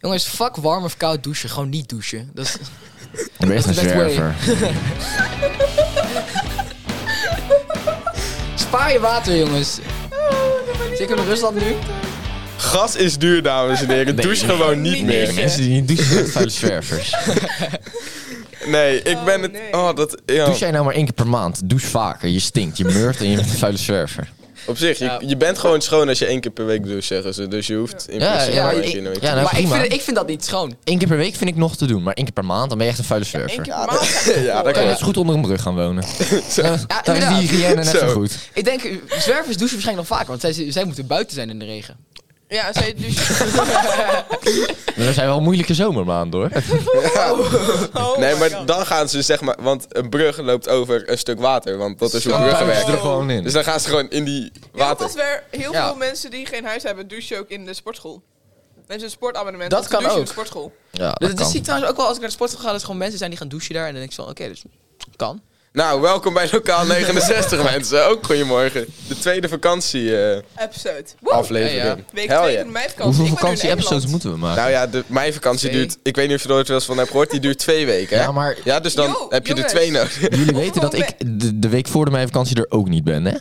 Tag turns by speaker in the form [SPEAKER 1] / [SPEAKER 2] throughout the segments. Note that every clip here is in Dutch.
[SPEAKER 1] Jongens, fuck warm of koud douchen. Gewoon niet douchen. Dat is,
[SPEAKER 2] Wees een
[SPEAKER 1] Dat werkt wel.
[SPEAKER 2] zwerver.
[SPEAKER 1] spaar je water, jongens. Zeker in Rusland nu.
[SPEAKER 3] Gas is duur, dames en heren.
[SPEAKER 2] Nee,
[SPEAKER 3] Douche
[SPEAKER 2] nee.
[SPEAKER 3] gewoon niet meer.
[SPEAKER 2] Mensen die niet douchen, dat zijn zwervers.
[SPEAKER 3] Nee, ik ben het... Oh, dat... Ja.
[SPEAKER 2] Douche jij nou maar één keer per maand. Douche vaker. Je stinkt, je murft en je bent een vuile zwerver.
[SPEAKER 3] Op zich,
[SPEAKER 1] Ja.
[SPEAKER 3] je, je bent gewoon schoon als je één keer per week doucht, zeggen ze. Dus je hoeft in
[SPEAKER 2] Ja,
[SPEAKER 3] principe
[SPEAKER 2] ja,
[SPEAKER 3] nooit
[SPEAKER 1] maar
[SPEAKER 3] je
[SPEAKER 1] ik-
[SPEAKER 2] Ja,
[SPEAKER 3] nooit-
[SPEAKER 2] nou
[SPEAKER 1] maar ik
[SPEAKER 2] prima.
[SPEAKER 1] vind, ik vind dat niet schoon.
[SPEAKER 2] Eén keer per week vind ik nog te doen, maar één keer per maand, dan ben je echt een vuile zwerver.
[SPEAKER 4] Eén keer
[SPEAKER 2] Dan
[SPEAKER 4] per maand.
[SPEAKER 3] Ja,
[SPEAKER 2] kan je
[SPEAKER 3] dat kan.
[SPEAKER 2] net zo goed onder een brug gaan wonen. Dan- dan is
[SPEAKER 1] inderdaad.
[SPEAKER 2] die hygiëne net zo,
[SPEAKER 3] Zo.
[SPEAKER 2] goed.
[SPEAKER 1] Ik denk, zwervers douchen waarschijnlijk nog vaker. Want zij, zij moeten buiten zijn in de regen.
[SPEAKER 4] Ja, zij dus.
[SPEAKER 2] Maar dat zijn wel moeilijke zomermaanden hoor.
[SPEAKER 4] Oh
[SPEAKER 3] Nee,
[SPEAKER 4] my
[SPEAKER 3] maar
[SPEAKER 4] God.
[SPEAKER 3] dan gaan ze zeg maar... Want een brug loopt over een stuk water. Want dat is hoe
[SPEAKER 4] Zo.
[SPEAKER 3] bruggen
[SPEAKER 2] Puilen ze
[SPEAKER 3] werken.
[SPEAKER 2] er gewoon in.
[SPEAKER 3] Dus dan gaan ze gewoon in die
[SPEAKER 4] Ja, want
[SPEAKER 3] water.
[SPEAKER 4] dat is weer heel
[SPEAKER 1] Ja.
[SPEAKER 4] veel mensen die geen huis hebben, douchen ook in de sportschool. Mensen een sportabonnement.
[SPEAKER 1] Dat
[SPEAKER 4] want ze
[SPEAKER 1] kan
[SPEAKER 4] douchen in
[SPEAKER 1] ook.
[SPEAKER 4] de sportschool.
[SPEAKER 2] Ja,
[SPEAKER 1] Dat,
[SPEAKER 2] dat
[SPEAKER 1] dat zie
[SPEAKER 2] kan.
[SPEAKER 1] ik trouwens ook wel als ik naar de sport ga. Dat er gewoon mensen zijn die gaan douchen daar. En dan denk ik zo, oké, dus kan.
[SPEAKER 3] Nou, welkom bij Lokaal 69, mensen. Ook goedemorgen. De tweede eh, vakantie-aflevering.
[SPEAKER 4] Episode. Woe!
[SPEAKER 1] Ja, ja.
[SPEAKER 4] Week
[SPEAKER 3] Hel
[SPEAKER 4] 2
[SPEAKER 3] ja.
[SPEAKER 4] van mijn
[SPEAKER 2] Hoeveel
[SPEAKER 4] vakantie. Ik ben nu in
[SPEAKER 2] vakantie-episodes
[SPEAKER 4] Engeland.
[SPEAKER 2] moeten we maken?
[SPEAKER 3] Nou ja, de, mijn vakantie
[SPEAKER 1] Twee.
[SPEAKER 3] duurt... Ik weet niet of je er ooit wel eens van hebt gehoord. Die duurt twee weken, hè?
[SPEAKER 2] Ja, maar-
[SPEAKER 3] Ja, dus dan
[SPEAKER 4] Yo,
[SPEAKER 3] heb je
[SPEAKER 4] jongens.
[SPEAKER 3] er twee nodig.
[SPEAKER 2] Jullie weten dat
[SPEAKER 4] Hoeveel
[SPEAKER 2] ik de, de week voor de meivakantie er ook niet ben, hè?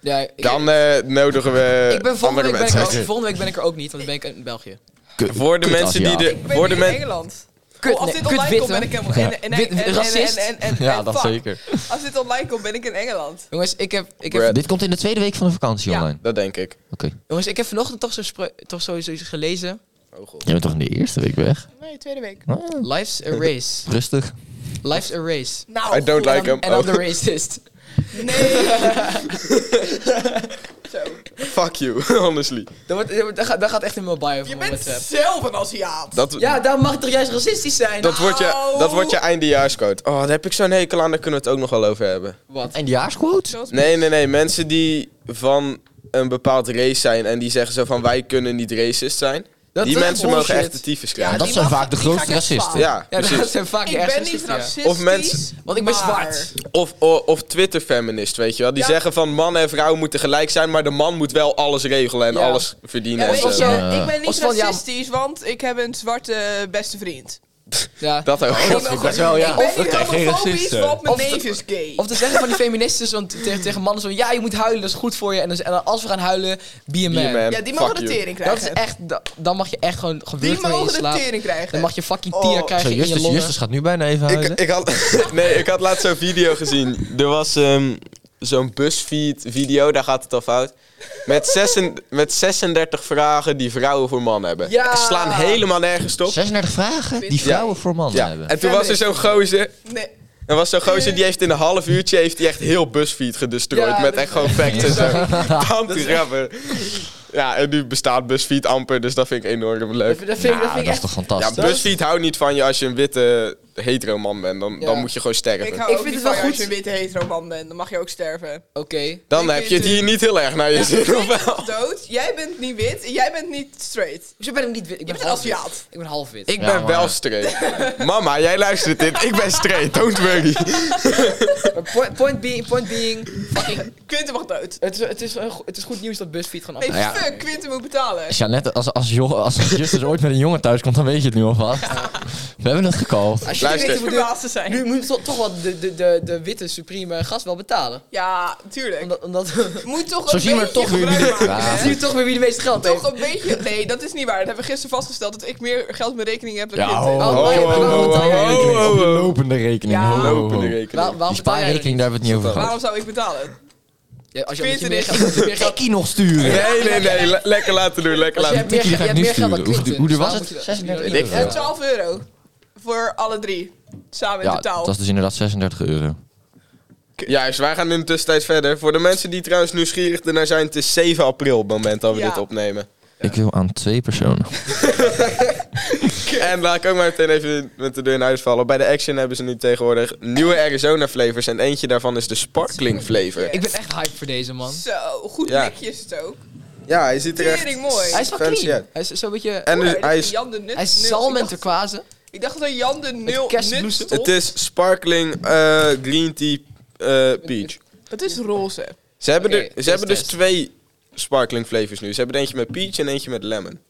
[SPEAKER 1] Ja, ik,
[SPEAKER 3] Dan eh, nodigen we
[SPEAKER 1] ik ben volgende,
[SPEAKER 3] andere
[SPEAKER 1] week ben ik,
[SPEAKER 3] mensen.
[SPEAKER 1] er ook, volgende week ben ik er ook niet. Want dan ben ik in België.
[SPEAKER 2] Kut-
[SPEAKER 3] Voor de
[SPEAKER 2] kut
[SPEAKER 3] mensen die
[SPEAKER 2] Aziaten.
[SPEAKER 3] de...
[SPEAKER 4] Ik ben
[SPEAKER 3] Voor de
[SPEAKER 4] nu in
[SPEAKER 3] men-
[SPEAKER 4] Engeland.
[SPEAKER 1] Kut,
[SPEAKER 4] Oh, als
[SPEAKER 1] nee,
[SPEAKER 4] dit
[SPEAKER 1] kut
[SPEAKER 4] online komt, ben
[SPEAKER 1] witte.
[SPEAKER 4] ik helemaal... En, en,
[SPEAKER 1] Wit-
[SPEAKER 4] en, en,
[SPEAKER 1] racist.
[SPEAKER 4] en- en- en-
[SPEAKER 2] Ja,
[SPEAKER 4] en
[SPEAKER 2] dat
[SPEAKER 4] fuck.
[SPEAKER 2] zeker.
[SPEAKER 4] Als dit online komt, ben ik in Engeland.
[SPEAKER 1] Jongens, ik heb, ik heb
[SPEAKER 3] Brad.
[SPEAKER 2] Dit komt in de tweede week van de vakantie
[SPEAKER 1] Ja.
[SPEAKER 2] online.
[SPEAKER 3] Dat denk ik.
[SPEAKER 2] Oké.
[SPEAKER 1] Jongens, ik heb vanochtend toch, zo spre- toch sowieso iets gelezen.
[SPEAKER 3] Oh god.
[SPEAKER 2] Je bent toch in de eerste week weg?
[SPEAKER 4] Nee, tweede week.
[SPEAKER 2] Ah,
[SPEAKER 1] Life's a race.
[SPEAKER 2] rustig.
[SPEAKER 1] Life's a race.
[SPEAKER 4] Nou,
[SPEAKER 3] I don't
[SPEAKER 4] goed.
[SPEAKER 3] like him.
[SPEAKER 1] En
[SPEAKER 3] Oh,
[SPEAKER 1] dan de racist.
[SPEAKER 4] Nee. Zo.
[SPEAKER 3] fuck you, honestly.
[SPEAKER 1] Dat, wordt, dat, wordt- dat gaat, dat gaat echt in mijn bio
[SPEAKER 4] Je
[SPEAKER 1] van mijn
[SPEAKER 4] bent
[SPEAKER 1] WhatsApp.
[SPEAKER 4] zelf een Aziat.
[SPEAKER 3] Dat,
[SPEAKER 1] Ja, daar mag ik toch juist racistisch zijn?
[SPEAKER 3] dat, wordt je,
[SPEAKER 4] Nou.
[SPEAKER 3] dat wordt je eindejaarsquote. Oh, daar heb ik zo'n hekel aan. Daar kunnen we het ook nog wel over hebben.
[SPEAKER 1] Wat?
[SPEAKER 2] En de jaarsquote?
[SPEAKER 3] Nee, nee, nee. Mensen die van een bepaald race zijn en die zeggen zo van wij kunnen niet racist zijn.
[SPEAKER 1] Dat
[SPEAKER 3] die
[SPEAKER 1] is
[SPEAKER 3] mensen
[SPEAKER 1] bullshit.
[SPEAKER 3] mogen echt de tyfus krijgen.
[SPEAKER 2] dat
[SPEAKER 4] die
[SPEAKER 2] zijn
[SPEAKER 4] mag-
[SPEAKER 2] vaak de
[SPEAKER 4] die
[SPEAKER 2] grootste
[SPEAKER 4] ga ik echt
[SPEAKER 2] racisten.
[SPEAKER 4] slaan.
[SPEAKER 3] Ja,
[SPEAKER 1] Ja, dat
[SPEAKER 3] precies.
[SPEAKER 1] zijn vaak
[SPEAKER 4] Ik
[SPEAKER 1] ergens
[SPEAKER 4] ben niet racistisch.
[SPEAKER 3] Of mensen-
[SPEAKER 1] Want ik ben
[SPEAKER 4] maar-
[SPEAKER 1] zwart.
[SPEAKER 3] Of, o- of Twitter-feminist, weet je wel. Die
[SPEAKER 4] Ja.
[SPEAKER 3] zeggen van man en vrouw moeten gelijk zijn, maar de man moet wel alles regelen en
[SPEAKER 1] Ja.
[SPEAKER 3] alles verdienen.
[SPEAKER 4] Ja,
[SPEAKER 3] en
[SPEAKER 4] weet
[SPEAKER 3] zo.
[SPEAKER 4] je,
[SPEAKER 2] Ja.
[SPEAKER 4] Ik ben
[SPEAKER 1] Of
[SPEAKER 4] niet
[SPEAKER 1] van, ja,
[SPEAKER 4] racistisch, want ik heb een zwarte beste vriend.
[SPEAKER 1] Ja.
[SPEAKER 3] Oh, Dat ook.
[SPEAKER 1] vind ik best wel, ja.
[SPEAKER 4] Ik ben
[SPEAKER 2] dat
[SPEAKER 4] niet
[SPEAKER 2] krijg je geen
[SPEAKER 4] homofobisch,
[SPEAKER 2] racisten.
[SPEAKER 4] want mijn
[SPEAKER 1] Of de-
[SPEAKER 4] neef is gay.
[SPEAKER 1] Of te zeggen van die feministes want tegen, tegen mannen zo... Ja, je moet huilen, dat is goed voor je. En, dan, en dan als we gaan huilen, be a man.
[SPEAKER 3] Be a man.
[SPEAKER 4] ja, die mogen
[SPEAKER 3] Fuck
[SPEAKER 4] de
[SPEAKER 3] you.
[SPEAKER 4] tering
[SPEAKER 1] Dat
[SPEAKER 4] krijgen.
[SPEAKER 1] is echt... da- dan mag je echt gewoon
[SPEAKER 4] die
[SPEAKER 1] gewurgd worden in je
[SPEAKER 4] mogen de
[SPEAKER 1] slaap.
[SPEAKER 4] tering krijgen.
[SPEAKER 1] Dan mag je fucking
[SPEAKER 4] Oh.
[SPEAKER 1] tier krijgen
[SPEAKER 2] Zo,
[SPEAKER 1] in je
[SPEAKER 2] Justus,
[SPEAKER 1] longen.
[SPEAKER 2] Justus gaat nu bijna even huilen.
[SPEAKER 3] Ik, ik, had, nee, ik had laatst zo'n video gezien. Er was ehm, zo'n BuzzFeed-video, daar gaat het al fout. Met, zessen- met 36 vragen die vrouwen voor mannen hebben.
[SPEAKER 1] Ja!
[SPEAKER 3] Ze slaan helemaal nergens op.
[SPEAKER 2] 36 vragen die vrouwen voor mannen
[SPEAKER 3] Ja.
[SPEAKER 2] hebben.
[SPEAKER 3] En toen was er zo'n gozer.
[SPEAKER 4] Nee.
[SPEAKER 3] Er was zo'n gozer die heeft in een half uurtje heeft die echt heel BuzzFeed gedestrooid.
[SPEAKER 1] Ja,
[SPEAKER 3] met
[SPEAKER 1] dat-
[SPEAKER 3] echt gewoon facts en zo. Tante grappen. Ja, en nu bestaat BuzzFeed amper, dus dat vind ik enorm
[SPEAKER 1] Dat
[SPEAKER 3] leuk.
[SPEAKER 1] vind, dat vind ik- dat
[SPEAKER 2] Ah,
[SPEAKER 1] vind
[SPEAKER 2] dat
[SPEAKER 1] ik
[SPEAKER 2] is
[SPEAKER 1] echt...
[SPEAKER 2] toch
[SPEAKER 3] Ja,
[SPEAKER 2] fantastisch?
[SPEAKER 3] BuzzFeed houdt niet van je als je een witte hetero man bent. Dan, dan
[SPEAKER 1] Ja.
[SPEAKER 3] moet je gewoon sterven.
[SPEAKER 4] Ik hou
[SPEAKER 1] Ik
[SPEAKER 4] ook
[SPEAKER 1] vind
[SPEAKER 4] niet
[SPEAKER 1] het wel
[SPEAKER 4] van jou
[SPEAKER 1] goed.
[SPEAKER 4] als je een witte hetero man bent. Dan mag je ook sterven.
[SPEAKER 1] Oké.
[SPEAKER 3] Dan
[SPEAKER 4] Ik
[SPEAKER 3] heb
[SPEAKER 4] weet
[SPEAKER 3] je het hier niet heel erg naar je zin, of wel?
[SPEAKER 4] Dood, jij bent niet wit en jij bent niet straight.
[SPEAKER 1] Hoezo ben ik niet wit? Ik ben
[SPEAKER 4] bent een
[SPEAKER 1] half wit.
[SPEAKER 4] Aziat.
[SPEAKER 1] Ik ben half wit.
[SPEAKER 3] Ik
[SPEAKER 2] Ja,
[SPEAKER 3] ben
[SPEAKER 2] maar-
[SPEAKER 3] wel straight. Mama, jij luistert dit. Ik ben straight, don't worry.
[SPEAKER 2] Oh.
[SPEAKER 1] Maar point, point being, point being fucking,
[SPEAKER 4] Quinten mag dood.
[SPEAKER 1] het, is, het, is, een go- het is goed nieuws dat BuzzFeed gaan
[SPEAKER 4] Nee,
[SPEAKER 1] af.
[SPEAKER 2] Nou ja.
[SPEAKER 4] fuck, Quinten moet betalen.
[SPEAKER 2] Jeannette, als, als, jo- als Justus ooit met een jongen thuis komt, dan weet je het nu alvast. We hebben het
[SPEAKER 1] Als
[SPEAKER 2] gekald.
[SPEAKER 1] je dit
[SPEAKER 3] Luister.
[SPEAKER 1] weet, dan
[SPEAKER 4] Ik moet
[SPEAKER 1] moet
[SPEAKER 4] de
[SPEAKER 1] je-
[SPEAKER 4] laatste zijn.
[SPEAKER 1] nu moet je toch, toch wel de, de, de, de witte supreme gast wel betalen.
[SPEAKER 4] Ja, tuurlijk.
[SPEAKER 1] Omdat, omdat
[SPEAKER 4] Moet toch
[SPEAKER 2] Zo
[SPEAKER 4] een
[SPEAKER 2] zien we
[SPEAKER 4] beetje
[SPEAKER 2] er toch weer
[SPEAKER 4] gebruik
[SPEAKER 2] niet-
[SPEAKER 4] maken,
[SPEAKER 2] Ja.
[SPEAKER 4] hè?
[SPEAKER 1] zie je toch weer wie de meeste geld heeft.
[SPEAKER 4] Toch een beetje... Nee, dat is niet waar. Dat hebben we gisteren vastgesteld. Dat ik meer geld op mijn rekening heb dan
[SPEAKER 2] Ja,
[SPEAKER 4] Quinten.
[SPEAKER 2] ho,
[SPEAKER 1] Oh,
[SPEAKER 2] ho,
[SPEAKER 1] nee,
[SPEAKER 2] ho,
[SPEAKER 1] maar dan
[SPEAKER 2] ho,
[SPEAKER 1] moet
[SPEAKER 2] ho,
[SPEAKER 1] hij-
[SPEAKER 2] ho,
[SPEAKER 3] Oh,
[SPEAKER 2] ho,
[SPEAKER 3] oh,
[SPEAKER 2] ho.
[SPEAKER 3] oh.
[SPEAKER 2] Lopende rekening.
[SPEAKER 4] Ja.
[SPEAKER 2] ho, ho, ho.
[SPEAKER 3] Lopende
[SPEAKER 4] Nou,
[SPEAKER 1] Waar,
[SPEAKER 3] rekening.
[SPEAKER 1] waarom
[SPEAKER 2] Die
[SPEAKER 1] betaal jij
[SPEAKER 2] spaarrekening,
[SPEAKER 1] dat
[SPEAKER 2] daar hebben we het niet over gehad.
[SPEAKER 4] Waarom zou ik betalen?
[SPEAKER 1] niet? Ja, als je, als je
[SPEAKER 4] Quinten
[SPEAKER 1] meer
[SPEAKER 4] is-
[SPEAKER 1] geld, als je meer geld,
[SPEAKER 2] Gekkie nog sturen.
[SPEAKER 3] Nee, nee, nee. le- lekker laten doen, lekker
[SPEAKER 1] als je
[SPEAKER 3] laten
[SPEAKER 1] hebt meer,
[SPEAKER 3] doen.
[SPEAKER 2] tikkie
[SPEAKER 1] je
[SPEAKER 2] ga ik
[SPEAKER 1] hebt
[SPEAKER 2] nu
[SPEAKER 1] meer geld dan
[SPEAKER 2] sturen. Hoe-
[SPEAKER 1] Quinten. dus
[SPEAKER 2] hoe duur was
[SPEAKER 1] Waarom moet
[SPEAKER 2] het?
[SPEAKER 1] je dat-
[SPEAKER 2] 36
[SPEAKER 1] moet je dat-
[SPEAKER 3] euro.
[SPEAKER 4] En
[SPEAKER 2] Ja.
[SPEAKER 4] 12 euro. Voor alle drie. Samen in
[SPEAKER 2] Ja,
[SPEAKER 4] totaal.
[SPEAKER 2] dat is dus inderdaad 36 euro.
[SPEAKER 3] Juist, wij gaan in de tussentijd verder. Voor de mensen die trouwens nieuwsgierig ernaar zijn, het is 7 april het moment dat we
[SPEAKER 4] Ja.
[SPEAKER 3] dit opnemen.
[SPEAKER 2] Ik wil aan twee personen.
[SPEAKER 3] En laat ik ook maar meteen even met de deur in huis vallen. Bij de Action hebben ze nu tegenwoordig nieuwe Arizona flavors. En eentje daarvan is de sparkling flavor.
[SPEAKER 1] Ik ben echt hype voor deze man.
[SPEAKER 4] Zo, goed
[SPEAKER 3] Ja.
[SPEAKER 4] blikje is het ook.
[SPEAKER 3] Ja, hij ziet er echt...
[SPEAKER 4] Tering mooi.
[SPEAKER 1] Hij is wel
[SPEAKER 3] Fancy,
[SPEAKER 1] clean.
[SPEAKER 3] ja.
[SPEAKER 1] Hij is zo'n beetje...
[SPEAKER 3] En dus,
[SPEAKER 4] Oeh,
[SPEAKER 3] hij
[SPEAKER 4] dat
[SPEAKER 3] is
[SPEAKER 4] Jan de Nut.
[SPEAKER 1] Hij is
[SPEAKER 4] Nul.
[SPEAKER 1] zalm en
[SPEAKER 4] Ik dacht-
[SPEAKER 1] turquoise.
[SPEAKER 4] Ik dacht dat Jan de Nul
[SPEAKER 1] kerstbloesem.
[SPEAKER 4] Nut.
[SPEAKER 3] Het is sparkling eh, green tea eh, peach.
[SPEAKER 4] Het is roze.
[SPEAKER 3] Ze hebben,
[SPEAKER 1] Oké,
[SPEAKER 3] er,
[SPEAKER 1] test,
[SPEAKER 3] ze hebben dus
[SPEAKER 1] test.
[SPEAKER 3] twee sparkling flavors nu. Ze hebben er eentje met peach en eentje met lemon.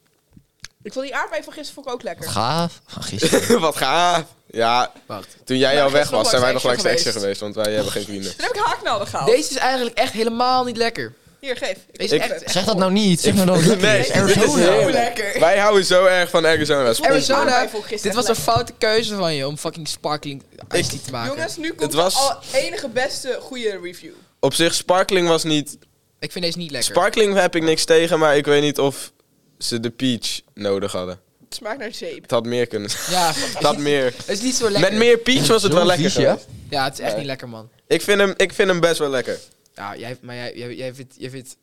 [SPEAKER 4] Ik vond die aardbei van gisteren vond ik ook lekker.
[SPEAKER 2] Gaaf. Ah, gisteren.
[SPEAKER 3] Wat gaaf. Ja,
[SPEAKER 1] Wacht.
[SPEAKER 3] toen jij
[SPEAKER 4] Ja,
[SPEAKER 3] al weg
[SPEAKER 4] gisteren
[SPEAKER 3] was, zijn wij nog langs de
[SPEAKER 4] geweest.
[SPEAKER 3] extra geweest, want wij hebben geen vrienden.
[SPEAKER 4] Toen heb ik haaknalden gehaald.
[SPEAKER 1] Deze is eigenlijk echt helemaal niet lekker.
[SPEAKER 4] Hier, geef.
[SPEAKER 1] Deze
[SPEAKER 4] wil
[SPEAKER 1] is
[SPEAKER 4] het.
[SPEAKER 1] echt-
[SPEAKER 2] Zeg dat nou niet. Zeg nou dat het lekker
[SPEAKER 3] Nee,
[SPEAKER 2] is.
[SPEAKER 3] dit is
[SPEAKER 2] Arizona.
[SPEAKER 4] Zo
[SPEAKER 3] heerlijk.
[SPEAKER 4] lekker.
[SPEAKER 3] Wij houden zo erg van Arizona.
[SPEAKER 4] Arizona-
[SPEAKER 3] Sponsor.
[SPEAKER 1] Arizona,
[SPEAKER 4] aardbei vond ik
[SPEAKER 1] dit
[SPEAKER 4] gisteren
[SPEAKER 1] was een
[SPEAKER 4] echt
[SPEAKER 1] foute keuze van je om fucking sparkling iced tea te maken.
[SPEAKER 4] Jongens, nu komt
[SPEAKER 3] Het was-
[SPEAKER 4] de al- enige beste goede review.
[SPEAKER 3] Op zich, Sparkling was niet...
[SPEAKER 1] ik vind deze niet lekker.
[SPEAKER 3] Sparkling heb ik niks tegen, maar ik weet niet of ze de peach nodig hadden.
[SPEAKER 4] Het smaakt naar zeep.
[SPEAKER 3] Het had meer kunnen zijn.
[SPEAKER 1] ja,
[SPEAKER 3] Het had meer.
[SPEAKER 1] het is niet zo lekker.
[SPEAKER 3] Met meer peach was het
[SPEAKER 2] Zo
[SPEAKER 3] wel lekker.
[SPEAKER 2] vies, ja?
[SPEAKER 3] geweest.
[SPEAKER 1] Ja, het is echt
[SPEAKER 3] Nee.
[SPEAKER 1] niet lekker, man.
[SPEAKER 3] Ik vind, hem, ik vind hem best wel lekker.
[SPEAKER 1] Ja, jij, maar jij, jij, jij vindt, jij vindt...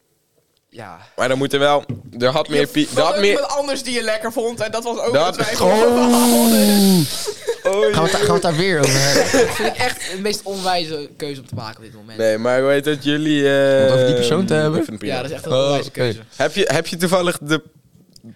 [SPEAKER 1] Ja.
[SPEAKER 3] Maar dan moet er wel... Er had meer
[SPEAKER 4] Je
[SPEAKER 3] peach...
[SPEAKER 4] vond
[SPEAKER 3] Er had
[SPEAKER 4] ook
[SPEAKER 3] meer...
[SPEAKER 4] iemand anders die je lekker vond en dat was ook
[SPEAKER 3] Dat-
[SPEAKER 4] dat wij
[SPEAKER 2] Oh.
[SPEAKER 3] Oh,
[SPEAKER 2] Gaan we, het, daar- gaan we het daar weer over hebben?
[SPEAKER 1] Dat vind ik echt de meest onwijze keuze om te maken op dit moment.
[SPEAKER 3] Nee, maar hoe heet dat jullie... eh,
[SPEAKER 2] Om het over die persoon te hebben?
[SPEAKER 3] ik vind het
[SPEAKER 1] Ja,
[SPEAKER 3] prima.
[SPEAKER 1] dat is echt een
[SPEAKER 2] Oh,
[SPEAKER 1] onwijze
[SPEAKER 2] oké.
[SPEAKER 1] keuze.
[SPEAKER 3] heb, je, heb je toevallig de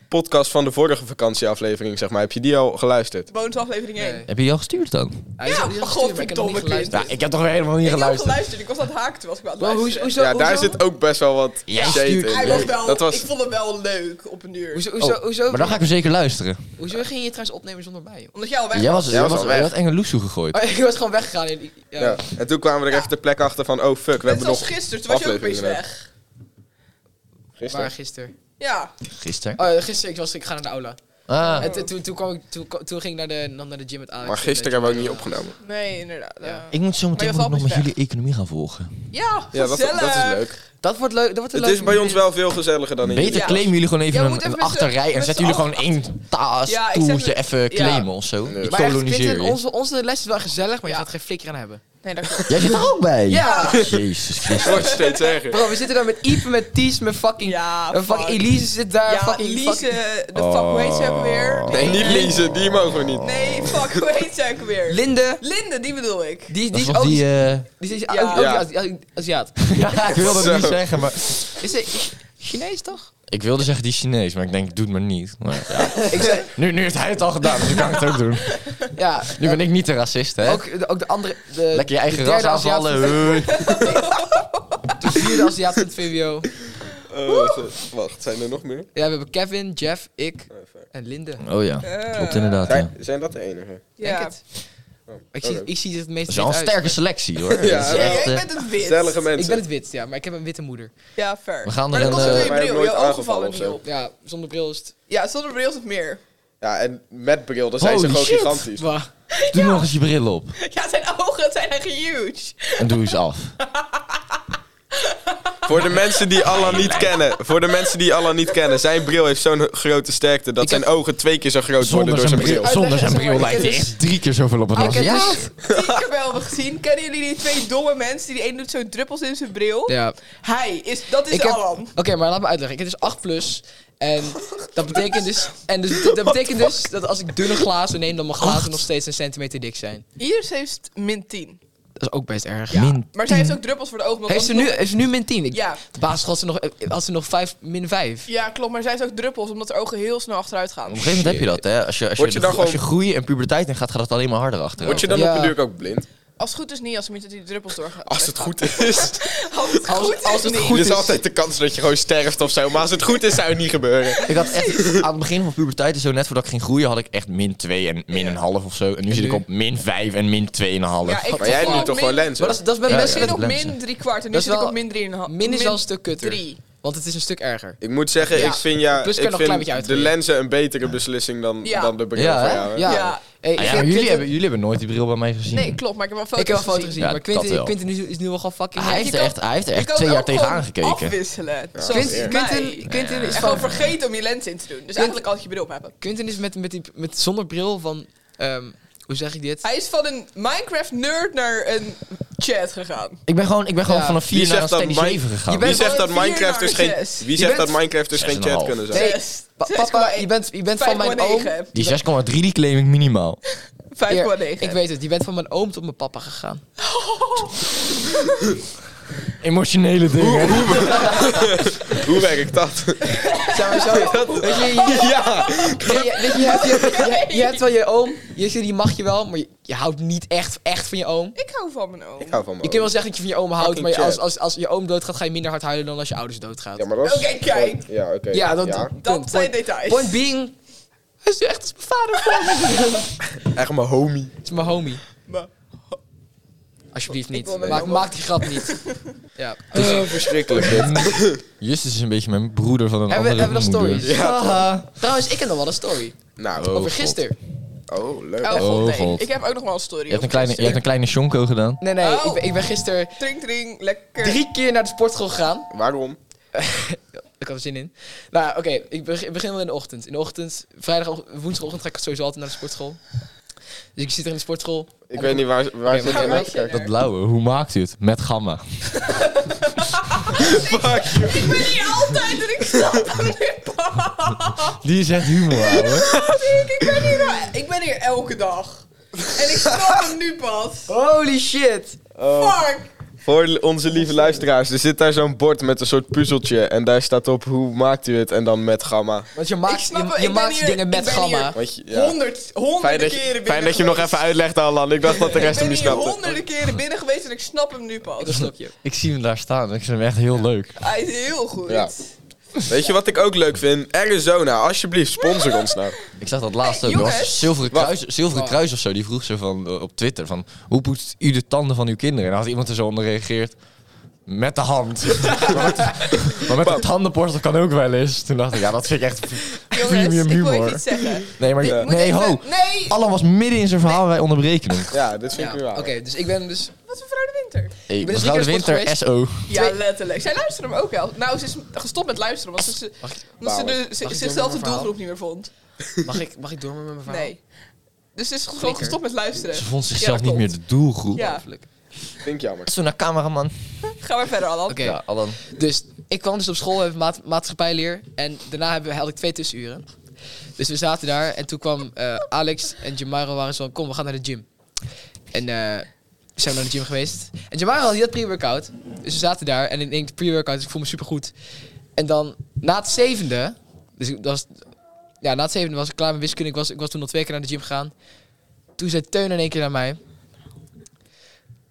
[SPEAKER 3] podcast van de vorige vakantieaflevering, zeg maar, heb je die al geluisterd?
[SPEAKER 4] bonusaflevering 1.
[SPEAKER 1] Nee.
[SPEAKER 2] Heb je die al gestuurd dan?
[SPEAKER 1] Hij is
[SPEAKER 4] Ja,
[SPEAKER 1] al- die is al gestuurd, maar
[SPEAKER 4] godverdomme
[SPEAKER 1] ik heb nog niet
[SPEAKER 4] kind.
[SPEAKER 1] geluisterd.
[SPEAKER 2] Ja, ik heb toch weer helemaal niet
[SPEAKER 4] Ik heb
[SPEAKER 2] geluisterd.
[SPEAKER 4] geluisterd, ik was aan het haken toen was ik aan het
[SPEAKER 1] Maar
[SPEAKER 4] luisteren.
[SPEAKER 1] hoezo, hoezo,
[SPEAKER 3] ja, daar
[SPEAKER 1] hoezo,
[SPEAKER 3] zit ook best wel wat
[SPEAKER 2] Ja,
[SPEAKER 3] shade
[SPEAKER 2] stuurt-
[SPEAKER 3] in.
[SPEAKER 4] Hij was wel,
[SPEAKER 3] dat was,
[SPEAKER 4] Ik vond hem wel leuk op een uur.
[SPEAKER 1] hoezo, hoezo,
[SPEAKER 2] Oh,
[SPEAKER 1] hoezo,
[SPEAKER 2] Maar dan ga ik hem zeker luisteren.
[SPEAKER 1] hoezo ging je trouwens opnemen zonder mij? joh?
[SPEAKER 4] Omdat jij al weg
[SPEAKER 2] Jij was, jij
[SPEAKER 3] was
[SPEAKER 2] was,
[SPEAKER 3] al
[SPEAKER 2] jij
[SPEAKER 3] weg.
[SPEAKER 2] had Engeloesoe gegooid.
[SPEAKER 1] Oh, ik was gewoon weggegaan. in- ja.
[SPEAKER 3] ja. En toen kwamen we er echt de plek achter van, oh fuck, we
[SPEAKER 4] Net
[SPEAKER 3] hebben
[SPEAKER 4] zoals
[SPEAKER 3] nog...
[SPEAKER 4] gisteren, toen was je ook opeens
[SPEAKER 3] afleveringen
[SPEAKER 4] weg.
[SPEAKER 1] Waar
[SPEAKER 3] Gisteren?
[SPEAKER 1] gisteren?
[SPEAKER 4] Ja,
[SPEAKER 2] Gisteren.
[SPEAKER 1] Oh, gisteren ik was ik ga naar de aula.
[SPEAKER 2] Ah,
[SPEAKER 1] En toen- toen, toen, kwam ik, toen, toen ging ik naar de, dan naar de gym met Alex. eh,
[SPEAKER 3] Maar gisteren hebben we ook niet opgenomen.
[SPEAKER 4] nee, inderdaad.
[SPEAKER 1] Ja.
[SPEAKER 4] Ja,
[SPEAKER 2] ik moet zo meteen
[SPEAKER 4] Maar
[SPEAKER 2] moet ik
[SPEAKER 4] je valt
[SPEAKER 2] nog
[SPEAKER 4] niet
[SPEAKER 2] met
[SPEAKER 4] weg.
[SPEAKER 2] jullie economie gaan volgen.
[SPEAKER 4] ja,
[SPEAKER 3] Ja, dat, dat is
[SPEAKER 4] gezellig.
[SPEAKER 3] leuk.
[SPEAKER 1] Dat wordt leuk. Dat wordt een
[SPEAKER 3] Het is
[SPEAKER 1] leuk
[SPEAKER 3] bij ons
[SPEAKER 1] moment.
[SPEAKER 3] wel veel gezelliger dan in
[SPEAKER 2] Beter
[SPEAKER 3] jullie.
[SPEAKER 4] Ja.
[SPEAKER 2] claimen jullie gewoon even
[SPEAKER 4] Ja, we
[SPEAKER 2] een,
[SPEAKER 4] moeten
[SPEAKER 2] een
[SPEAKER 4] even met z'n-
[SPEAKER 2] achterrij en
[SPEAKER 4] met
[SPEAKER 2] zetten jullie
[SPEAKER 4] z'n
[SPEAKER 2] gewoon één taas
[SPEAKER 4] Ja, ik zeg
[SPEAKER 2] toertje
[SPEAKER 4] met-
[SPEAKER 2] even
[SPEAKER 4] ja.
[SPEAKER 2] claimen of zo.
[SPEAKER 3] Nee.
[SPEAKER 2] Je
[SPEAKER 1] Maar echt,
[SPEAKER 2] koloniseer
[SPEAKER 1] Quinten,
[SPEAKER 2] je.
[SPEAKER 1] onze, onze les is wel gezellig, maar je
[SPEAKER 4] Ja.
[SPEAKER 1] gaat geen flikker aan hebben.
[SPEAKER 4] Nee, dat klopt.
[SPEAKER 2] Jij zit er ook bij.
[SPEAKER 1] Ja!
[SPEAKER 2] Jezus Christus.
[SPEAKER 3] Het wordt steeds erger.
[SPEAKER 1] Bro, we zitten daar met Ipe, met Ties, met fucking...
[SPEAKER 4] Ja,
[SPEAKER 1] en fucking Elise zit daar,
[SPEAKER 4] Ja,
[SPEAKER 1] fucking... fucking-
[SPEAKER 4] Elise, de fuck, hoe heet ze ook weer?
[SPEAKER 3] Oh. Nee, niet lezen, die mogen we niet.
[SPEAKER 4] Nee, fuck, hoe heet ze ook weer?
[SPEAKER 1] Linde.
[SPEAKER 4] Linde, die bedoel ik.
[SPEAKER 1] Die,
[SPEAKER 2] Dat
[SPEAKER 1] die
[SPEAKER 2] is
[SPEAKER 1] is
[SPEAKER 2] toch
[SPEAKER 1] ook...
[SPEAKER 2] die...
[SPEAKER 1] Die,
[SPEAKER 2] eh,
[SPEAKER 1] die is
[SPEAKER 4] Ja.
[SPEAKER 1] ook, ook
[SPEAKER 3] Ja.
[SPEAKER 1] Azi- Aziat.
[SPEAKER 2] ja, ik wilde het niet
[SPEAKER 3] Zo.
[SPEAKER 2] zeggen, maar...
[SPEAKER 1] Is ze Chinees, toch?
[SPEAKER 2] Ik wilde zeggen die Chinees, maar ik denk, doe het maar niet. Maar, ja. nu, nu heeft hij het al gedaan, dus ik kan het ook doen.
[SPEAKER 1] Ja.
[SPEAKER 2] Nu ben ik niet de racist, hè?
[SPEAKER 1] Ook, de, ook de andere... De,
[SPEAKER 3] eh,
[SPEAKER 2] Lekker je eigen
[SPEAKER 1] de
[SPEAKER 2] ras
[SPEAKER 1] derde Aziat
[SPEAKER 2] aanvallen.
[SPEAKER 1] van-
[SPEAKER 2] Hey.
[SPEAKER 1] De vierde Aziat van het VWO.
[SPEAKER 3] Oh, wacht, wacht, zijn er nog meer?
[SPEAKER 1] Ja, we hebben Kevin, Jeff, ik
[SPEAKER 3] Oh, fuck.
[SPEAKER 1] en Linde.
[SPEAKER 2] Oh ja,
[SPEAKER 4] Eh,
[SPEAKER 2] klopt inderdaad. Ja.
[SPEAKER 3] Zijn, zijn dat de enige?
[SPEAKER 1] Denk
[SPEAKER 4] Ja.
[SPEAKER 1] het.
[SPEAKER 3] Oh,
[SPEAKER 1] Ik
[SPEAKER 3] oké.
[SPEAKER 1] zie, ik zie het het meest
[SPEAKER 2] Dat is wel een
[SPEAKER 1] wit uit.
[SPEAKER 2] sterke selectie, hoor.
[SPEAKER 3] Ja,
[SPEAKER 2] Dat
[SPEAKER 4] Ja,
[SPEAKER 2] is echt,
[SPEAKER 4] jij
[SPEAKER 2] eh,
[SPEAKER 4] bent het wit.
[SPEAKER 3] Gezellige mensen.
[SPEAKER 1] Ik ben het wit, ja, maar ik heb een witte moeder.
[SPEAKER 4] Ja, fair.
[SPEAKER 2] We gaan
[SPEAKER 4] maar
[SPEAKER 2] er
[SPEAKER 4] dat
[SPEAKER 2] een,
[SPEAKER 4] komt door
[SPEAKER 2] eh,
[SPEAKER 4] je
[SPEAKER 3] Wij hebben
[SPEAKER 4] bril, je
[SPEAKER 3] nooit
[SPEAKER 4] ogen
[SPEAKER 3] aangevallen
[SPEAKER 4] vallen
[SPEAKER 3] of
[SPEAKER 4] niet
[SPEAKER 3] zo.
[SPEAKER 1] Ja,
[SPEAKER 4] op.
[SPEAKER 1] zonder bril is het...
[SPEAKER 4] Ja, zonder bril is het meer.
[SPEAKER 3] Ja, en met bril, dan zijn ze
[SPEAKER 2] Holy
[SPEAKER 3] gewoon
[SPEAKER 2] shit.
[SPEAKER 3] gigantisch.
[SPEAKER 1] Bah.
[SPEAKER 2] Doe nog eens je bril op.
[SPEAKER 4] Ja, zijn ogen zijn echt huge.
[SPEAKER 2] En doe eens af.
[SPEAKER 3] Voor de mensen die Allah niet kennen, voor de mensen die Allah niet kennen, zijn bril heeft zo'n grote sterkte dat
[SPEAKER 1] Ik
[SPEAKER 3] zijn ogen twee keer zo groot
[SPEAKER 2] Zonder
[SPEAKER 3] worden door
[SPEAKER 2] zijn
[SPEAKER 3] zijn bril.
[SPEAKER 2] bril, zonder zijn bril
[SPEAKER 4] Uitleggen,
[SPEAKER 2] lijkt hij
[SPEAKER 4] sorry.
[SPEAKER 2] echt drie keer zoveel op het
[SPEAKER 1] Ah,
[SPEAKER 2] ras.
[SPEAKER 1] ik heb
[SPEAKER 2] Ja?
[SPEAKER 1] dus-
[SPEAKER 4] Ziekenbeelden gezien. Kennen jullie die twee domme mensen? Die de een doet zo druppels in zijn bril.
[SPEAKER 1] Ja.
[SPEAKER 4] Hij is, dat is
[SPEAKER 1] Ik heb-
[SPEAKER 4] Alan.
[SPEAKER 1] Oké, maar laat me uitleggen. Ik heb dus 8 plus. En dat betekent dus, en dus, dat, betekent dus dat als ik dunne glazen neem, dan mijn glazen nog steeds een centimeter dik zijn.
[SPEAKER 4] Iris heeft min 10.
[SPEAKER 1] Dat is ook best erg.
[SPEAKER 2] Min
[SPEAKER 4] Maar zij heeft ook druppels voor de ogen. want
[SPEAKER 1] Heeft ze
[SPEAKER 4] anders-
[SPEAKER 1] nu, heeft ze nu min 10? Ik,
[SPEAKER 4] Ja.
[SPEAKER 1] De basisschool had ze nog, eh, had ze nog 5, min 5.
[SPEAKER 4] ja, klopt. Maar zij heeft ook druppels, omdat haar ogen heel snel achteruit gaan.
[SPEAKER 2] Op een gegeven moment heb je dat, hè? Als je, als je,
[SPEAKER 3] Word je
[SPEAKER 2] de-
[SPEAKER 3] dan
[SPEAKER 2] als je
[SPEAKER 3] gewoon-
[SPEAKER 2] groei en puberteit in gaat, gaat het alleen maar harder achter.
[SPEAKER 3] Word je dan
[SPEAKER 1] Ja.
[SPEAKER 3] op de duur ook blind?
[SPEAKER 4] Als het goed is niet, als ze met die druppels doorgaan.
[SPEAKER 3] Als het goed is.
[SPEAKER 4] Als het
[SPEAKER 1] Als-
[SPEAKER 4] goed is
[SPEAKER 1] als het
[SPEAKER 4] niet.
[SPEAKER 1] goed-
[SPEAKER 3] Er is
[SPEAKER 1] is.
[SPEAKER 3] altijd de kans dat je gewoon sterft of zo, maar als het goed is zou het niet gebeuren.
[SPEAKER 2] Ik had echt, aan het begin van puberteit, en zo net voordat ik ging groeien, had ik echt min 2 en min een half of zo. En nu zit ik
[SPEAKER 1] nu?
[SPEAKER 2] op min 5 en min Ah, 2,5.
[SPEAKER 4] Ja, ik
[SPEAKER 3] Maar jij hebt nu
[SPEAKER 4] val
[SPEAKER 3] toch gewoon
[SPEAKER 4] min-
[SPEAKER 3] lenzen?
[SPEAKER 1] Maar dat is, dat is bij
[SPEAKER 2] Ja,
[SPEAKER 1] mensen...
[SPEAKER 2] ja.
[SPEAKER 4] Ik zit op
[SPEAKER 2] lenzen.
[SPEAKER 4] min 3 kwart en nu
[SPEAKER 1] Dat is
[SPEAKER 4] zit ik
[SPEAKER 1] wel-
[SPEAKER 4] op min 3,5.
[SPEAKER 1] Min is wel een stuk kutter.
[SPEAKER 4] 3.
[SPEAKER 1] Want het is een stuk erger.
[SPEAKER 3] Ik moet zeggen,
[SPEAKER 4] Ja.
[SPEAKER 3] ik vind, ja,
[SPEAKER 1] Plus kan
[SPEAKER 3] ik
[SPEAKER 1] nog een klein
[SPEAKER 3] vind
[SPEAKER 1] beetje
[SPEAKER 3] de
[SPEAKER 1] uitgroeien.
[SPEAKER 3] lenzen een betere beslissing dan,
[SPEAKER 4] Ja.
[SPEAKER 3] dan de bril
[SPEAKER 2] Ja,
[SPEAKER 3] voor
[SPEAKER 2] hè?
[SPEAKER 3] jou. hè?
[SPEAKER 1] Ja.
[SPEAKER 4] Ja.
[SPEAKER 1] Hey,
[SPEAKER 2] Ah
[SPEAKER 1] ik
[SPEAKER 2] ja,
[SPEAKER 1] heb
[SPEAKER 2] maar jullie,
[SPEAKER 1] Quinten-
[SPEAKER 2] hebben, jullie hebben nooit die bril bij mij gezien.
[SPEAKER 4] Nee, klopt, maar ik heb wel foto's
[SPEAKER 1] Ik heb wel foto's
[SPEAKER 4] gezien.
[SPEAKER 1] gezien,
[SPEAKER 2] Ja,
[SPEAKER 1] maar
[SPEAKER 2] dat
[SPEAKER 1] Quinten,
[SPEAKER 2] wel.
[SPEAKER 1] Quinten is, nu- is nu al gewoon fucking...
[SPEAKER 2] hij, heeft
[SPEAKER 4] je
[SPEAKER 2] er
[SPEAKER 4] kan-
[SPEAKER 2] echt, hij heeft er
[SPEAKER 4] Je
[SPEAKER 2] echt
[SPEAKER 4] kan
[SPEAKER 2] twee
[SPEAKER 4] het
[SPEAKER 2] jaar
[SPEAKER 4] ook
[SPEAKER 2] tegenaan
[SPEAKER 4] gewoon
[SPEAKER 2] gekeken.
[SPEAKER 4] afwisselen. Zoals
[SPEAKER 1] Quinten,
[SPEAKER 4] mij.
[SPEAKER 1] Quinten, Quinten, is
[SPEAKER 4] En gewoon
[SPEAKER 1] van,
[SPEAKER 4] vergeten om je lens in te doen. Dus eigenlijk altijd je bril op hebben.
[SPEAKER 1] Quinten is met, met, die, met zonder bril van... ehm, hoe zeg ik dit?
[SPEAKER 4] Hij is van een Minecraft-nerd naar een chat gegaan.
[SPEAKER 2] Ik ben gewoon, ik ben gewoon
[SPEAKER 1] Ja.
[SPEAKER 2] van een 4
[SPEAKER 3] Wie
[SPEAKER 2] naar een
[SPEAKER 3] zegt dat
[SPEAKER 2] steady
[SPEAKER 3] Mike-
[SPEAKER 2] 7 gegaan.
[SPEAKER 1] Je
[SPEAKER 3] Wie
[SPEAKER 1] bent
[SPEAKER 3] zegt
[SPEAKER 4] wel
[SPEAKER 3] dat
[SPEAKER 4] een vier
[SPEAKER 3] Minecraft dus
[SPEAKER 4] naar
[SPEAKER 3] geen,
[SPEAKER 4] zes.
[SPEAKER 3] wie
[SPEAKER 1] Je
[SPEAKER 3] zegt dat
[SPEAKER 1] bent-
[SPEAKER 3] Minecraft dus geen chat
[SPEAKER 2] 6,5.
[SPEAKER 3] kunnen zijn?
[SPEAKER 1] Nee,
[SPEAKER 4] Zes.
[SPEAKER 1] pa-
[SPEAKER 4] Zes
[SPEAKER 1] papa,
[SPEAKER 4] komma één.
[SPEAKER 1] je bent, je bent van mijn oom.
[SPEAKER 4] 5,9.
[SPEAKER 2] Die 6,3 die claim ik minimaal.
[SPEAKER 4] 5,9.
[SPEAKER 1] Ik weet het, je bent van mijn oom tot mijn papa gegaan.
[SPEAKER 2] Emotionele dingen.
[SPEAKER 3] Hoe werkt dat?
[SPEAKER 1] Zijn we zo? Weet je, je,
[SPEAKER 3] ja,
[SPEAKER 1] je, je- weet je, je, hebt, je, je- je hebt wel je oom, je, die mag je wel, maar je, je houdt niet echt, echt van je oom.
[SPEAKER 4] Ik hou van mijn oom.
[SPEAKER 3] ik hou van me.
[SPEAKER 1] Je kunt wel zeggen dat je van je oom houdt, maar
[SPEAKER 3] Fucking
[SPEAKER 1] je- als,
[SPEAKER 3] chat.
[SPEAKER 1] als, als je oom doodgaat, ga je minder hard huilen dan als je ouders doodgaan.
[SPEAKER 3] Ja, maar dat is...
[SPEAKER 4] Oké, kijk.
[SPEAKER 3] Ja, oké.
[SPEAKER 1] Ja, dat,
[SPEAKER 3] Ja.
[SPEAKER 1] punt.
[SPEAKER 4] Dat zijn
[SPEAKER 1] Point-
[SPEAKER 4] details.
[SPEAKER 1] Point being, Hij is nu echt als mijn vader voor me.
[SPEAKER 3] Echt mijn homie.
[SPEAKER 1] Het is mijn homie.
[SPEAKER 4] Maar-
[SPEAKER 1] Alsjeblieft
[SPEAKER 4] Ik wil
[SPEAKER 1] niet.
[SPEAKER 4] mijn
[SPEAKER 1] Maak,
[SPEAKER 4] jongen.
[SPEAKER 1] maak die grap niet. Ja.
[SPEAKER 3] Oh, verschrikkelijk. dit.
[SPEAKER 2] Justus is een beetje mijn broeder van een
[SPEAKER 1] Hebben we,
[SPEAKER 2] andere
[SPEAKER 1] hebben we nog stories?
[SPEAKER 2] moeder.
[SPEAKER 1] Haha. Trouwens, ik heb nog wel een story.
[SPEAKER 3] nou,
[SPEAKER 2] Oh,
[SPEAKER 1] Over
[SPEAKER 2] God.
[SPEAKER 1] gisteren.
[SPEAKER 3] oh, leuk.
[SPEAKER 4] Oh, god,
[SPEAKER 2] Oh,
[SPEAKER 4] nee.
[SPEAKER 2] god.
[SPEAKER 4] Ik heb ook nog wel een story.
[SPEAKER 2] Je hebt een kleine, je hebt een kleine shonko gedaan.
[SPEAKER 1] Nee, nee.
[SPEAKER 4] Oh.
[SPEAKER 1] Ik, ben, ik ben gisteren
[SPEAKER 4] Drink, drink, lekker.
[SPEAKER 1] drie keer naar de sportschool gegaan.
[SPEAKER 3] Waarom?
[SPEAKER 1] Ik had er zin in. Nou, oké, ik beg- ik begin wel in de ochtend. In de ochtend, vrijdag, woensdagochtend ga ik sowieso altijd naar de sportschool. Dus ik zit er in de sportschool.
[SPEAKER 3] Ik weet niet waar, waar
[SPEAKER 1] Oké,
[SPEAKER 3] zit
[SPEAKER 1] maar-
[SPEAKER 3] je
[SPEAKER 4] maar-
[SPEAKER 3] in Kijk.
[SPEAKER 2] Dat blauwe, hoe maakt u het? Met gamma.
[SPEAKER 3] Fuck you.
[SPEAKER 4] Ik ben hier altijd en ik snap hem niet.
[SPEAKER 2] Die is echt humor, ouwe.
[SPEAKER 4] Ik ben hier, al- ik ben hier elke dag. En ik snap hem nu pas.
[SPEAKER 1] Holy shit!
[SPEAKER 4] Fuck.
[SPEAKER 3] Oh, Voor onze lieve luisteraars, er zit daar zo'n bord met een soort puzzeltje. En daar staat op hoe maakt u het en dan met gamma.
[SPEAKER 1] Want je maakt,
[SPEAKER 4] snap het,
[SPEAKER 1] je, je
[SPEAKER 4] ik ben
[SPEAKER 1] maakt
[SPEAKER 4] hier-
[SPEAKER 1] dingen
[SPEAKER 4] ik
[SPEAKER 1] met
[SPEAKER 4] ben
[SPEAKER 1] gamma.
[SPEAKER 4] hier.
[SPEAKER 3] Want je- ja.
[SPEAKER 4] Honderd, honderden
[SPEAKER 3] Fijn dat,
[SPEAKER 4] keren
[SPEAKER 3] je,
[SPEAKER 4] binnen
[SPEAKER 3] fijn dat je hem nog
[SPEAKER 4] geweest.
[SPEAKER 3] even uitlegt, Alan. Ik dacht dat de
[SPEAKER 4] Ik
[SPEAKER 3] rest hem
[SPEAKER 4] ben
[SPEAKER 3] niet
[SPEAKER 4] hier
[SPEAKER 3] snapte.
[SPEAKER 4] honderden keren binnen geweest en ik snap hem nu pas.
[SPEAKER 1] Dat snap je.
[SPEAKER 2] Ik zie hem daar staan. Ik vind hem echt heel leuk.
[SPEAKER 4] Hij is heel goed.
[SPEAKER 3] Ja. Weet je wat ik ook leuk vind? Arizona, alsjeblieft, sponsor ons nou.
[SPEAKER 2] Ik zag dat laatst
[SPEAKER 4] Hey,
[SPEAKER 2] ook. Er was een
[SPEAKER 4] jongens.
[SPEAKER 2] Zilveren
[SPEAKER 3] Wacht.
[SPEAKER 2] Kruis, Zilveren
[SPEAKER 1] Wacht.
[SPEAKER 2] Kruis of zo. Die vroeg ze van, eh, op Twitter van... Hoe poetst u de tanden van uw kinderen? En dan had iemand er zo onder gereageerd... Met de hand. maar met de tandenborstel kan ook wel eens. Toen dacht ik, ja, dat vind ik echt
[SPEAKER 4] Jongens,
[SPEAKER 2] premium
[SPEAKER 4] ik wil even
[SPEAKER 2] humor.
[SPEAKER 4] iets zeggen.
[SPEAKER 2] Nee, maar...
[SPEAKER 4] Moet
[SPEAKER 2] Nee,
[SPEAKER 4] even-
[SPEAKER 2] ho!
[SPEAKER 4] Nee!
[SPEAKER 2] Allan was midden in zijn verhaal en wij onderbreken hem.
[SPEAKER 3] Ja, dit vind
[SPEAKER 1] Ja,
[SPEAKER 3] ik nu
[SPEAKER 1] Oké,
[SPEAKER 3] waar.
[SPEAKER 1] dus ik ben dus...
[SPEAKER 4] Wat is mevrouw de Winter?
[SPEAKER 2] Hey,
[SPEAKER 1] Ik ben dus
[SPEAKER 2] mevrouw de
[SPEAKER 1] drie keer
[SPEAKER 2] Winter,
[SPEAKER 1] sport
[SPEAKER 2] SO.
[SPEAKER 4] Ja, letterlijk. Zij luisterde hem ook wel. Nou, ze is gestopt met luisteren, want ze, omdat ze, de, ze-
[SPEAKER 1] Mag ik door met
[SPEAKER 4] zichzelf
[SPEAKER 1] mijn
[SPEAKER 4] de
[SPEAKER 1] verhaal?
[SPEAKER 4] doelgroep niet meer vond.
[SPEAKER 1] Mag ik, mag ik door met mijn verhaal?
[SPEAKER 4] Nee. Dus ze is gewoon
[SPEAKER 1] Flikker.
[SPEAKER 4] gestopt met luisteren.
[SPEAKER 2] Ze vond
[SPEAKER 4] Ja,
[SPEAKER 2] zichzelf
[SPEAKER 4] dat
[SPEAKER 2] niet meer
[SPEAKER 4] klopt.
[SPEAKER 2] de doelgroep.
[SPEAKER 4] Ja.
[SPEAKER 1] Ongelooflijk.
[SPEAKER 3] Vind ik jammer.
[SPEAKER 2] Zo naar nou cameraman.
[SPEAKER 4] Ga maar verder, Alan.
[SPEAKER 1] Oké.
[SPEAKER 2] Ja, Allan.
[SPEAKER 1] Dus ik kwam dus op school, we hebben maat- maatschappijleer. En daarna hebben, we- had ik twee tussenuren. Dus we zaten daar en toen kwam eh, Alex en Jamaro waren zo van, kom, we gaan naar de gym. En eh zijn we naar de gym geweest. En Jamaro had dat pre-workout. Dus we zaten daar en ik denk, pre-workout, dus ik voel me supergoed. En dan, na het zevende, dus ik was, ja, na het zevende was ik klaar met wiskunde. Ik was, ik was toen al twee keer naar de gym gegaan. Toen zei Teun in één keer naar mij,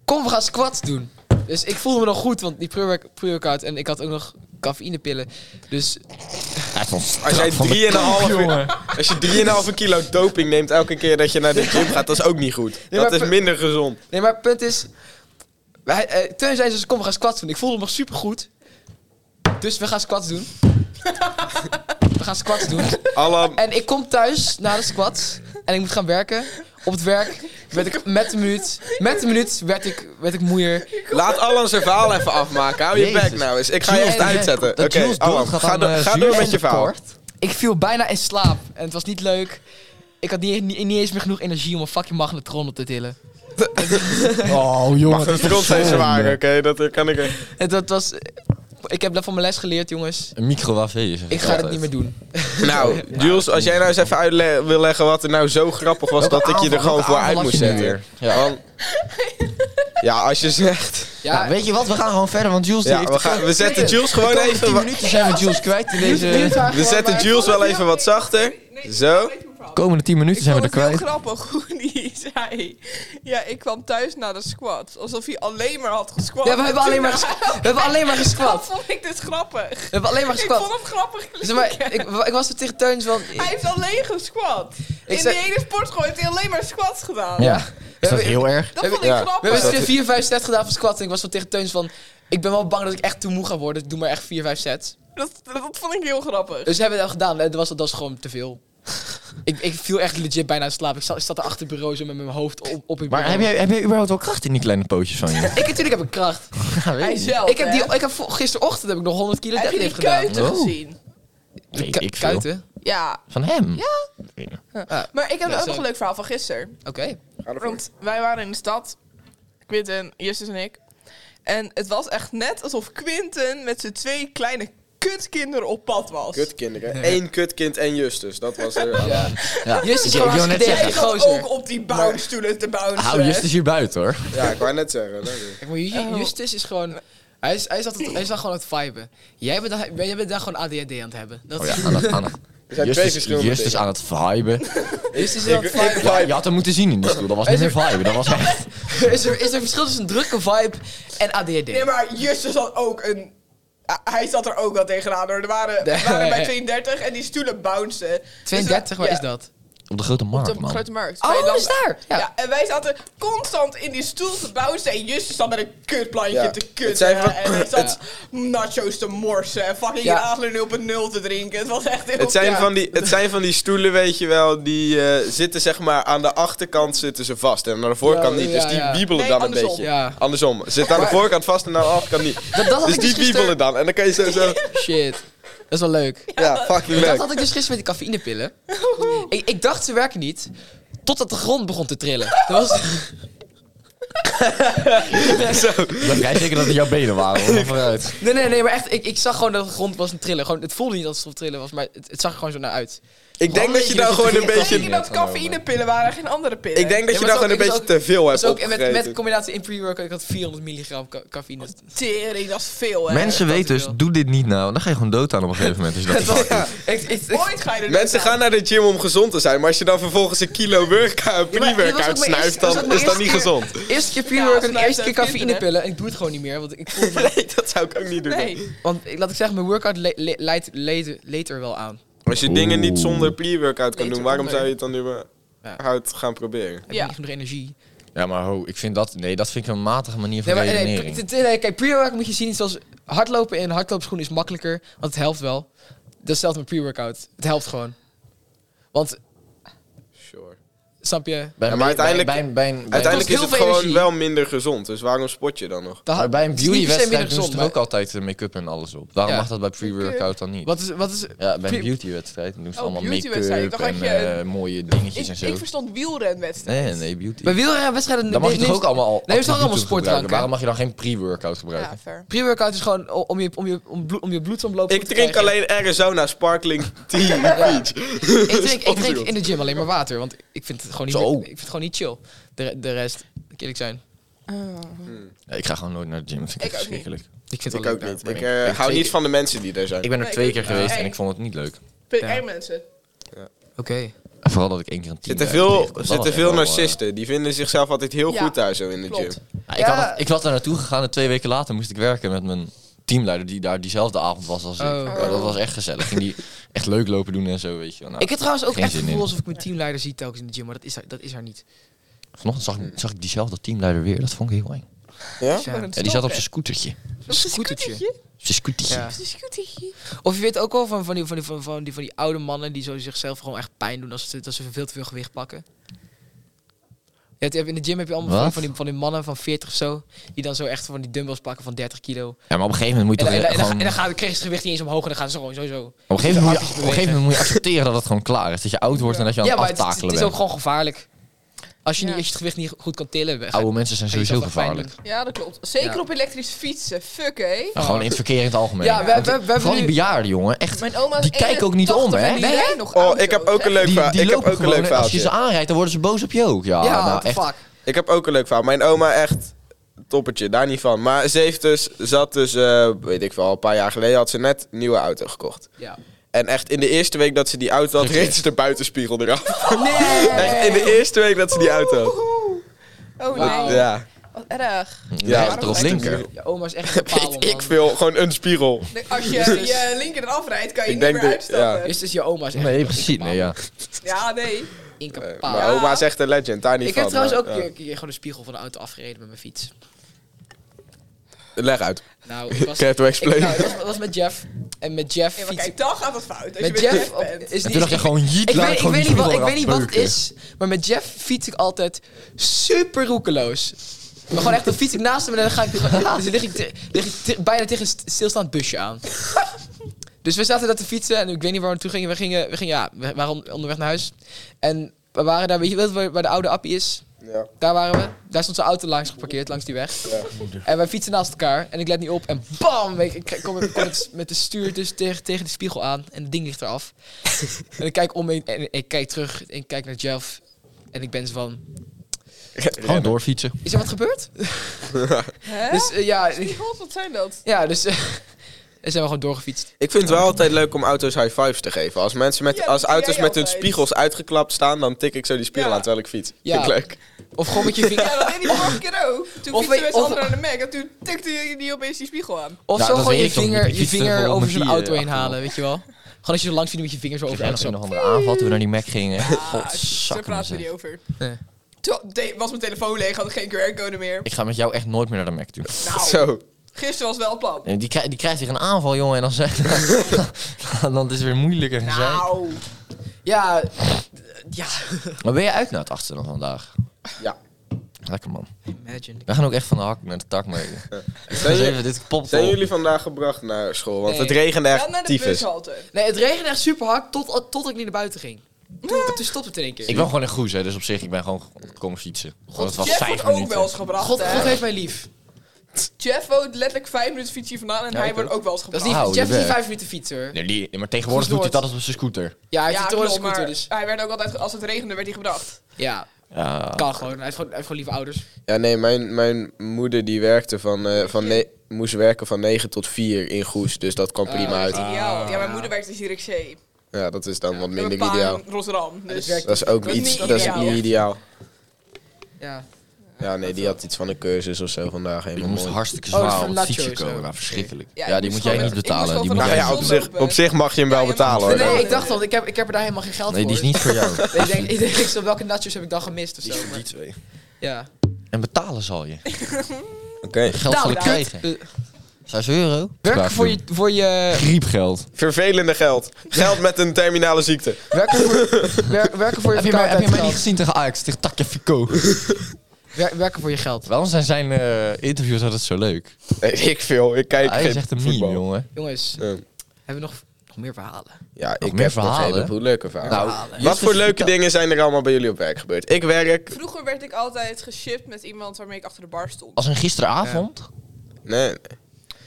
[SPEAKER 1] kom, we gaan squats doen. Dus ik voelde me nog goed, want die pre-work- pre-workout en ik had ook nog cafeïnepillen. Dus
[SPEAKER 2] Hij is ons
[SPEAKER 3] Als jij
[SPEAKER 2] van de
[SPEAKER 3] 3,5 uur-
[SPEAKER 2] jongen.
[SPEAKER 3] Als je 3,5 kilo doping neemt elke keer dat je naar de gym gaat, dat is ook niet goed.
[SPEAKER 1] Nee,
[SPEAKER 3] Dat
[SPEAKER 1] maar
[SPEAKER 3] is minder gezond.
[SPEAKER 1] Nee, maar het punt is... Wij, eh, Teun zei dus, kom, we gaan squats doen. Ik voelde me nog supergoed. Dus we gaan squats doen. we gaan squats doen.
[SPEAKER 3] Alan,
[SPEAKER 1] En ik kom thuis na de squats. En ik moet gaan werken. Op het werk werd ik met een minuut... Met een minuut werd ik, werd ik moeier.
[SPEAKER 3] laat Alan zijn verhaal even afmaken. Hou je
[SPEAKER 2] Jezus.
[SPEAKER 3] bek nou eens. Ik ga je
[SPEAKER 2] Jules,
[SPEAKER 3] echt uitzetten.
[SPEAKER 2] dat
[SPEAKER 3] Oké,
[SPEAKER 2] Jules dood
[SPEAKER 3] Alan,
[SPEAKER 2] gaat
[SPEAKER 3] ga,
[SPEAKER 2] aan,
[SPEAKER 3] door-
[SPEAKER 2] eh,
[SPEAKER 3] ga door met je verhaal.
[SPEAKER 2] zuurstoftekort.
[SPEAKER 1] Ik viel bijna in slaap. En het was niet leuk. Ik had niet, niet, niet eens meer genoeg energie om een fucking magnetron op te tillen.
[SPEAKER 2] Oh, jongen.
[SPEAKER 3] Mag
[SPEAKER 2] dat
[SPEAKER 3] een
[SPEAKER 2] is toch
[SPEAKER 3] grond zijn
[SPEAKER 2] zonde.
[SPEAKER 3] zwaar, oké? Dat eh, kan ik... eh,
[SPEAKER 1] Het, dat was... Ik heb dat van mijn les geleerd, jongens.
[SPEAKER 2] Een micro-wafé is het
[SPEAKER 1] Ik ga dat
[SPEAKER 2] altijd.
[SPEAKER 1] niet meer doen.
[SPEAKER 3] Nou, Jules, als jij nou eens even uit wil leggen wat er nou zo grappig was dat ik je er gewoon voor uit moest zetten.
[SPEAKER 2] Ja.
[SPEAKER 3] Want- Ja, als je zegt...
[SPEAKER 1] Ja,
[SPEAKER 2] Nou, weet je wat? We gaan gewoon verder, want Jules die
[SPEAKER 3] Ja,
[SPEAKER 2] heeft...
[SPEAKER 3] we, gaan, we zetten Jules gewoon even... wa-
[SPEAKER 2] minuten zijn we Jules kwijt in deze...
[SPEAKER 3] We zetten Jules wel even wat zachter. Zo.
[SPEAKER 2] Komende 10 minuten
[SPEAKER 4] Ik
[SPEAKER 2] zijn we
[SPEAKER 4] vond
[SPEAKER 2] er
[SPEAKER 4] het heel
[SPEAKER 2] kwijt.
[SPEAKER 4] grappig hoe die zei. Ja, ik kwam thuis na de squat. Alsof hij alleen maar had gesquat.
[SPEAKER 1] Ja, we hebben alleen maar, ges-
[SPEAKER 4] gesquat.
[SPEAKER 1] we hebben alleen maar
[SPEAKER 4] Dat
[SPEAKER 1] gesquat.
[SPEAKER 4] vond ik dus grappig.
[SPEAKER 1] We hebben alleen maar
[SPEAKER 4] Ik
[SPEAKER 1] gesquat.
[SPEAKER 4] vond hem grappig klinken.
[SPEAKER 1] Zeg maar, ik, ik was er tegen Teuns van...
[SPEAKER 4] Hij heeft alleen gesquat. In
[SPEAKER 1] zei-
[SPEAKER 4] die ene sportschool heeft hij alleen maar squats gedaan.
[SPEAKER 2] Ja. Is dat heel erg?
[SPEAKER 4] Dat vond ik
[SPEAKER 3] Ja.
[SPEAKER 1] We
[SPEAKER 4] grappig.
[SPEAKER 1] hebben
[SPEAKER 3] Dat-
[SPEAKER 1] z'n 4, 5 sets gedaan van squat. En ik was van tegen Teuns van... Ik ben wel bang dat ik echt te moe ga worden. Doe maar echt 4, 5 sets.
[SPEAKER 4] Dat, dat, dat vond ik heel grappig.
[SPEAKER 1] Dus we hebben het al gedaan. En dat was, dat was gewoon te veel. ik, ik viel echt legit bijna in slaap. Ik zat, ik zat er achter het bureau zo met mijn hoofd op, op het
[SPEAKER 2] Maar
[SPEAKER 1] bureau.
[SPEAKER 2] heb jij, heb jij überhaupt wel kracht in die kleine pootjes van je?
[SPEAKER 1] Ik natuurlijk heb ik kracht.
[SPEAKER 2] Ja, weet
[SPEAKER 4] Hij
[SPEAKER 2] ik.
[SPEAKER 4] zelf,
[SPEAKER 1] Ik heb, die,
[SPEAKER 4] Oh, hè?
[SPEAKER 1] ik heb vo- gisterochtend heb ik nog 100 kilo
[SPEAKER 4] Heb je die
[SPEAKER 1] deadlift gedaan.
[SPEAKER 4] kuiten
[SPEAKER 2] Oh.
[SPEAKER 4] gezien?
[SPEAKER 2] Weet
[SPEAKER 1] Ku-
[SPEAKER 2] ik veel.
[SPEAKER 1] kuiten?
[SPEAKER 4] Ja.
[SPEAKER 2] Van hem? Ja.
[SPEAKER 4] Maar ik heb
[SPEAKER 1] Ja,
[SPEAKER 4] ook
[SPEAKER 1] zo.
[SPEAKER 4] nog een leuk verhaal van gisteren.
[SPEAKER 1] Oké.
[SPEAKER 4] Want wij waren in de stad. Quinten, Justus en ik. En het was echt net alsof Quinten met zijn twee kleine kutkinderen op pad was.
[SPEAKER 3] Kutkinderen. Eén kutkind en Justus. Dat was er.
[SPEAKER 1] Ja.
[SPEAKER 2] ja.
[SPEAKER 1] Justus is
[SPEAKER 2] Ik- ik
[SPEAKER 1] gewoon
[SPEAKER 2] wil net
[SPEAKER 1] hartstikke
[SPEAKER 2] zeggen,
[SPEAKER 4] Hij
[SPEAKER 1] degelijk,
[SPEAKER 4] Dus zat
[SPEAKER 1] gozer.
[SPEAKER 4] ook op die bouwstoelen te bouncen.
[SPEAKER 2] Hou Justus hier buiten hoor.
[SPEAKER 3] Ja, ik wou net zeggen. dat is-
[SPEAKER 1] Kijk, maar Ju- Ju- Justus is gewoon... Hij, is, hij, zat het, hij zat gewoon aan het viben. Jij bent, daar- jij bent daar gewoon ADHD aan het hebben. Dat
[SPEAKER 2] Oh ja, aan het... Aan het-
[SPEAKER 3] Er zijn twee
[SPEAKER 2] Justus,
[SPEAKER 3] verschillende
[SPEAKER 2] Justus
[SPEAKER 3] dingen.
[SPEAKER 2] aan het viben.
[SPEAKER 1] Justus is aan het viben.
[SPEAKER 2] Ja, je had hem moeten zien in de stoel. Dat was niet meer viben. Dat was echt...
[SPEAKER 1] is, er, is er verschil tussen een drukke vibe en ADHD?
[SPEAKER 4] Nee, maar Justus had ook een Ah, hij zat er ook wel tegenaan hoor. Er waren,
[SPEAKER 1] Nee.
[SPEAKER 4] er waren bij 32 en die stoelen bouncen. Dus
[SPEAKER 1] 32, waar
[SPEAKER 4] ja.
[SPEAKER 1] is dat?
[SPEAKER 2] Op de grote markt,
[SPEAKER 4] Op de
[SPEAKER 2] man.
[SPEAKER 4] grote markt.
[SPEAKER 1] Oh,
[SPEAKER 4] Twee
[SPEAKER 1] dat is
[SPEAKER 4] landen.
[SPEAKER 1] daar!
[SPEAKER 4] Ja.
[SPEAKER 1] Ja.
[SPEAKER 4] en wij zaten constant in die stoel te bouncen. En Justus zat met een kutplantje
[SPEAKER 3] Ja.
[SPEAKER 4] te
[SPEAKER 3] Het zijn
[SPEAKER 4] kutten.
[SPEAKER 3] van-
[SPEAKER 4] En hij zat nachos te morsen. En fucking
[SPEAKER 1] Ja.
[SPEAKER 4] Radler 0.0 te drinken. Het was echt heel
[SPEAKER 3] Het zijn,
[SPEAKER 4] ja.
[SPEAKER 3] van die, het zijn van die stoelen, weet je wel, die eh, zitten zeg maar aan de achterkant zitten ze vast en aan de voorkant
[SPEAKER 1] Ja,
[SPEAKER 3] niet. Dus
[SPEAKER 1] ja,
[SPEAKER 3] die
[SPEAKER 1] ja.
[SPEAKER 3] wiebelen
[SPEAKER 4] Nee,
[SPEAKER 3] dan
[SPEAKER 4] andersom.
[SPEAKER 3] een beetje.
[SPEAKER 1] Ja.
[SPEAKER 3] Andersom. Zit aan de voorkant vast en aan de achterkant niet.
[SPEAKER 1] Dat, dat had ik
[SPEAKER 3] Dus
[SPEAKER 1] dus
[SPEAKER 3] die
[SPEAKER 1] gisteren-
[SPEAKER 3] wiebelen dan. En dan kan je zo zo...
[SPEAKER 1] Shit. Dat is wel leuk.
[SPEAKER 3] Ja, fucking
[SPEAKER 1] Dat
[SPEAKER 3] leuk.
[SPEAKER 1] had ik dus gisteren met die cafeïnepillen. ik, ik dacht ze werken niet, totdat de grond begon te trillen. Dat was...
[SPEAKER 2] Dan jij zeker dat het jouw benen waren, hoor. Maar vooruit.
[SPEAKER 1] Nee, nee, nee, maar echt, ik, ik zag gewoon dat de grond was een trillen. Gewoon, het voelde niet dat het een trillen was, maar het, het zag er gewoon zo naar uit.
[SPEAKER 3] Ik denk dat je dan gewoon een
[SPEAKER 4] Ik denk
[SPEAKER 3] beetje...
[SPEAKER 4] je dat cafeïnepillen waren, geen andere pillen.
[SPEAKER 3] Ik denk dat je
[SPEAKER 1] maar
[SPEAKER 3] dan
[SPEAKER 1] zo-
[SPEAKER 3] gewoon een
[SPEAKER 1] ik was
[SPEAKER 3] beetje
[SPEAKER 1] ook-
[SPEAKER 3] te veel
[SPEAKER 1] Dus
[SPEAKER 3] hebt
[SPEAKER 1] ook en met, met
[SPEAKER 3] opgegeten.
[SPEAKER 1] combinatie in pre-workout, ik had 400 milligram ca- cafeïne.
[SPEAKER 4] Tering, dat is veel hè.
[SPEAKER 2] Mensen
[SPEAKER 1] dat
[SPEAKER 2] weten
[SPEAKER 1] is
[SPEAKER 2] dus,
[SPEAKER 1] wel.
[SPEAKER 2] doe dit niet nou. want Dan ga je gewoon dood aan op een gegeven moment. als je dat
[SPEAKER 1] was-
[SPEAKER 2] doet.
[SPEAKER 1] Ik- ik- ik-
[SPEAKER 4] Ooit ga je er
[SPEAKER 3] Mensen gaan naar de gym om gezond te zijn, maar als je dan vervolgens een kilo workout,
[SPEAKER 1] maar dit was ook
[SPEAKER 3] pre-workout
[SPEAKER 1] mijn
[SPEAKER 3] snuift,
[SPEAKER 1] eerste- was ook
[SPEAKER 3] dan
[SPEAKER 1] mijn
[SPEAKER 3] is dat niet
[SPEAKER 1] eerste keer-
[SPEAKER 3] gezond.
[SPEAKER 1] Eerste keer
[SPEAKER 4] Ja,
[SPEAKER 1] pre-workout,
[SPEAKER 4] sluit,
[SPEAKER 1] eerste
[SPEAKER 4] eh,
[SPEAKER 1] keer
[SPEAKER 4] kinderen.
[SPEAKER 1] cafeïnepillen. En ik doe het gewoon niet meer, want ik voel me...
[SPEAKER 3] Nee, dat zou ik ook niet doen.
[SPEAKER 4] Nee.
[SPEAKER 1] Want eh, laat ik zeggen, mijn workout le- le- leidt leidt- leidt er wel aan.
[SPEAKER 3] Als je
[SPEAKER 2] Oeh.
[SPEAKER 3] dingen niet zonder pre-workout kan
[SPEAKER 4] Nee,
[SPEAKER 3] doen,
[SPEAKER 4] toch
[SPEAKER 3] waarom
[SPEAKER 4] leuk.
[SPEAKER 3] zou je het dan überhaupt gaan proberen?
[SPEAKER 1] Ik
[SPEAKER 4] Ja.
[SPEAKER 1] heb niet genoeg energie.
[SPEAKER 2] Ja, maar ho, ik vind dat... Nee, dat vind ik een matige manier van
[SPEAKER 1] Nee, maar nee,
[SPEAKER 2] redenering.
[SPEAKER 1] pre- nee, nee, kijk, pre-workout moet je zien zoals hardlopen in hardloopschoenen is makkelijker, want het helpt wel. Dat is hetzelfde met pre-workout. Het helpt gewoon. Want,
[SPEAKER 3] Sure.
[SPEAKER 1] snap je?
[SPEAKER 2] Bij,
[SPEAKER 3] Ja, maar
[SPEAKER 2] bij-
[SPEAKER 3] uiteindelijk-
[SPEAKER 2] bij, bij, bij, bij-
[SPEAKER 3] Uiteindelijk is
[SPEAKER 1] kost heel
[SPEAKER 3] het
[SPEAKER 1] veel
[SPEAKER 3] gewoon
[SPEAKER 1] energie.
[SPEAKER 3] wel minder gezond, dus waarom spot je dan nog?
[SPEAKER 1] Dat-
[SPEAKER 2] maar bij een
[SPEAKER 1] het is niet per se minder
[SPEAKER 2] beautywedstrijd doen ze
[SPEAKER 1] gezond,
[SPEAKER 2] toch
[SPEAKER 1] hè?
[SPEAKER 2] ook altijd eh, make-up en alles op. Waarom
[SPEAKER 1] Ja. eh,
[SPEAKER 2] mag dat bij pre-workout dan niet?
[SPEAKER 1] Wat is, wat is,
[SPEAKER 2] Ja, bij een
[SPEAKER 1] pre-
[SPEAKER 2] beautywedstrijd doen ze
[SPEAKER 4] Oh,
[SPEAKER 2] allemaal
[SPEAKER 4] beautywedstrijd.
[SPEAKER 2] make-up
[SPEAKER 4] Ik dacht
[SPEAKER 2] en
[SPEAKER 4] dat je-
[SPEAKER 2] eh, mooie dingetjes en
[SPEAKER 4] Ik,
[SPEAKER 2] zo.
[SPEAKER 4] ik verstond wielrenwedstrijd.
[SPEAKER 2] Nee, nee, beauty.
[SPEAKER 1] bij wielrenwedstrijden...
[SPEAKER 2] Dan mag je
[SPEAKER 1] nee,
[SPEAKER 2] toch ook allemaal al
[SPEAKER 1] nee, is toch allemaal
[SPEAKER 2] attributen
[SPEAKER 1] sportdranken?
[SPEAKER 2] gebruiken? Waarom mag je dan geen pre-workout
[SPEAKER 4] Ja,
[SPEAKER 2] gebruiken?
[SPEAKER 4] ver.
[SPEAKER 1] Pre-workout is gewoon o- om je, om je, om bloed, om je bloedsomloop
[SPEAKER 3] Ik
[SPEAKER 1] goed te
[SPEAKER 3] drink
[SPEAKER 1] krijgen.
[SPEAKER 3] alleen Arizona Sparkling Tea Peach.
[SPEAKER 1] Ik drink, ik drink
[SPEAKER 3] Sponsored.
[SPEAKER 1] in de gym alleen maar water, want ik vind het gewoon niet,
[SPEAKER 2] Zo.
[SPEAKER 1] ik vind het gewoon niet chill. De, re- de rest, moet ik eerlijk zijn. Oh.
[SPEAKER 2] Ja, Ik ga gewoon nooit naar de gym. Dat vind ik
[SPEAKER 4] Ik ook
[SPEAKER 2] echt verschrikkelijk.
[SPEAKER 1] Ik vind het
[SPEAKER 3] Ik
[SPEAKER 1] wel
[SPEAKER 3] ook
[SPEAKER 1] leuk daar,
[SPEAKER 3] niet.
[SPEAKER 1] maar-
[SPEAKER 3] Ik eh, hou niet van de mensen die er zijn.
[SPEAKER 2] Ik ben er
[SPEAKER 4] Nee,
[SPEAKER 2] twee
[SPEAKER 4] ik
[SPEAKER 2] keer
[SPEAKER 4] ook niet.
[SPEAKER 2] geweest en
[SPEAKER 4] Eng.
[SPEAKER 2] ik vond het niet leuk.
[SPEAKER 4] Vind ik
[SPEAKER 1] Ja.
[SPEAKER 4] eng mensen.
[SPEAKER 1] Oké.
[SPEAKER 2] En vooral dat ik één keer een tien
[SPEAKER 3] Zitten
[SPEAKER 2] werd
[SPEAKER 3] veel,
[SPEAKER 2] tegengekomen. Dat
[SPEAKER 3] zitten
[SPEAKER 2] was
[SPEAKER 3] veel
[SPEAKER 2] echt wel, eh,
[SPEAKER 3] narcisten, die vinden zichzelf altijd heel
[SPEAKER 4] Ja,
[SPEAKER 3] goed daar zo in de
[SPEAKER 4] klopt.
[SPEAKER 3] gym.
[SPEAKER 2] Ja, Nou, ik,
[SPEAKER 1] Ja.
[SPEAKER 2] had, ik was daar naartoe gegaan en twee weken later moest ik werken met mijn teamleider die daar diezelfde avond was als ik.
[SPEAKER 1] Oh.
[SPEAKER 2] Ja, dat was echt gezellig. Ging die echt leuk lopen doen en zo, weet je. wel. Nou,
[SPEAKER 1] Ik heb trouwens ook
[SPEAKER 2] Geen
[SPEAKER 1] echt het
[SPEAKER 2] zin
[SPEAKER 1] gevoel
[SPEAKER 2] in.
[SPEAKER 1] alsof ik mijn teamleider zie telkens in de gym, maar dat is haar, dat is haar niet.
[SPEAKER 2] Vanochtend zag, ik- zag ik diezelfde teamleider weer. Dat vond ik heel eng.
[SPEAKER 3] Ja?
[SPEAKER 1] Ja.
[SPEAKER 2] Ja, die zat op zijn scootertje.
[SPEAKER 1] scootertje.
[SPEAKER 2] Op zijn scootertje.
[SPEAKER 1] Ja.
[SPEAKER 4] Een scootertje.
[SPEAKER 1] Of je weet ook wel van, van, die, van, die, van, van die, van die oude mannen die zo zichzelf gewoon echt pijn doen als ze, als ze veel te veel gewicht pakken. Ja, het- in de gym heb je allemaal van,
[SPEAKER 2] Wat?
[SPEAKER 1] van, die, van die mannen van 40 of zo, die dan zo echt van die dumbbells pakken van 30 kilo.
[SPEAKER 2] Ja, maar op een gegeven moment moet je
[SPEAKER 1] En,
[SPEAKER 2] toch
[SPEAKER 1] dan- en, dan-
[SPEAKER 2] weer
[SPEAKER 1] en, dan- en dan
[SPEAKER 2] gewoon...
[SPEAKER 1] gaat, krijg je het gewicht niet eens omhoog en dan gaan ze gewoon sowieso.
[SPEAKER 2] Op een, gegeven moment moet je, op
[SPEAKER 1] Bewegen.
[SPEAKER 2] een gegeven moment moet je accepteren dat het gewoon klaar is. Dat je oud wordt en dat je aan
[SPEAKER 1] Ja,
[SPEAKER 2] het
[SPEAKER 1] maar het,
[SPEAKER 2] aftakelen
[SPEAKER 1] het is
[SPEAKER 2] bent.
[SPEAKER 1] ook gewoon gevaarlijk. Als je,
[SPEAKER 4] Ja.
[SPEAKER 1] niet, als je het gewicht niet goed kan tillen, ga-
[SPEAKER 2] Oude mensen zijn
[SPEAKER 1] ga je
[SPEAKER 2] sowieso
[SPEAKER 1] jezelf wel pijn
[SPEAKER 2] gevaarlijk.
[SPEAKER 1] doen.
[SPEAKER 4] Ja, dat klopt. Zeker
[SPEAKER 1] Ja.
[SPEAKER 4] op elektrisch fietsen. Fuck, hé.
[SPEAKER 2] Maar gewoon in het verkeer in het algemeen.
[SPEAKER 1] Ja, we- we- we hebben
[SPEAKER 2] Vooral die
[SPEAKER 1] nu-
[SPEAKER 2] bejaarden, jongen. Echt,
[SPEAKER 4] Mijn oma is
[SPEAKER 2] Die kijken ook niet om,
[SPEAKER 4] 81
[SPEAKER 2] hè?
[SPEAKER 4] en die
[SPEAKER 1] Nee, hè?
[SPEAKER 4] rijden nog
[SPEAKER 3] Oh,
[SPEAKER 4] auto's,
[SPEAKER 3] ik heb ook een
[SPEAKER 4] hè?
[SPEAKER 3] leuk
[SPEAKER 2] die,
[SPEAKER 3] verhaal.
[SPEAKER 2] die
[SPEAKER 3] Ik heb
[SPEAKER 2] lopen
[SPEAKER 3] ook een
[SPEAKER 2] gewoon
[SPEAKER 3] leuk
[SPEAKER 2] en Als je ze
[SPEAKER 3] verhaal.
[SPEAKER 2] aanrijdt, dan worden ze boos op je ook. Ja,
[SPEAKER 1] Ja,
[SPEAKER 2] nou
[SPEAKER 1] what the
[SPEAKER 2] echt.
[SPEAKER 1] fuck.
[SPEAKER 3] Ik heb ook een leuk verhaal. Mijn oma echt toppertje, daar niet van. Maar ze heeft dus, zat dus, eh, weet ik wel, een paar jaar geleden had ze net een nieuwe auto gekocht.
[SPEAKER 1] Ja.
[SPEAKER 3] En echt in de eerste week dat ze die auto had, reed ze de buitenspiegel eraf.
[SPEAKER 1] Nee!
[SPEAKER 3] Echt in de eerste week dat ze die auto had.
[SPEAKER 4] Oeh. Oh
[SPEAKER 1] Wauw.
[SPEAKER 4] nee,
[SPEAKER 3] Ja,
[SPEAKER 4] wat erg.
[SPEAKER 2] Ja,
[SPEAKER 3] Ja,
[SPEAKER 2] echt erop linker.
[SPEAKER 1] Je oma is echt een paal,
[SPEAKER 3] weet ik
[SPEAKER 1] man.
[SPEAKER 3] veel. Gewoon een spiegel.
[SPEAKER 4] Als je je linker eraf rijdt, kan je
[SPEAKER 3] Ik
[SPEAKER 4] niet
[SPEAKER 3] denk
[SPEAKER 4] meer
[SPEAKER 3] dat-
[SPEAKER 4] uitstappen. Ja,
[SPEAKER 1] Is dus je oma is echt
[SPEAKER 2] Nee, precies. Nee, ja.
[SPEAKER 4] nee.
[SPEAKER 3] Eh,
[SPEAKER 1] incapaal.
[SPEAKER 3] Mijn oma is echt een legend, daar niet
[SPEAKER 1] ik
[SPEAKER 3] van.
[SPEAKER 1] heb trouwens
[SPEAKER 2] eh,
[SPEAKER 3] maar,
[SPEAKER 1] ook een
[SPEAKER 3] ja.
[SPEAKER 1] keer, keer gewoon de spiegel van de auto afgereden met mijn fiets.
[SPEAKER 3] Leg uit.
[SPEAKER 1] Nou, ik was,
[SPEAKER 3] Care to
[SPEAKER 1] ik, nou,
[SPEAKER 3] explain?
[SPEAKER 1] ik was, ik was met Jeff. En met Jeff
[SPEAKER 4] Ja, maar
[SPEAKER 1] fiets...
[SPEAKER 4] kijk, dan gaat het fout. Als je
[SPEAKER 1] met
[SPEAKER 4] met
[SPEAKER 1] Jeff...
[SPEAKER 4] Jeff
[SPEAKER 1] op-
[SPEAKER 4] bent.
[SPEAKER 1] is
[SPEAKER 2] En
[SPEAKER 1] niet-
[SPEAKER 2] toen dacht je
[SPEAKER 1] ik-
[SPEAKER 2] gewoon, jiet,
[SPEAKER 1] ik
[SPEAKER 2] laat
[SPEAKER 1] weet, ik
[SPEAKER 2] gewoon
[SPEAKER 1] weet
[SPEAKER 2] die
[SPEAKER 1] niet, wat, ik weet
[SPEAKER 2] spiegel
[SPEAKER 1] niet wat het
[SPEAKER 2] afbeuken.
[SPEAKER 1] is, maar met Jeff fiets ik altijd super roekeloos. Maar gewoon echt, dan fiets ik naast hem en dan ga ik, gewoon- dan lig ik, te- lig ik te- bijna tegen een st- stilstaand busje aan. Dus we zaten daar te fietsen en ik weet niet waar we naartoe gingen. We gingen, we gingen ja, we waren on- onderweg naar huis. En we waren daar, weet je wel, waar- waar de oude appie is?
[SPEAKER 3] Ja.
[SPEAKER 1] Daar waren we. Daar stond zijn auto langs geparkeerd, langs die weg. En wij fietsen naast elkaar. En ik let niet op. En bam! Ik, ik kom, kom met, met de stuur dus tegen, tegen de spiegel aan. En het ding ligt eraf. en ik kijk om me heen en ik kijk terug. En ik kijk naar Jeff. En ik ben zo van...
[SPEAKER 2] Gewoon doorfietsen.
[SPEAKER 1] Is er wat gebeurd?
[SPEAKER 4] Hè?
[SPEAKER 1] Dus eh, ja... ik-
[SPEAKER 4] Spiegels, wat zijn dat?
[SPEAKER 1] Ja, dus... eh, En zijn we gewoon doorgefietst.
[SPEAKER 3] Ik vind het wel altijd leuk om auto's high fives te geven. Als, mensen met,
[SPEAKER 4] Ja, dat
[SPEAKER 3] als
[SPEAKER 4] doe
[SPEAKER 3] auto's
[SPEAKER 4] jij
[SPEAKER 3] met hun
[SPEAKER 4] altijd.
[SPEAKER 3] spiegels uitgeklapt staan, dan tik ik zo die spiegel
[SPEAKER 4] Ja.
[SPEAKER 3] aan terwijl ik fiets.
[SPEAKER 1] Ja.
[SPEAKER 3] Vind ik leuk.
[SPEAKER 1] Of gewoon met je vinger.
[SPEAKER 4] Ja, dat deed hij vorige keer ook. Toen
[SPEAKER 1] Of
[SPEAKER 4] fietsten we
[SPEAKER 1] weet-
[SPEAKER 4] met z'n
[SPEAKER 1] of-
[SPEAKER 4] allen naar de Mac en toen tikte hij die opeens die spiegel aan.
[SPEAKER 1] Of
[SPEAKER 2] Ja,
[SPEAKER 1] zo
[SPEAKER 2] Nou, dat
[SPEAKER 1] gewoon
[SPEAKER 2] weet
[SPEAKER 1] je
[SPEAKER 2] ik toch niet.
[SPEAKER 1] vinger,
[SPEAKER 2] Ik
[SPEAKER 1] je
[SPEAKER 2] fiets er
[SPEAKER 1] vinger
[SPEAKER 2] gewoon
[SPEAKER 1] over
[SPEAKER 2] met
[SPEAKER 1] zo'n
[SPEAKER 2] die, eh,
[SPEAKER 1] auto heen
[SPEAKER 2] achterkant.
[SPEAKER 1] halen, weet je wel. Gewoon als je zo lang fietst met je vinger zo
[SPEAKER 2] Ik
[SPEAKER 1] over de
[SPEAKER 2] heb nog een
[SPEAKER 1] auto.
[SPEAKER 2] of andere aanval toen we naar die Mac gingen.
[SPEAKER 4] Ah, daar
[SPEAKER 2] Godzakken.
[SPEAKER 4] praten we
[SPEAKER 2] zeg.
[SPEAKER 4] niet over.
[SPEAKER 1] Nee.
[SPEAKER 4] Toen de- was mijn telefoon leeg, had ik geen QR-code meer.
[SPEAKER 2] Ik ga met jou echt nooit meer naar de Mac toe.
[SPEAKER 4] Nou,
[SPEAKER 3] Zo.
[SPEAKER 4] gisteren was wel het plan.
[SPEAKER 2] En Die, krij- die krijgt zich een aanval, jongen. En dan, zeg, dan is het weer moeilijker gezegd.
[SPEAKER 4] Nou,
[SPEAKER 1] Ja, ja.
[SPEAKER 2] Maar ben je uit naar het achtste dan vandaag?
[SPEAKER 3] Ja.
[SPEAKER 2] Lekker man.
[SPEAKER 1] Imagine.
[SPEAKER 2] Wij gaan ook echt van de hak naar de tak mee.
[SPEAKER 3] Zijn,
[SPEAKER 2] Dus
[SPEAKER 3] jullie-
[SPEAKER 2] even, dit popt
[SPEAKER 3] zijn
[SPEAKER 2] op.
[SPEAKER 3] jullie vandaag gebracht naar school? Want
[SPEAKER 1] Nee.
[SPEAKER 3] het regende
[SPEAKER 4] dan naar
[SPEAKER 3] echt
[SPEAKER 4] de
[SPEAKER 3] tyfus.
[SPEAKER 4] bushalte.
[SPEAKER 1] Nee, het regende echt super hard tot, tot ik niet naar buiten ging. Toen, toen stopte het in één keer.
[SPEAKER 2] Ik woon gewoon in Goes, hè, dus op zich, ik ben gewoon komen fietsen. Want het was
[SPEAKER 4] Jeff wordt
[SPEAKER 2] vijf
[SPEAKER 4] ook
[SPEAKER 2] minuten.
[SPEAKER 4] wel eens gebracht,
[SPEAKER 1] God,
[SPEAKER 4] hè?
[SPEAKER 1] God heeft mij lief.
[SPEAKER 4] Jeff woont letterlijk vijf minuten fiets hier vandaan en
[SPEAKER 3] Ja,
[SPEAKER 4] hij
[SPEAKER 3] ik
[SPEAKER 4] wordt
[SPEAKER 3] ook.
[SPEAKER 4] ook wel eens gebracht.
[SPEAKER 1] Dat is niet,
[SPEAKER 2] Wauw, je
[SPEAKER 1] Jeff is niet
[SPEAKER 2] werkt.
[SPEAKER 1] vijf minuten fietser.
[SPEAKER 2] Nee, die- maar tegenwoordig
[SPEAKER 1] Goes
[SPEAKER 2] doet hij
[SPEAKER 1] Noord.
[SPEAKER 2] dat op zijn scooter.
[SPEAKER 1] Ja, hij
[SPEAKER 4] ja,
[SPEAKER 1] heeft een
[SPEAKER 4] klopt,
[SPEAKER 1] torenscooter,
[SPEAKER 4] maar
[SPEAKER 1] dus...
[SPEAKER 4] hij werd ook altijd, als het regende, werd hij gebracht.
[SPEAKER 1] Ja,
[SPEAKER 2] Ja.
[SPEAKER 1] kan gewoon. Hij heeft gewoon, hij heeft gewoon lieve ouders.
[SPEAKER 3] Ja, nee, mijn, mijn moeder die werkte van, eh, van ne- moest werken van 9 tot 4 in Goes. Dus dat kwam prima
[SPEAKER 4] Dat
[SPEAKER 3] uit.
[SPEAKER 4] is ideaal. Ah, Ja, mijn moeder werkt in Zierikzee.
[SPEAKER 3] Ja, dat is dan wat
[SPEAKER 4] En
[SPEAKER 3] Ah. minder
[SPEAKER 4] mijn pa
[SPEAKER 3] ideaal.
[SPEAKER 4] in Rotterdam. Dus
[SPEAKER 1] werkt-
[SPEAKER 3] Dat is ook
[SPEAKER 4] Dat is
[SPEAKER 3] iets,
[SPEAKER 4] niet
[SPEAKER 3] dat is
[SPEAKER 4] ideaal.
[SPEAKER 3] niet ideaal.
[SPEAKER 1] Ja.
[SPEAKER 3] Ja, nee, die had iets van een cursus of zo vandaag.
[SPEAKER 2] Die
[SPEAKER 3] Helemaal
[SPEAKER 2] moest
[SPEAKER 3] mooi.
[SPEAKER 2] hartstikke
[SPEAKER 1] Oh, dat is
[SPEAKER 2] zwaar
[SPEAKER 1] van
[SPEAKER 2] op het
[SPEAKER 1] nachos,
[SPEAKER 2] fietsje komen.
[SPEAKER 1] hè?
[SPEAKER 2] Nou, verschrikkelijk.
[SPEAKER 4] Ja,
[SPEAKER 2] Ja,
[SPEAKER 4] ik
[SPEAKER 2] die moet jij
[SPEAKER 4] moest gewoon
[SPEAKER 2] niet
[SPEAKER 4] met- ik moest
[SPEAKER 2] betalen.
[SPEAKER 4] gewoon
[SPEAKER 2] Die
[SPEAKER 4] van
[SPEAKER 2] moet
[SPEAKER 3] Nou
[SPEAKER 4] de
[SPEAKER 2] jij
[SPEAKER 3] ja,
[SPEAKER 4] Ja,
[SPEAKER 3] op zich,
[SPEAKER 4] zonlopen.
[SPEAKER 3] op zich mag je hem
[SPEAKER 4] Ja,
[SPEAKER 3] wel
[SPEAKER 4] je mag
[SPEAKER 3] betalen hoor.
[SPEAKER 4] het
[SPEAKER 1] Nee,
[SPEAKER 4] wel.
[SPEAKER 1] ik dacht al, ik heb, ik heb er daar helemaal geen geld
[SPEAKER 2] Oh, Nee, die
[SPEAKER 1] voor.
[SPEAKER 2] is niet voor jou.
[SPEAKER 1] ik denk, ik denk zo, welke nachos heb ik dan gemist of
[SPEAKER 2] Die
[SPEAKER 1] zo.
[SPEAKER 2] is voor
[SPEAKER 1] maar-
[SPEAKER 2] die twee.
[SPEAKER 1] ja.
[SPEAKER 2] En betalen zal je.
[SPEAKER 3] Oké.
[SPEAKER 2] Geld zal ik
[SPEAKER 1] Nou, kut.
[SPEAKER 2] krijgen. 6 euro?
[SPEAKER 1] Werken voor je, voor je,
[SPEAKER 2] griepgeld.
[SPEAKER 3] Vervelende geld. Geld met een terminale ziekte.
[SPEAKER 1] werken voor, wer- werken voor je
[SPEAKER 2] Heb je, mij, heb je mij niet
[SPEAKER 1] verkoudheid
[SPEAKER 2] gezien tegen Ajax, tegen Takja Fico?
[SPEAKER 1] Wer- Werken voor je geld.
[SPEAKER 2] Waarom zijn zijn eh, interviews altijd zo leuk?
[SPEAKER 3] Nee, ik veel. Ik kijk
[SPEAKER 2] Hij
[SPEAKER 3] geen
[SPEAKER 2] is echt een meme,
[SPEAKER 3] voetbal.
[SPEAKER 2] jongen.
[SPEAKER 1] Jongens,
[SPEAKER 3] Eh,
[SPEAKER 1] hebben we nog, nog meer verhalen?
[SPEAKER 3] ja, ik
[SPEAKER 2] meer
[SPEAKER 3] heb
[SPEAKER 2] verhalen?
[SPEAKER 3] nog een heleboel leuke verhalen.
[SPEAKER 1] Nou,
[SPEAKER 3] Wat voor leuke
[SPEAKER 2] dingen?
[SPEAKER 3] dingen zijn er allemaal bij jullie op werk gebeurd? Ik werk...
[SPEAKER 4] vroeger werd ik altijd geshipped met iemand waarmee ik achter de bar stond.
[SPEAKER 2] Als een gisteravond?
[SPEAKER 3] Nee, nee.
[SPEAKER 4] Het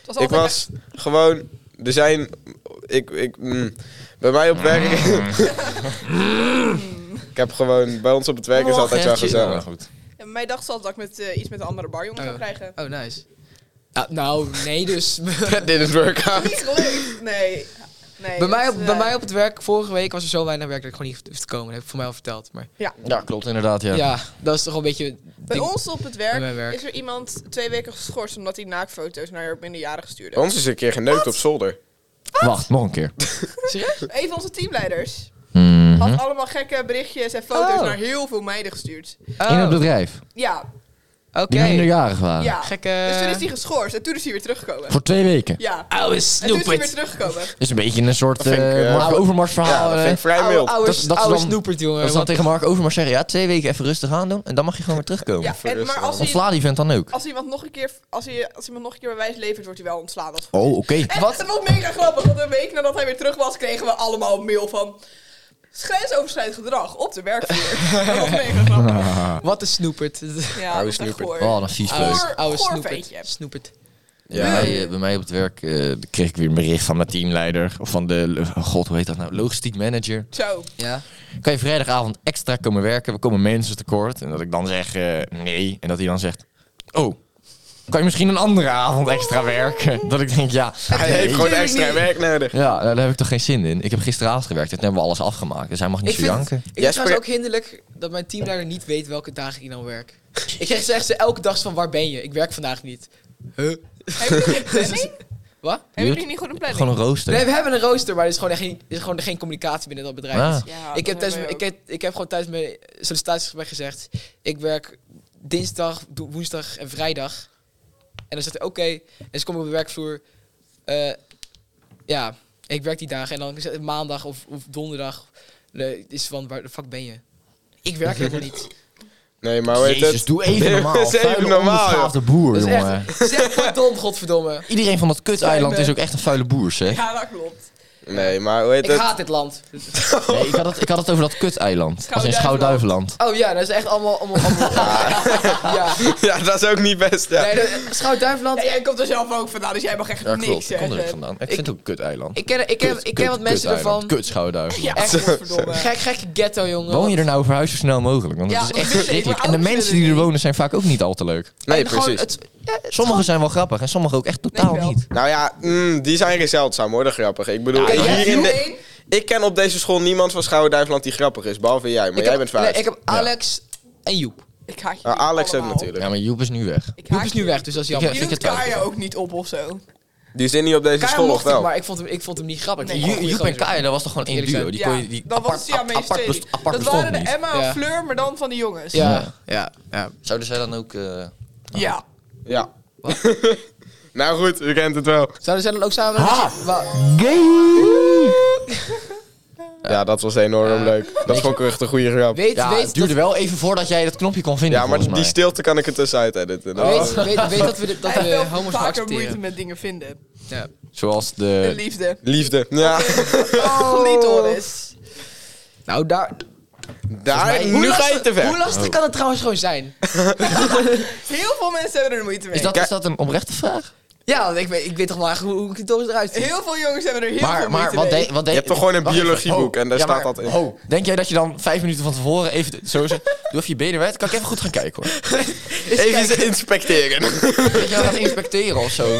[SPEAKER 4] was
[SPEAKER 3] ik
[SPEAKER 4] altijd
[SPEAKER 3] was gewoon... Er zijn... Ik, ik, mm, bij mij op werk...
[SPEAKER 2] Mm.
[SPEAKER 3] ik heb gewoon... Bij ons op het
[SPEAKER 1] Oh,
[SPEAKER 3] werk is altijd wel
[SPEAKER 2] Morgen,
[SPEAKER 3] gezellig.
[SPEAKER 2] goed.
[SPEAKER 4] En mij dacht zelfs dat ik met, eh, iets met een andere barjongen
[SPEAKER 1] Oh.
[SPEAKER 4] zou krijgen.
[SPEAKER 1] Oh, nice. Ah, nou, nee dus.
[SPEAKER 3] Dit is work out.
[SPEAKER 4] Niet gelukt. Nee. nee
[SPEAKER 1] bij, mij
[SPEAKER 4] dat,
[SPEAKER 1] op,
[SPEAKER 4] eh,
[SPEAKER 1] bij mij op het werk vorige week was er zo weinig werk dat ik gewoon niet hoefde te komen. Dat heb ik voor mij al verteld. Maar
[SPEAKER 2] Ja, klopt inderdaad, ja.
[SPEAKER 1] ja, dat is toch wel een beetje... het
[SPEAKER 4] Bij
[SPEAKER 1] ding.
[SPEAKER 4] ons op het
[SPEAKER 1] Bij
[SPEAKER 4] werk,
[SPEAKER 1] mijn werk.
[SPEAKER 4] is er iemand twee weken geschorst omdat hij naaktfoto's naar minderjarigen
[SPEAKER 3] Bij
[SPEAKER 4] stuurde.
[SPEAKER 3] ons is een keer geneukt op zolder.
[SPEAKER 2] Wacht, nog een keer.
[SPEAKER 1] Serieus?
[SPEAKER 4] Een van onze teamleiders
[SPEAKER 2] Mhm.
[SPEAKER 4] had allemaal gekke berichtjes en foto's
[SPEAKER 1] Oh.
[SPEAKER 4] naar heel veel meiden gestuurd.
[SPEAKER 2] In het
[SPEAKER 1] Oh,
[SPEAKER 2] bedrijf,
[SPEAKER 4] Ja,
[SPEAKER 1] oké.
[SPEAKER 2] die minderjarig waren.
[SPEAKER 4] ja.
[SPEAKER 1] Gekke...
[SPEAKER 4] Dus toen is hij geschorst en toen is hij weer teruggekomen.
[SPEAKER 2] Voor twee weken.
[SPEAKER 4] Ja.
[SPEAKER 1] Oude
[SPEAKER 4] En toen is hij weer
[SPEAKER 1] snoepert.
[SPEAKER 4] teruggekomen.
[SPEAKER 2] Is een beetje een soort
[SPEAKER 3] Dat vind ik,
[SPEAKER 2] eh,
[SPEAKER 3] eh,
[SPEAKER 2] Mark
[SPEAKER 3] oude-
[SPEAKER 2] Overmars verhaal.
[SPEAKER 3] Ja, dat
[SPEAKER 2] eh.
[SPEAKER 3] vind ik vrij
[SPEAKER 1] Oude,
[SPEAKER 3] mild.
[SPEAKER 1] oude,
[SPEAKER 2] Dat- dat is
[SPEAKER 1] oude
[SPEAKER 2] dan-
[SPEAKER 1] snoepert,
[SPEAKER 2] Dat
[SPEAKER 1] jongen.
[SPEAKER 2] ze dan
[SPEAKER 1] Want-
[SPEAKER 2] tegen Mark Overmars zeggen, ja, twee weken even rustig aan doen en dan mag je gewoon weer terugkomen.
[SPEAKER 4] Ja, en, maar als hij,
[SPEAKER 2] Ontsla die vent dan ook.
[SPEAKER 4] als, iemand nog een keer, als, hij, als iemand nog een keer bewijs levert, wordt hij wel ontslaan. Als
[SPEAKER 2] Oh, oké.
[SPEAKER 4] En het was mega grappig, want een week nadat hij weer terug was, kregen we allemaal een mail van grensoverschrijdend gedrag op de werkvloer. dat was mega grappig.
[SPEAKER 1] Wat een snoepert.
[SPEAKER 4] Ja,
[SPEAKER 3] Oude
[SPEAKER 4] dat is echt
[SPEAKER 3] snoepert.
[SPEAKER 4] goor.
[SPEAKER 2] Oh, een vies
[SPEAKER 4] Oude-
[SPEAKER 2] leuk.
[SPEAKER 4] Goor-
[SPEAKER 1] Oude
[SPEAKER 4] goor
[SPEAKER 1] snoepert.
[SPEAKER 4] ventje.
[SPEAKER 1] Snoepert.
[SPEAKER 2] Ja,
[SPEAKER 4] Ja.
[SPEAKER 2] bij, eh, bij mij op het werk eh, kreeg ik weer een bericht van mijn teamleider. Of van de, lo- oh god, hoe heet dat nou? Logistiek manager.
[SPEAKER 4] Zo.
[SPEAKER 1] Ja.
[SPEAKER 2] Kan je vrijdagavond extra komen werken? We komen mensen tekort. En dat ik dan zeg eh, nee. En dat hij dan zegt, oh, kan je misschien een andere avond extra werken? Dat ik denk, ja.
[SPEAKER 3] Hij
[SPEAKER 2] nee.
[SPEAKER 3] heeft gewoon extra werk nodig.
[SPEAKER 2] Ja, eh, daar heb ik toch geen zin in. Ik heb gisteravond gewerkt en toen hebben we alles afgemaakt. Dus hij mag niet
[SPEAKER 1] Ik
[SPEAKER 2] zo
[SPEAKER 1] vind, ik
[SPEAKER 2] janken.
[SPEAKER 1] vind
[SPEAKER 3] Jij
[SPEAKER 1] trouwens
[SPEAKER 3] spreekt-
[SPEAKER 1] ook hinderlijk dat mijn teamleider niet weet welke dagen ik dan werk. ik zeg ze echt ze elke dag van waar ben je? Ik werk vandaag niet. Huh?
[SPEAKER 4] Hebben jullie geen planning?
[SPEAKER 1] Wat?
[SPEAKER 4] Hebben jullie niet goed een planning?
[SPEAKER 2] Gewoon een rooster.
[SPEAKER 1] Nee, we hebben een rooster, maar er is gewoon, echt geen, er is gewoon geen communicatie binnen dat bedrijf.
[SPEAKER 2] Ah.
[SPEAKER 1] Dus
[SPEAKER 4] Ja,
[SPEAKER 1] ik,
[SPEAKER 4] dat
[SPEAKER 1] heb tijdens,
[SPEAKER 4] wij
[SPEAKER 1] mijn- ik,
[SPEAKER 4] ook.
[SPEAKER 1] heb, ik heb gewoon tijdens mijn sollicitatiegesprek gezegd, ik werk dinsdag, do- woensdag en vrijdag. En dan zegt hij, oké. En dus kom ik op de werkvloer. eh, ja, ik werk die dagen. En dan is het maandag of, of donderdag eh, is van, waar de fuck ben je? Ik werk helemaal niet.
[SPEAKER 3] Nee, maar hoe heet
[SPEAKER 2] Jezus,
[SPEAKER 3] het?
[SPEAKER 2] doe Oh, even normaal.
[SPEAKER 3] Doe eens even
[SPEAKER 2] Vuile,
[SPEAKER 3] normaal,
[SPEAKER 2] onbeschaafde boer,
[SPEAKER 1] Dat is
[SPEAKER 2] jongen.
[SPEAKER 1] echt, zeg maar dom, godverdomme.
[SPEAKER 2] Iedereen van dat kut-eiland is ook echt een vuile boer, zeg.
[SPEAKER 4] Ja, dat klopt.
[SPEAKER 3] Nee, maar hoe heet
[SPEAKER 1] Ik
[SPEAKER 3] het?
[SPEAKER 1] haat dit land.
[SPEAKER 2] Nee, ik, had het, ik had het over dat kut-eiland. Als in Schouwduiveland.
[SPEAKER 1] Oh ja, dat is echt allemaal... allemaal, allemaal ja.
[SPEAKER 3] Ja, dat is ook niet best. Ja.
[SPEAKER 1] Nee, dat- Schouw-Duiveland,
[SPEAKER 4] En jij komt er zelf ook vandaan, dus jij mag echt niks
[SPEAKER 2] Ik kom er ook
[SPEAKER 4] zeggen.
[SPEAKER 2] vandaan. Ik vind het ook een kut-eiland.
[SPEAKER 1] Ik ken, ik ken, ik ken wat mensen ervan.
[SPEAKER 2] Kut Schouwduiveland.
[SPEAKER 4] Ja,
[SPEAKER 1] Echt.
[SPEAKER 4] godverdomme.
[SPEAKER 1] Gek, gekke ghetto, jongen.
[SPEAKER 2] Woon je er nou voor huis zo snel mogelijk? Want
[SPEAKER 4] Ja,
[SPEAKER 2] het is
[SPEAKER 4] want
[SPEAKER 2] echt
[SPEAKER 4] dit-
[SPEAKER 2] verschrikkelijk.
[SPEAKER 4] maar
[SPEAKER 2] En de
[SPEAKER 4] ouders
[SPEAKER 2] mensen
[SPEAKER 4] willen
[SPEAKER 2] die er
[SPEAKER 4] niet.
[SPEAKER 2] wonen zijn vaak ook niet al te leuk.
[SPEAKER 3] Nee,
[SPEAKER 1] En gewoon
[SPEAKER 3] precies.
[SPEAKER 1] het-
[SPEAKER 2] Sommige zijn wel grappig en sommige ook echt totaal
[SPEAKER 4] Nee, wel.
[SPEAKER 2] niet.
[SPEAKER 3] Nou ja, mm, die zijn er zeldzaam hoor, de grappig. Ik bedoel,
[SPEAKER 1] Ja,
[SPEAKER 3] hier in de,
[SPEAKER 4] Iedereen?
[SPEAKER 3] ik ken op deze school niemand van Schouwen-Duiveland die grappig is, behalve jij. Maar
[SPEAKER 1] ik
[SPEAKER 3] jij
[SPEAKER 1] heb,
[SPEAKER 3] bent
[SPEAKER 1] nee,
[SPEAKER 3] fout.
[SPEAKER 1] ik heb Alex en Joep.
[SPEAKER 4] Ik haak je
[SPEAKER 2] Ah,
[SPEAKER 3] Nou, Alex heeft
[SPEAKER 4] allemaal.
[SPEAKER 3] natuurlijk.
[SPEAKER 2] Ja, maar Joep is nu weg.
[SPEAKER 4] Ik haak
[SPEAKER 1] Joep is nu weg, dus dat is jammer.
[SPEAKER 2] Ik
[SPEAKER 4] Je
[SPEAKER 2] vind
[SPEAKER 4] doet
[SPEAKER 2] het wel.
[SPEAKER 4] Kaya ook niet op of zo.
[SPEAKER 3] Die zit niet op deze
[SPEAKER 1] Kaya
[SPEAKER 3] school, of
[SPEAKER 1] mocht ik,
[SPEAKER 3] wel?
[SPEAKER 1] maar ik vond hem, ik vond hem niet grappig.
[SPEAKER 4] Nee.
[SPEAKER 1] Ik vond
[SPEAKER 2] Joep,
[SPEAKER 1] hem
[SPEAKER 2] Joep en
[SPEAKER 1] goeie gozer.
[SPEAKER 2] Kaya, dat was toch gewoon één
[SPEAKER 1] Eerlijk
[SPEAKER 2] duo?
[SPEAKER 1] zijn.
[SPEAKER 2] Die
[SPEAKER 4] Ja,
[SPEAKER 2] kon je, die
[SPEAKER 4] dat
[SPEAKER 2] apart,
[SPEAKER 4] was dus, ja
[SPEAKER 2] apart,
[SPEAKER 4] meest
[SPEAKER 2] best- apart
[SPEAKER 4] Dat
[SPEAKER 2] bestond
[SPEAKER 4] waren de
[SPEAKER 2] niet.
[SPEAKER 4] Emma
[SPEAKER 1] Ja.
[SPEAKER 4] en Fleur, maar dan van de jongens.
[SPEAKER 1] Ja, ja, ja.
[SPEAKER 2] Zouden zij dan ook... eh,
[SPEAKER 4] Ja.
[SPEAKER 3] Ja. nou goed, u kent het wel.
[SPEAKER 1] Zouden zij dan ook samen...
[SPEAKER 3] Oh.
[SPEAKER 1] Wa-
[SPEAKER 3] Ja, dat was enorm leuk. Dat vond ik echt een goede grap.
[SPEAKER 1] Weet,
[SPEAKER 2] ja,
[SPEAKER 1] weet,
[SPEAKER 2] het duurde
[SPEAKER 1] dat,
[SPEAKER 2] wel even voordat jij dat knopje kon vinden,
[SPEAKER 3] Ja, maar
[SPEAKER 2] volgens
[SPEAKER 3] die
[SPEAKER 2] mij.
[SPEAKER 3] stilte kan ik er tussenuit editen. Dat was-
[SPEAKER 1] weet, weet, weet dat we, de- dat
[SPEAKER 4] Hij
[SPEAKER 1] we
[SPEAKER 4] heeft wel
[SPEAKER 1] homo's
[SPEAKER 4] vaker moeite
[SPEAKER 1] accepteren.
[SPEAKER 4] met dingen vinden.
[SPEAKER 1] Ja.
[SPEAKER 2] Zoals
[SPEAKER 4] De
[SPEAKER 2] de...
[SPEAKER 4] liefde.
[SPEAKER 3] Liefde. Ja.
[SPEAKER 4] Oh. Clitoris.
[SPEAKER 1] Nou, daar...
[SPEAKER 3] Daar, nu ga je te
[SPEAKER 1] Hoe
[SPEAKER 3] ver. Oh.
[SPEAKER 1] lastig kan het trouwens gewoon zijn?
[SPEAKER 4] Heel veel mensen hebben er moeite mee.
[SPEAKER 2] Is dat, is dat een oprechte vraag?
[SPEAKER 1] Ja, want ik weet, ik weet toch wel eigenlijk hoe, hoe clitoris eruit ziet.
[SPEAKER 4] Heel veel jongens hebben er heel
[SPEAKER 2] Maar,
[SPEAKER 4] veel
[SPEAKER 2] maar
[SPEAKER 4] moeite
[SPEAKER 2] wat,
[SPEAKER 4] mee.
[SPEAKER 2] denk- wat denk
[SPEAKER 3] Je hebt toch gewoon een
[SPEAKER 2] wacht even.
[SPEAKER 3] biologieboek
[SPEAKER 2] Oh,
[SPEAKER 3] en daar
[SPEAKER 2] ja,
[SPEAKER 3] staat
[SPEAKER 2] maar-
[SPEAKER 3] dat in.
[SPEAKER 2] oh, denk jij dat je dan vijf minuten van tevoren even zo zegt... Doe even je benen wijd, kan ik even goed gaan kijken hoor.
[SPEAKER 3] Even ze inspecteren.
[SPEAKER 2] Dat je gaat inspecteren of zo.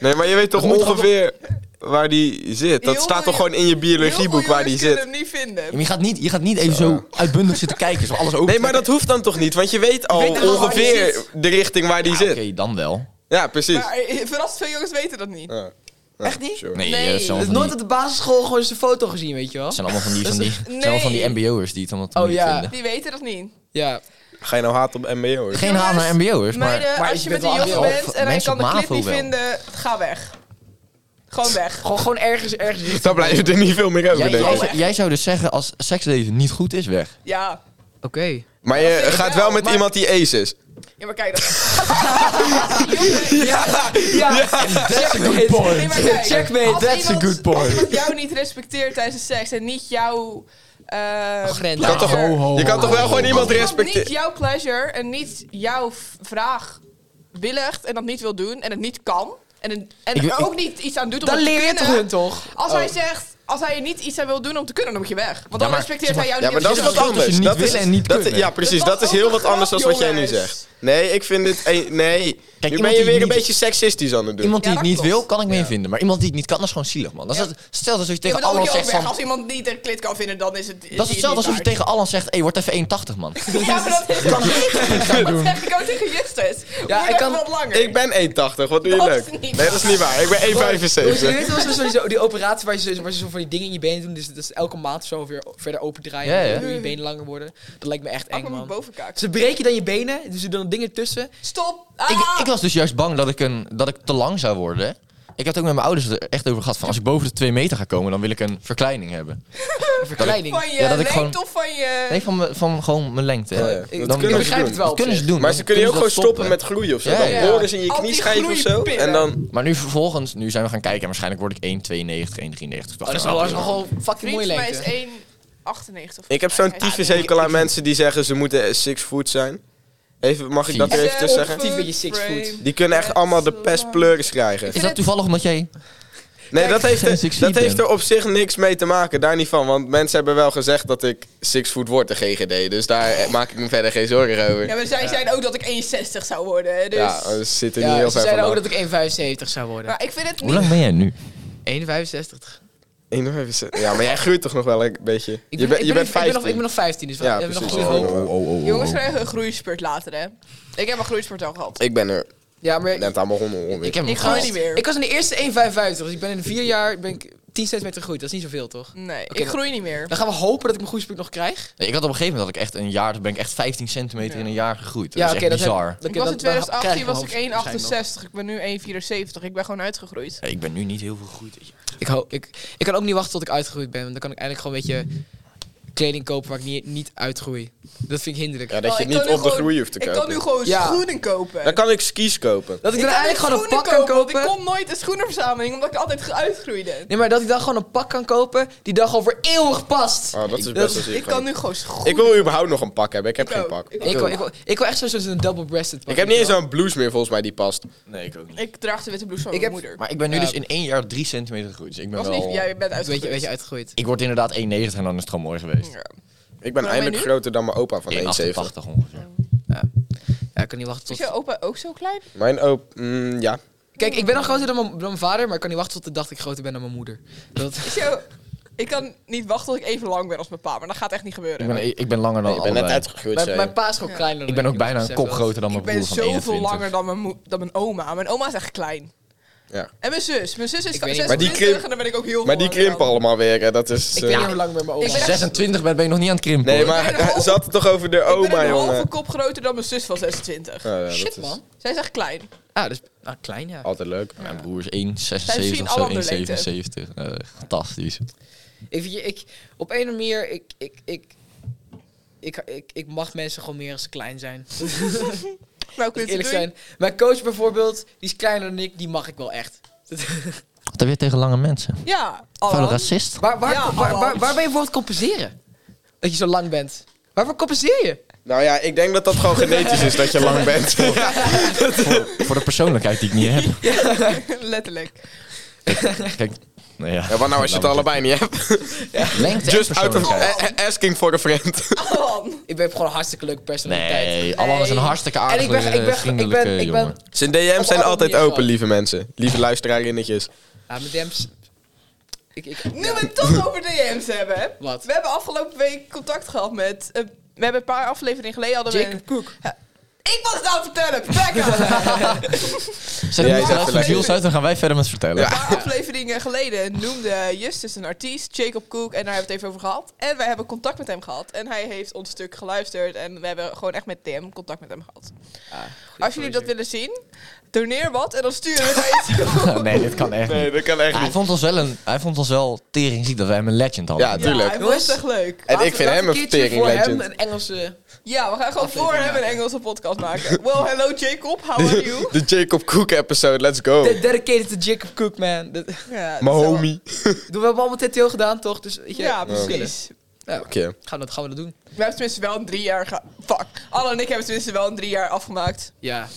[SPEAKER 3] Nee, maar je weet toch
[SPEAKER 2] Dat moet
[SPEAKER 3] ongeveer waar die zit? Dat
[SPEAKER 4] Heel
[SPEAKER 3] staat toch
[SPEAKER 4] veel-
[SPEAKER 3] gewoon in je biologieboek waar die
[SPEAKER 4] kunnen
[SPEAKER 3] zit?
[SPEAKER 4] hem niet vinden.
[SPEAKER 2] Ja, maar je, gaat niet, je gaat niet even zo uitbundig zitten kijken. Zo alles open.
[SPEAKER 3] Nee, maar dat hoeft dan toch niet? Want je weet al
[SPEAKER 1] weet toch wel waar die
[SPEAKER 3] ongeveer de richting waar die
[SPEAKER 2] Ja, Ah, Oké,
[SPEAKER 3] zit.
[SPEAKER 2] dan wel.
[SPEAKER 3] Ja, precies.
[SPEAKER 4] Maar eh, verrassend veel jongens weten dat niet.
[SPEAKER 3] Ja.
[SPEAKER 1] Echt niet?
[SPEAKER 3] Sure.
[SPEAKER 2] Nee,
[SPEAKER 4] Nee,
[SPEAKER 2] eh, dat zijn
[SPEAKER 1] Dus
[SPEAKER 2] allemaal
[SPEAKER 1] nooit
[SPEAKER 2] van
[SPEAKER 1] op
[SPEAKER 2] die,
[SPEAKER 1] de basisschool gewoon zijn foto gezien, weet je wel?
[SPEAKER 2] het zijn allemaal van die, van die, het zijn allemaal van die
[SPEAKER 4] Nee.
[SPEAKER 2] mbo'ers die het allemaal
[SPEAKER 1] Oh,
[SPEAKER 2] niet
[SPEAKER 1] ja.
[SPEAKER 2] vinden.
[SPEAKER 4] Die weten dat niet.
[SPEAKER 1] Ja.
[SPEAKER 3] Ga je nou haat op MBO? hoor.
[SPEAKER 2] Geen haat naar mbo'ers, maar...
[SPEAKER 4] Meiden,
[SPEAKER 1] maar
[SPEAKER 4] als
[SPEAKER 1] je
[SPEAKER 4] je met
[SPEAKER 1] bent
[SPEAKER 4] een
[SPEAKER 1] wel
[SPEAKER 4] jongen
[SPEAKER 1] achter-
[SPEAKER 4] bent en hij
[SPEAKER 2] mensen
[SPEAKER 4] kan de
[SPEAKER 2] op
[SPEAKER 4] clip
[SPEAKER 2] MAVO
[SPEAKER 4] niet
[SPEAKER 2] wel.
[SPEAKER 4] vinden, ga weg. Gewoon weg.
[SPEAKER 1] Gewoon, gewoon ergens, ergens richting-
[SPEAKER 3] Dan blijven er niet veel meer over,
[SPEAKER 2] Jij,
[SPEAKER 3] denk
[SPEAKER 2] jij,
[SPEAKER 3] ik.
[SPEAKER 1] Oh.
[SPEAKER 2] zou- jij zou dus zeggen, als seksleven niet goed is, weg.
[SPEAKER 4] Ja.
[SPEAKER 1] Oké.
[SPEAKER 3] Maar je
[SPEAKER 4] vind ik
[SPEAKER 3] gaat
[SPEAKER 4] wel,
[SPEAKER 3] wel met
[SPEAKER 4] maar-
[SPEAKER 3] iemand die ace is.
[SPEAKER 4] Ja, maar kijk, dat Jongen,
[SPEAKER 1] Ja, that's a good
[SPEAKER 4] nee, maar kijk,
[SPEAKER 1] Checkmate,
[SPEAKER 4] als
[SPEAKER 1] that's a
[SPEAKER 4] iemand-
[SPEAKER 1] good point.
[SPEAKER 4] Als iemand jou niet respecteert tijdens de seks en niet jouw... eh,
[SPEAKER 1] Grens.
[SPEAKER 3] Je kan toch,
[SPEAKER 4] ho,
[SPEAKER 2] ho,
[SPEAKER 3] je kan
[SPEAKER 2] ho,
[SPEAKER 3] toch
[SPEAKER 2] ho,
[SPEAKER 3] wel gewoon
[SPEAKER 2] ho.
[SPEAKER 3] iemand
[SPEAKER 4] Als iemand Oh. niet
[SPEAKER 3] respecteren?
[SPEAKER 4] jouw pleasure en niet jouw v- vraag willigt en dat niet wil doen en het niet kan en, het- en
[SPEAKER 2] Ik-
[SPEAKER 4] er
[SPEAKER 2] ik-
[SPEAKER 4] ook niet iets aan doet om
[SPEAKER 1] Dan
[SPEAKER 4] het Oh. te
[SPEAKER 1] leer je
[SPEAKER 4] kunnen.
[SPEAKER 1] toch hun toch?
[SPEAKER 4] Als hij zegt, als hij er niet iets aan wil doen om te kunnen, dan moet je weg. Want dan
[SPEAKER 2] maar-
[SPEAKER 4] respecteert hij jou
[SPEAKER 3] Ja,
[SPEAKER 4] niet.
[SPEAKER 3] maar dat is
[SPEAKER 4] en
[SPEAKER 3] wat
[SPEAKER 4] dan-
[SPEAKER 2] tussen
[SPEAKER 3] anders.
[SPEAKER 2] niet
[SPEAKER 3] Dat
[SPEAKER 2] willen
[SPEAKER 3] is,
[SPEAKER 2] en niet
[SPEAKER 3] dat-
[SPEAKER 2] kunnen.
[SPEAKER 3] ja, precies.
[SPEAKER 4] Dat
[SPEAKER 3] Dat
[SPEAKER 4] was
[SPEAKER 3] is heel
[SPEAKER 4] ook
[SPEAKER 3] wat
[SPEAKER 4] een
[SPEAKER 3] anders dan
[SPEAKER 4] grap,
[SPEAKER 3] wat jij nu
[SPEAKER 4] jongens.
[SPEAKER 3] zegt. Nee, ik vind dit... eh, Nee, nu
[SPEAKER 2] iemand
[SPEAKER 3] ben je
[SPEAKER 2] die
[SPEAKER 3] weer een
[SPEAKER 2] niet-
[SPEAKER 3] beetje seksistisch aan het doen.
[SPEAKER 2] Iemand die
[SPEAKER 4] Ja,
[SPEAKER 2] het
[SPEAKER 4] dat
[SPEAKER 2] niet
[SPEAKER 4] klopt.
[SPEAKER 2] wil, kan ik mee vinden. Maar iemand die het niet kan, dat is gewoon zielig, man. Dat is
[SPEAKER 4] Ja.
[SPEAKER 2] het- stel dat je
[SPEAKER 4] Ja,
[SPEAKER 2] tegen
[SPEAKER 4] maar dan moet
[SPEAKER 2] Allan
[SPEAKER 4] je ook
[SPEAKER 2] zegt
[SPEAKER 4] weg.
[SPEAKER 2] van...
[SPEAKER 4] Als iemand niet een klit kan vinden, dan is het...
[SPEAKER 2] Dat is hetzelfde alsof je tegen Allan zegt, hé, wordt even 1,80, man.
[SPEAKER 4] tegen... Ja, maar dat is kan Dat zeg ik ook tegen Justus.
[SPEAKER 1] Ja,
[SPEAKER 4] Ja,
[SPEAKER 1] ik
[SPEAKER 4] ik
[SPEAKER 1] kan-
[SPEAKER 4] wat langer.
[SPEAKER 3] Ik ben 1,80. Wat doe je
[SPEAKER 4] Dat
[SPEAKER 3] leuk?
[SPEAKER 4] is niet
[SPEAKER 3] Nee,
[SPEAKER 4] waar.
[SPEAKER 3] dat is niet waar. Ik ben
[SPEAKER 1] Oh, Je
[SPEAKER 3] 1,75.
[SPEAKER 1] weet wel zo- zo- zo- die operatie waar ze, waar ze zo van die dingen in je benen doen. Dus dat is elke maand zo weer verder opendraaien.
[SPEAKER 2] Ja, ja.
[SPEAKER 1] En dan je benen langer worden. Dat lijkt me echt
[SPEAKER 4] Pak
[SPEAKER 1] eng,
[SPEAKER 4] me mijn
[SPEAKER 1] man.
[SPEAKER 4] bovenkaak.
[SPEAKER 1] Ze breken dan je benen, dus ze doen dingen tussen.
[SPEAKER 4] Stop! Ah!
[SPEAKER 2] Ik, ik was dus juist bang dat ik, een, dat ik te lang zou worden. Ik had ook met mijn ouders het er echt over gehad van... als ik boven de 2 meter ga komen, dan wil ik een verkleining hebben.
[SPEAKER 1] Een verkleining.
[SPEAKER 4] Van je
[SPEAKER 2] Ja, dat ik
[SPEAKER 4] lengte
[SPEAKER 2] gewoon-
[SPEAKER 4] of van je...
[SPEAKER 2] Nee, van, mijn- van gewoon mijn lengte. hè.
[SPEAKER 3] Oh ja, dat
[SPEAKER 2] Dan-
[SPEAKER 1] Ik,
[SPEAKER 3] kunnen
[SPEAKER 1] ik
[SPEAKER 3] ze
[SPEAKER 1] begrijp
[SPEAKER 3] doen.
[SPEAKER 1] het wel.
[SPEAKER 2] Dat
[SPEAKER 1] op
[SPEAKER 2] kunnen ze
[SPEAKER 1] zich.
[SPEAKER 2] doen.
[SPEAKER 3] Maar
[SPEAKER 2] dan
[SPEAKER 3] ze kunnen je ook
[SPEAKER 2] ze
[SPEAKER 3] gewoon
[SPEAKER 2] dat
[SPEAKER 3] stoppen met gloeien of zo.
[SPEAKER 2] Ja,
[SPEAKER 3] Dan
[SPEAKER 2] ja.
[SPEAKER 3] horen ze in je
[SPEAKER 4] Al die
[SPEAKER 3] knie schijven of zo.
[SPEAKER 4] gloeipillen.
[SPEAKER 3] En dan...
[SPEAKER 2] Maar nu vervolgens, nu zijn we gaan kijken... en waarschijnlijk word ik 1,92, 1,93.
[SPEAKER 1] Oh, dat is wel dat is wel gewoon fucking mooi
[SPEAKER 4] Vriend van mij
[SPEAKER 1] lengte.
[SPEAKER 4] is 1,98.
[SPEAKER 3] Ik heb zo'n
[SPEAKER 4] Hij- hij-
[SPEAKER 3] tyfushekel aan mensen die zeggen ze moeten six foot zijn. Even, mag ik dat er even
[SPEAKER 4] Zelf-
[SPEAKER 3] tussen zeggen?
[SPEAKER 1] Actief met je six
[SPEAKER 4] frame.
[SPEAKER 1] foot.
[SPEAKER 3] Die kunnen echt allemaal de pest pleuris krijgen.
[SPEAKER 2] Is dat toevallig omdat jij...
[SPEAKER 3] Nee, dat heeft,
[SPEAKER 2] geen six
[SPEAKER 3] er,
[SPEAKER 2] feet
[SPEAKER 3] dat heeft
[SPEAKER 2] ben.
[SPEAKER 3] er op zich niks mee te maken. Daar niet van. Want mensen hebben wel gezegd dat ik six foot word, de GGD. Dus daar eh, maak ik me verder geen zorgen over.
[SPEAKER 4] Ja,
[SPEAKER 3] Ja,
[SPEAKER 4] maar zij zeiden ook dat ik 61 zou worden, dus...
[SPEAKER 3] dat zit er niet
[SPEAKER 1] Ja,
[SPEAKER 3] heel
[SPEAKER 1] ze
[SPEAKER 3] ver
[SPEAKER 1] zeiden
[SPEAKER 3] van.
[SPEAKER 1] ook dat ik 1,75 zou worden.
[SPEAKER 4] Maar ik vind het
[SPEAKER 2] Hoe
[SPEAKER 4] niet...
[SPEAKER 2] lang ben jij nu?
[SPEAKER 1] 1,65.
[SPEAKER 3] Ja, maar jij groeit toch nog wel een beetje.
[SPEAKER 1] Ik
[SPEAKER 3] je
[SPEAKER 1] ben-
[SPEAKER 3] bent, je
[SPEAKER 1] ik ben-
[SPEAKER 3] bent
[SPEAKER 1] ik ben
[SPEAKER 3] 15.
[SPEAKER 1] nog- Ik ben nog 15, dus we
[SPEAKER 3] Ja,
[SPEAKER 1] hebben nog
[SPEAKER 3] precies.
[SPEAKER 1] goede hoop.
[SPEAKER 3] oh,
[SPEAKER 4] Jongens krijgen een groeispurt later, hè. Ik heb een groeispurt al gehad.
[SPEAKER 3] Ik ben er
[SPEAKER 1] Ja, maar
[SPEAKER 3] net allemaal rondom. rondom.
[SPEAKER 2] Ik heb hem
[SPEAKER 4] Ik gooi
[SPEAKER 2] gehaald.
[SPEAKER 4] niet meer.
[SPEAKER 1] ik was in de eerste 1,55. Dus ik ben in vier jaar ben ik 10 centimeter gegroeid. Dat is niet zoveel, toch?
[SPEAKER 4] Nee,
[SPEAKER 1] Oké,
[SPEAKER 4] ik groei niet meer.
[SPEAKER 1] Dan gaan we hopen dat ik mijn groeispurt nog krijg.
[SPEAKER 2] Nee, ik had op een gegeven moment dat ik echt een jaar, dan ben ik echt 15 centimeter in een jaar gegroeid. Dat is echt
[SPEAKER 1] dat heb- dat-
[SPEAKER 2] bizar.
[SPEAKER 4] Ik was in
[SPEAKER 1] dat- dan krijg
[SPEAKER 4] 2018 was
[SPEAKER 1] mijn
[SPEAKER 4] ik
[SPEAKER 1] hoofd waarschijnlijk
[SPEAKER 4] 1,68. Ik ben nu 1,74. Ik ben gewoon uitgegroeid.
[SPEAKER 2] Ja, ik ben nu niet heel veel gegroeid.
[SPEAKER 1] nog. Ik, hou- ik, ik kan ook niet wachten tot ik uitgegroeid ben. Want dan kan ik eindelijk gewoon een beetje kleding kopen waar ik niet, niet uitgroei. Dat vind ik hinderlijk.
[SPEAKER 3] Ja, dat
[SPEAKER 4] Wel,
[SPEAKER 3] je
[SPEAKER 4] Oh, ik
[SPEAKER 3] niet
[SPEAKER 4] kan nu
[SPEAKER 3] op de
[SPEAKER 4] gewoon-
[SPEAKER 3] groei hoeft te
[SPEAKER 4] Ik
[SPEAKER 3] kopen.
[SPEAKER 4] kan nu gewoon
[SPEAKER 1] Ja.
[SPEAKER 4] schoenen kopen.
[SPEAKER 3] Dan kan ik skis kopen.
[SPEAKER 1] Dat ik,
[SPEAKER 4] Ik
[SPEAKER 1] dan
[SPEAKER 4] kan
[SPEAKER 1] eigenlijk
[SPEAKER 4] nu
[SPEAKER 1] gewoon een pak
[SPEAKER 4] schoenen
[SPEAKER 1] kan
[SPEAKER 4] want
[SPEAKER 1] kopen.
[SPEAKER 4] Ik kom nooit een schoenenverzameling, omdat ik altijd uitgroeide.
[SPEAKER 1] Nee, maar dat ik dan gewoon een pak kan kopen die dan gewoon voor eeuwig past.
[SPEAKER 3] Oh, dat is
[SPEAKER 1] Ik-
[SPEAKER 3] best wel
[SPEAKER 4] Ik
[SPEAKER 3] ziek.
[SPEAKER 4] kan nu gewoon schoenen...
[SPEAKER 3] Ik wil überhaupt nog een pak hebben. Ik heb
[SPEAKER 4] Ik
[SPEAKER 3] geen
[SPEAKER 4] ook.
[SPEAKER 3] pak.
[SPEAKER 4] Ik
[SPEAKER 1] Ik wil, ik, wil, ik wil echt zo- zo'n double-breasted pak.
[SPEAKER 3] Ik heb niet
[SPEAKER 1] weet
[SPEAKER 3] eens
[SPEAKER 1] je wel.
[SPEAKER 3] zo'n blouse meer volgens mij die past.
[SPEAKER 2] Nee, ik ook niet.
[SPEAKER 4] Ik draag de witte blouse van
[SPEAKER 1] Ik
[SPEAKER 4] mijn
[SPEAKER 1] heb- Oh.
[SPEAKER 4] moeder.
[SPEAKER 2] Maar ik ben nu
[SPEAKER 1] Ja.
[SPEAKER 2] dus in één jaar 3 centimeter gegroeid. Dus ik ben
[SPEAKER 4] Was
[SPEAKER 2] wel...
[SPEAKER 4] niet, jij bent
[SPEAKER 1] Een beetje, een
[SPEAKER 4] uitgegroeid.
[SPEAKER 1] beetje uitgegroeid.
[SPEAKER 2] Ik word inderdaad 1,90 en dan is het gewoon mooi geweest.
[SPEAKER 4] Ja.
[SPEAKER 3] Ik ben
[SPEAKER 4] Maar
[SPEAKER 3] eindelijk
[SPEAKER 4] nu?
[SPEAKER 3] groter dan mijn opa van 1,70.
[SPEAKER 2] 1,88 ongeveer.
[SPEAKER 1] Ja. Ja, ik kan niet wachten
[SPEAKER 4] Is
[SPEAKER 1] tot...
[SPEAKER 4] jouw opa ook zo klein?
[SPEAKER 3] Mijn oop, mm, ja.
[SPEAKER 1] Kijk, ik ben al groter dan mijn, dan mijn vader, maar ik kan niet wachten tot de dag dat ik groter ben dan mijn moeder. Dat...
[SPEAKER 4] Is jouw... Ik kan niet wachten tot ik even lang ben als mijn pa, maar dat gaat echt niet gebeuren.
[SPEAKER 2] Ik ben, ik ben langer dan
[SPEAKER 3] Ik ben net
[SPEAKER 2] allebei.
[SPEAKER 3] uitgegroeid,
[SPEAKER 1] Mijn,
[SPEAKER 3] zei
[SPEAKER 1] mijn
[SPEAKER 3] je.
[SPEAKER 1] pa is gewoon kleiner dan
[SPEAKER 2] Ik ben ook bijna een
[SPEAKER 1] besef
[SPEAKER 2] kop
[SPEAKER 1] dat.
[SPEAKER 2] groter dan mijn
[SPEAKER 4] ik
[SPEAKER 2] broer
[SPEAKER 4] ben
[SPEAKER 2] van
[SPEAKER 4] zoveel
[SPEAKER 2] 21.
[SPEAKER 4] langer dan mijn, moe- dan mijn oma. Mijn oma is echt klein.
[SPEAKER 3] Ja.
[SPEAKER 4] En mijn zus. Mijn zus is
[SPEAKER 1] Ik weet niet.
[SPEAKER 4] 26
[SPEAKER 1] Maar
[SPEAKER 3] die krimp-
[SPEAKER 4] en dan ben ik ook heel
[SPEAKER 3] Maar die
[SPEAKER 4] geworden
[SPEAKER 3] krimpen
[SPEAKER 4] dan.
[SPEAKER 3] allemaal weer, hè, dat is...
[SPEAKER 1] Ik
[SPEAKER 3] eh,
[SPEAKER 1] weet niet hoe lang met mijn
[SPEAKER 4] Ik
[SPEAKER 1] oma.
[SPEAKER 4] ben-
[SPEAKER 2] 26 ben, ben je nog niet aan het krimpen. hoor.
[SPEAKER 3] Nee,
[SPEAKER 4] Ik
[SPEAKER 3] maar
[SPEAKER 4] ben een
[SPEAKER 3] hij
[SPEAKER 4] half-
[SPEAKER 3] zat het toch over de
[SPEAKER 4] Ik ben
[SPEAKER 3] oma,
[SPEAKER 4] een halve
[SPEAKER 3] jongen. Oh,
[SPEAKER 4] kop groter dan mijn zus van 26.
[SPEAKER 3] Ja, ja, Eh, dat
[SPEAKER 1] Shit,
[SPEAKER 3] is Oh.
[SPEAKER 1] man.
[SPEAKER 4] Zij is echt klein.
[SPEAKER 1] Ah, dus... Ah, klein, ja.
[SPEAKER 3] Altijd leuk.
[SPEAKER 2] Mijn broer is 1,76
[SPEAKER 4] misschien
[SPEAKER 2] of zo,
[SPEAKER 4] allemaal de leeftijd.
[SPEAKER 2] 1,77. Eh, fantastisch.
[SPEAKER 1] Ik, vind je- ik, op een of andere manier, ik, ik, ik, ik, ik, ik mag mensen gewoon meer als ze klein zijn.
[SPEAKER 4] Nou, kun je
[SPEAKER 1] Eerlijk zijn. Mijn coach bijvoorbeeld, die is kleiner dan ik, die mag ik wel echt.
[SPEAKER 2] Wat heb je tegen lange mensen?
[SPEAKER 4] Ja,
[SPEAKER 2] Vuile
[SPEAKER 4] Alan.
[SPEAKER 2] racist.
[SPEAKER 1] Waar, waar,
[SPEAKER 4] Ja,
[SPEAKER 1] waar, waar,
[SPEAKER 4] Alan.
[SPEAKER 1] waar ben je voor het compenseren? Dat je zo lang bent. Waarvoor compenseer je?
[SPEAKER 3] Nou ja, ik denk dat dat gewoon genetisch is, dat je lang bent.
[SPEAKER 2] Voor de persoonlijkheid die ik niet heb.
[SPEAKER 4] Letterlijk.
[SPEAKER 2] Kijk, nou ja.
[SPEAKER 3] Ja, wat nou als je het allebei niet hebt?
[SPEAKER 2] Lengte
[SPEAKER 3] Just
[SPEAKER 2] en
[SPEAKER 3] out of
[SPEAKER 2] persoonlijkheid.
[SPEAKER 3] a- a- asking for a friend.
[SPEAKER 4] Alan.
[SPEAKER 1] Ik heb gewoon een hartstikke leuke personaliteit.
[SPEAKER 2] Nee, Alan is een
[SPEAKER 1] Nee.
[SPEAKER 2] hartstikke
[SPEAKER 1] En
[SPEAKER 2] aardige,
[SPEAKER 1] ik ben, ik ben, ik
[SPEAKER 2] vriendelijke
[SPEAKER 1] ben, ik ben,
[SPEAKER 2] jongen.
[SPEAKER 3] Zijn DM's
[SPEAKER 1] Op
[SPEAKER 3] zijn
[SPEAKER 1] alle
[SPEAKER 3] altijd
[SPEAKER 1] manieren
[SPEAKER 3] open,
[SPEAKER 1] gewoon.
[SPEAKER 3] lieve mensen. Lieve luisterarinnetjes.
[SPEAKER 1] ja, mijn DM's. Ik, ik,
[SPEAKER 4] Nu we het toch over DM's hebben. hè.
[SPEAKER 1] Wat?
[SPEAKER 4] We hebben afgelopen week contact gehad met... eh, we hebben een paar afleveringen geleden hadden we...
[SPEAKER 1] Jacob Cook.
[SPEAKER 4] Ik was het aan het vertellen. Pekka.
[SPEAKER 2] Zet
[SPEAKER 3] Jij
[SPEAKER 2] hem
[SPEAKER 3] zegt
[SPEAKER 2] even
[SPEAKER 3] gelijk.
[SPEAKER 2] Jules uit, dan gaan wij verder met vertellen.
[SPEAKER 4] Een paar afleveringen geleden noemde Justus een artiest, Jacob Cook, en daar hebben we het even over gehad. En wij hebben contact met hem gehad. En hij heeft ons stuk geluisterd en we hebben gewoon echt met DM contact met hem gehad.
[SPEAKER 1] Ah,
[SPEAKER 4] Als jullie dat willen zien, doneer wat en dan sturen we het iets.
[SPEAKER 2] nee, dit kan echt niet.
[SPEAKER 3] Nee, dat kan echt
[SPEAKER 2] Hij
[SPEAKER 3] niet.
[SPEAKER 2] vond ons wel een, hij vond ons wel tering ziek dat wij hem een legend hadden.
[SPEAKER 3] Ja,
[SPEAKER 4] Ja,
[SPEAKER 3] tuurlijk.
[SPEAKER 4] hij
[SPEAKER 1] Jongens.
[SPEAKER 4] was echt leuk.
[SPEAKER 3] En ik vind hem een tering
[SPEAKER 1] voor hem
[SPEAKER 3] legend.
[SPEAKER 1] een Engelse...
[SPEAKER 4] Ja, we gaan gewoon voor hem een Engelse podcast maken. Well, hello Jacob, how are you?
[SPEAKER 3] De Jacob Cook episode, let's
[SPEAKER 2] Oh.
[SPEAKER 3] go.
[SPEAKER 1] De- Dedicated to Jacob Cook, man. Dat-
[SPEAKER 4] Ja, dat
[SPEAKER 3] Mijn
[SPEAKER 4] is wel-
[SPEAKER 3] homie.
[SPEAKER 1] Doen we hebben allemaal TTO gedaan, toch? Dus weet je,
[SPEAKER 4] Ja,
[SPEAKER 1] we chillen.
[SPEAKER 4] precies.
[SPEAKER 1] Ja.
[SPEAKER 3] Oké.
[SPEAKER 1] Gaan, we dat, gaan we dat doen?
[SPEAKER 4] We hebben tenminste wel een drie jaar... ge- Fuck. Alle en ik hebben tenminste wel een drie jaar afgemaakt.
[SPEAKER 1] Ja.